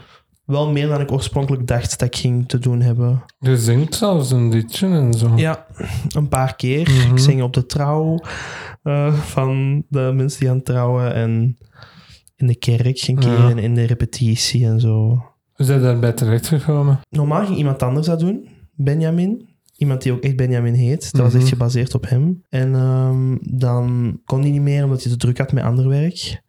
Speaker 4: Wel meer dan ik oorspronkelijk dacht dat ik ging te doen hebben.
Speaker 1: Je zingt zelfs een liedje en zo.
Speaker 4: Ja, een paar keer. Ik zing op de trouw eh, van de mensen die aan het trouwen. En in de kerk ging ik
Speaker 1: Ja.
Speaker 4: en in de repetitie en zo.
Speaker 1: Hoe zijn daarbij terechtgekomen?
Speaker 4: Normaal ging iemand anders dat doen. Benjamin. Iemand die ook echt Benjamin heet. Dat was echt
Speaker 1: Mhm.
Speaker 4: gebaseerd op hem. En ehm, dan kon hij niet meer omdat hij te druk had met ander werk.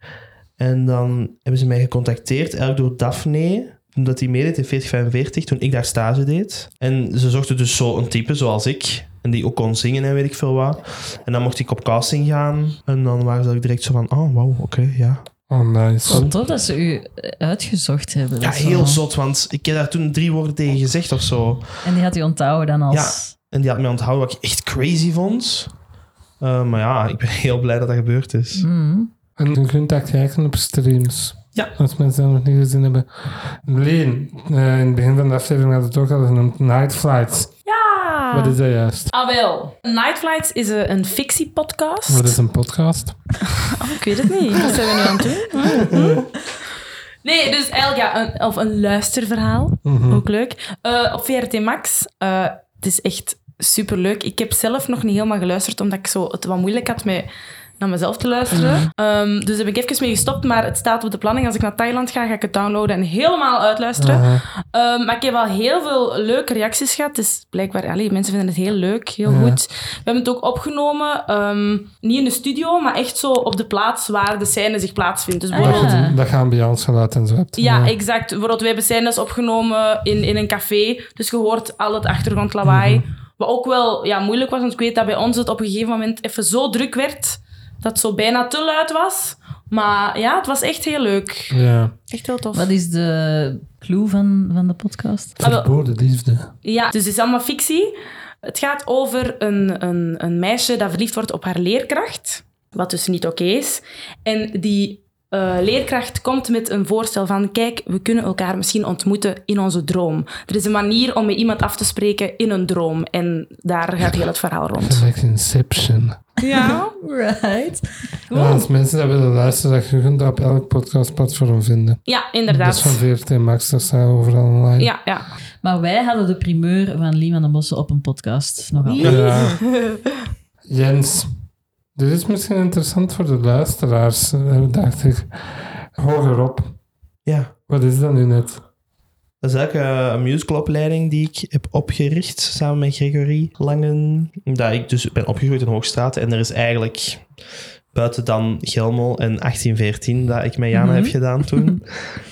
Speaker 4: En dan hebben ze mij gecontacteerd, eigenlijk door Daphne omdat hij meedeed in 4045, toen ik daar stage deed. En ze zochten dus zo'n type zoals ik. En die ook kon zingen en weet ik veel wat. En dan mocht ik op casting gaan. En dan waren ze ook direct zo van... Oh, wauw, oké, ja.
Speaker 1: Oh, nice.
Speaker 2: Wat tof dat ze u eh, uitgezocht hebben.
Speaker 4: Ja,
Speaker 2: Dat is wel-
Speaker 4: heel zot, want ik heb daar toen drie woorden tegen gezegd of zo.
Speaker 2: En die had u onthouden dan als...
Speaker 4: En die had mij onthouden wat ik echt crazy vond. Eh, maar ja, ik ben [LAUGHS] heel blij dat dat gebeurd is.
Speaker 2: Mm.
Speaker 1: En je kunt dat kijken op streams.
Speaker 4: Ja.
Speaker 1: Als mensen dat nog niet gezien hebben. Leen, eh, in het begin van de aflevering had het ook al genoemd. Night Flights.
Speaker 3: Ja!
Speaker 1: Wat is dat juist?
Speaker 3: Ah wel, Night Flights is een een fictiepodcast.
Speaker 1: Wat is een podcast?
Speaker 3: Ik weet het niet. Wat zijn we nu aan het doen? Nee, dus eigenlijk ja, een, of een luisterverhaal. Ook leuk. Eh, op VRT Max. eh, het is echt superleuk. Ik heb zelf nog niet helemaal geluisterd, omdat ik zo het wat moeilijk had met naar mezelf te luisteren. Ehm, dus daar heb ik even mee gestopt, maar het staat op de planning. Als ik naar Thailand ga, ga ik het downloaden en helemaal uitluisteren.
Speaker 1: Ah. Eh,
Speaker 3: Ehm, maar ik heb al heel veel leuke reacties gehad. Het is blijkbaar, allee, mensen vinden het heel leuk, heel
Speaker 1: Ja.
Speaker 3: goed. We hebben het ook opgenomen, ehm, niet in de studio, maar echt zo op de plaats waar de scène zich plaatsvindt. Dus
Speaker 1: Dat,
Speaker 3: bijvoorbeeld-
Speaker 1: je, dat je ambiancegeluid en zo hebt.
Speaker 3: ja, exact. Bijvoorbeeld, we hebben scènes opgenomen in, in een café. Dus je hoort al het achtergrondlawaai. Wat ook wel ja, moeilijk was, want ik weet dat bij ons het op een gegeven moment even zo druk werd dat het zo bijna te luid was. Maar ja, het was echt heel leuk.
Speaker 1: Ja.
Speaker 3: Echt heel tof.
Speaker 2: Wat is de clue van, van de podcast?
Speaker 3: Ah, wel.
Speaker 1: Verboden liefde.
Speaker 3: Ja, dus het is allemaal fictie. Het gaat over een, een, een meisje dat verliefd wordt op haar leerkracht, wat dus niet oké is. En die eh, leerkracht komt met een voorstel van, kijk, we kunnen elkaar misschien ontmoeten in onze droom. Er is een manier om met iemand af te spreken in een droom. En daar gaat heel het verhaal rond.
Speaker 1: Gelijk Inception.
Speaker 3: Ja.
Speaker 2: Right.
Speaker 1: Ja, als mensen dat willen luisteren, dat je kunt dat op elk podcastplatform vinden.
Speaker 3: Ja,
Speaker 1: Dat is van
Speaker 3: inderdaad.
Speaker 1: 14 Max, dat staat overal online.
Speaker 3: Ja, ja.
Speaker 2: Maar wij hadden de primeur van Lien van den Bossen op een podcast. Nogal.
Speaker 1: Ja. Jens, dit is misschien interessant voor de luisteraars, eh, dacht ik. Hogerop,
Speaker 4: Ja.
Speaker 1: wat is dat nu net?
Speaker 4: Dat is eigenlijk eh, een musicalopleiding die ik heb opgericht samen met Gregory Langen. Omdat ik dus ben opgegroeid in Hoogstraat. En er is eigenlijk buiten dan Gelmel en 1814 dat ik met Jana heb gedaan toen.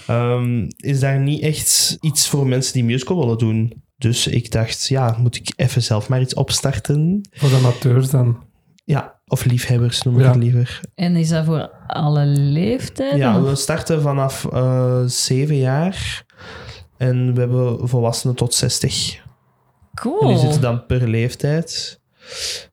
Speaker 4: ehm, is daar niet echt iets voor mensen die musical willen doen. Dus ik dacht, ja, moet ik even zelf maar iets opstarten.
Speaker 1: Voor amateurs dan.
Speaker 4: Ja, of liefhebbers noem ik
Speaker 1: Ja.
Speaker 4: het liever.
Speaker 2: En is dat voor alle leeftijden?
Speaker 4: Ja, we starten vanaf eh, zeven jaar. En we hebben volwassenen tot 60. En die
Speaker 2: Cool.
Speaker 4: zitten dan per leeftijd.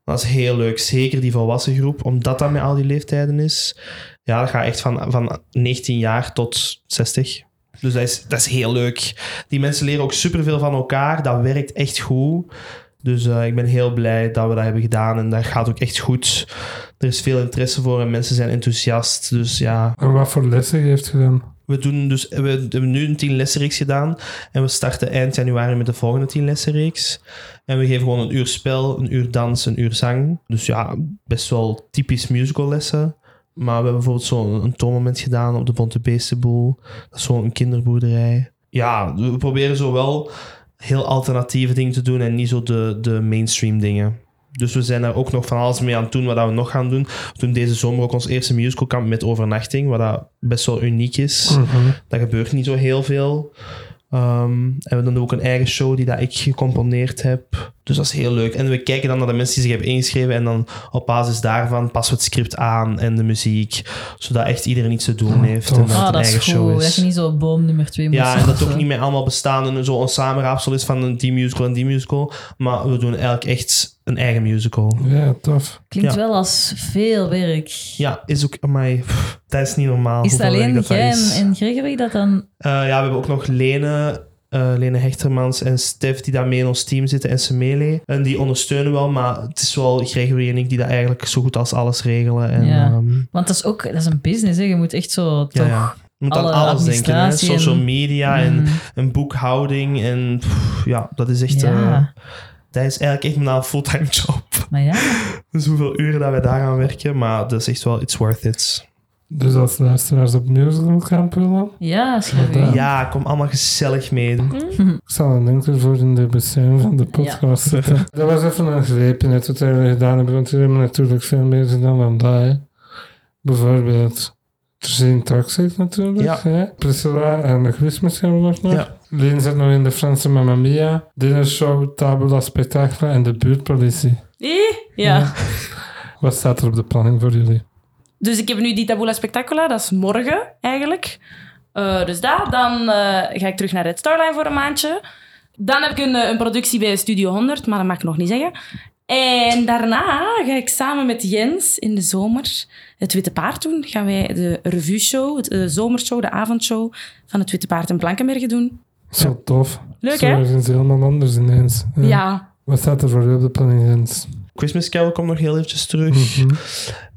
Speaker 4: Dat is heel leuk. Zeker die volwassen groep, omdat dat met al die leeftijden is. Ja, dat gaat echt van, van 19 jaar tot 60. Dus dat is, dat is heel leuk. Die mensen leren ook superveel van elkaar. Dat werkt echt goed. Dus eh, ik ben heel blij dat we dat hebben gedaan. En dat gaat ook echt goed. Er is veel interesse voor en mensen zijn enthousiast. Dus ja,
Speaker 1: En wat voor lessen heeft u dan?
Speaker 4: we, doen dus, we hebben nu een tien lessenreeks gedaan. En we starten eind januari met de volgende tien lessenreeks. En we geven gewoon een uur spel, een uur dans, een uur zang. Dus ja, best wel typisch musical lessen. Maar we hebben bijvoorbeeld zo'n een toonmoment gedaan op de Bonte Beestenboel. Dat is zo'n kinderboerderij. ja, we proberen zo wel heel alternatieve dingen te doen en niet zo de, de mainstream dingen. Dus we zijn daar ook nog van alles mee aan het doen, wat dat we nog gaan doen. We doen deze zomer ook ons eerste musicalkamp met overnachting, wat dat best wel uniek is. Dat gebeurt niet zo heel veel. Ehm, en we doen ook een eigen show die dat ik gecomponeerd heb. Dus dat is heel leuk. En we kijken dan naar de mensen die zich hebben ingeschreven. En dan op basis daarvan passen we het script aan en de muziek. Zodat echt iedereen iets te doen heeft.
Speaker 1: tof.
Speaker 4: En dat het
Speaker 2: Ah,
Speaker 4: een
Speaker 2: dat is
Speaker 4: eigen
Speaker 2: goed.
Speaker 4: show
Speaker 2: Dat
Speaker 4: is.
Speaker 2: je niet zo boom nummer 2 moet
Speaker 4: Ja, en
Speaker 2: zijn
Speaker 4: dat
Speaker 2: of
Speaker 4: ook
Speaker 2: zo.
Speaker 4: niet meer allemaal bestaan en zo'n samenraapsel is van een die musical en die musical. Maar we doen eigenlijk echt een eigen musical.
Speaker 1: Ja, tof.
Speaker 2: Klinkt
Speaker 4: ja.
Speaker 2: wel als veel werk.
Speaker 4: Ja, is ook... Amai, pff, dat is niet normaal.
Speaker 2: Is het
Speaker 4: hoeveel werk
Speaker 2: alleen
Speaker 4: dat dat
Speaker 2: jij
Speaker 4: is.
Speaker 2: en, en Gregory dat dan...
Speaker 4: Eh, ja, we hebben ook nog Lene, eh, Lene Hechtermans en Stef die daar mee in ons team zitten en Semele. En die ondersteunen wel, maar het is wel Gregory en ik die dat eigenlijk zo goed als alles regelen. En,
Speaker 2: Ja.
Speaker 4: ehm,
Speaker 2: Want dat is ook dat is een business, hè. je moet echt zo toch...
Speaker 4: ja, ja. Je moet
Speaker 2: alle
Speaker 4: aan alles denken, hè.
Speaker 2: administratie en-
Speaker 4: social media en,
Speaker 2: Mm.
Speaker 4: en boekhouding. En pff, ja, dat is echt...
Speaker 2: Ja.
Speaker 4: eh, dat is eigenlijk echt mijn fulltime [LAUGHS] job.
Speaker 2: Maar ja,
Speaker 4: Dus hoeveel uren dat we daaraan werken, maar dat is echt wel, it's worth it.
Speaker 1: Dus als luisteraars op musical gaan pullen,
Speaker 2: ja, Mhm. Gregory.
Speaker 1: Ja.
Speaker 4: Ja, kom allemaal gezellig mee.
Speaker 1: ik zal een link ervoor in de beschrijving van de podcast zetten. [LAUGHS] Dat was even een greepje net wat we gedaan hebben, want we hebben natuurlijk veel meer gedaan dan dat. Hè. Bijvoorbeeld Jean Toxic natuurlijk,
Speaker 4: Ja.
Speaker 1: hè. Priscilla en de Christmas hebben we nog. nog.
Speaker 4: Ja.
Speaker 1: Leen zit nog in de Franse Mamma Mia, Dinnershow, Tabula Spectacle en de buurtpolitie.
Speaker 3: Eh? Ja.
Speaker 1: Wat staat er op de planning voor jullie?
Speaker 3: Dus ik heb nu die Tabula Spectacula, dat is morgen eigenlijk. Eh, dus daar, dan eh, ga ik terug naar Red Starline voor een maandje. Dan heb ik een, eh, een productie bij Studio 100, maar dat mag ik nog niet zeggen. En daarna ga ik samen met Jens in de zomer het Witte Paard doen. Gaan wij de revue show, de zomershow, de avondshow van het Witte Paard in Blankenbergen doen.
Speaker 1: Zo tof.
Speaker 3: Leuk,
Speaker 1: Zo
Speaker 3: hè?
Speaker 1: ergens helemaal anders ineens. Ja.
Speaker 3: Ja.
Speaker 1: Wat staat er voor u op de planning, Jens?
Speaker 4: Christmas Carol komt nog heel eventjes terug.
Speaker 2: Mhm.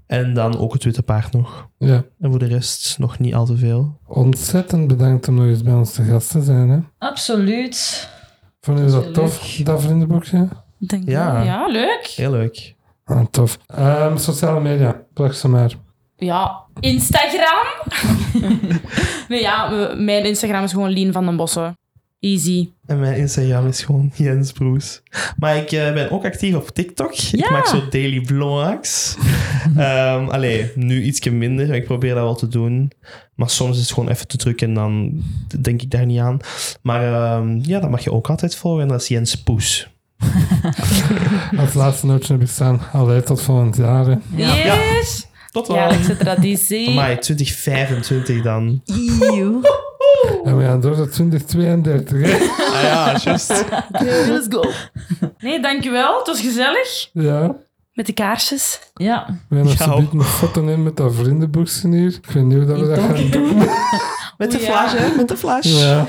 Speaker 4: En dan ook het Witte Paard nog.
Speaker 1: Ja.
Speaker 4: En voor de rest nog niet al te veel.
Speaker 1: Ontzettend bedankt om nog eens bij ons te gast te zijn. Hè.
Speaker 2: Absoluut.
Speaker 1: Vond je dat
Speaker 2: Leuk.
Speaker 1: tof, dat vriendenboekje?
Speaker 3: Denk
Speaker 4: Ja.
Speaker 3: ja. ja, leuk.
Speaker 4: Heel leuk.
Speaker 1: Ah, tof. Ehm, sociale media, plak ze maar.
Speaker 3: Ja, Instagram. nee, ja, m- mijn Instagram is gewoon Lien van den Bossen. Easy.
Speaker 4: En mijn Instagram is gewoon [LAUGHS] Jens Broes. Maar ik eh, ben ook actief op TikTok. Ik maak zo daily [LAUGHS] vlogs. Ehm allee, nu ietsje minder. maar Ik probeer dat wel te doen. Maar soms is het gewoon even te druk en dan denk ik daar niet aan. Maar ehm, ja, dat mag je ook altijd volgen. En dat is Jens Poes.
Speaker 1: [LAUGHS] Als laatste nootje heb ik staan. Allee, tot volgend jaar. hè.
Speaker 2: Ja.
Speaker 3: Yes!
Speaker 4: Tot dan.
Speaker 3: Jaarlijkse traditie.
Speaker 4: Amai, 2025 dan.
Speaker 2: Eeuw.
Speaker 1: En we gaan door tot 2032. hè.
Speaker 4: Ah ja, juist.
Speaker 3: Let's go. Nee, dankjewel. Het was gezellig.
Speaker 1: ja.
Speaker 3: Met de kaarsjes.
Speaker 2: Ja.
Speaker 1: We gaan
Speaker 4: Ja.
Speaker 1: alsjeblieft een foto nemen met dat vriendenboekje hier. Ik weet niet hoe dat we dat gaan doen.
Speaker 4: Met de
Speaker 3: Oeh,
Speaker 4: flash, hè? Met de flash.
Speaker 1: Ja.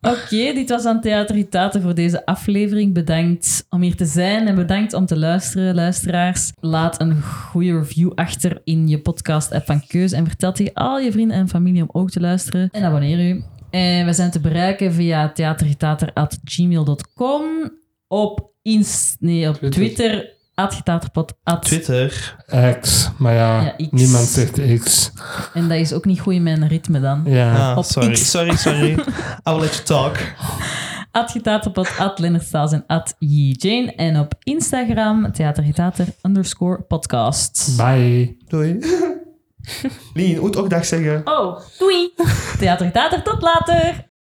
Speaker 2: Oké, dit was aan Theateritate voor deze aflevering. Bedankt om hier te zijn en bedankt om te luisteren, luisteraars. Laat een goede review achter in je podcast-app van Keus en vertel tegen al je vrienden en familie om ook te luisteren. En abonneer u. En we zijn te bereiken via theatergetater.gmail.com op, Inst nee, op
Speaker 1: Twitter.
Speaker 2: Twitter, @getaterpod, at
Speaker 4: Twitter.
Speaker 1: X. Maar ja,
Speaker 2: Ja, X.
Speaker 1: niemand zegt X.
Speaker 2: En dat is ook niet goed in mijn ritme dan.
Speaker 1: Ja.
Speaker 4: Ah,
Speaker 2: Op
Speaker 4: sorry,
Speaker 2: X.
Speaker 4: sorry, [LAUGHS] sorry. I will let you talk.
Speaker 2: Atgetaterpot, at Lennart Staals en at Jane. En op Instagram theatergetater underscore podcast.
Speaker 1: Bye.
Speaker 4: Doei. Lien, moet ook dag zeggen.
Speaker 3: Oh, doei.
Speaker 2: Theatergetater, tot later!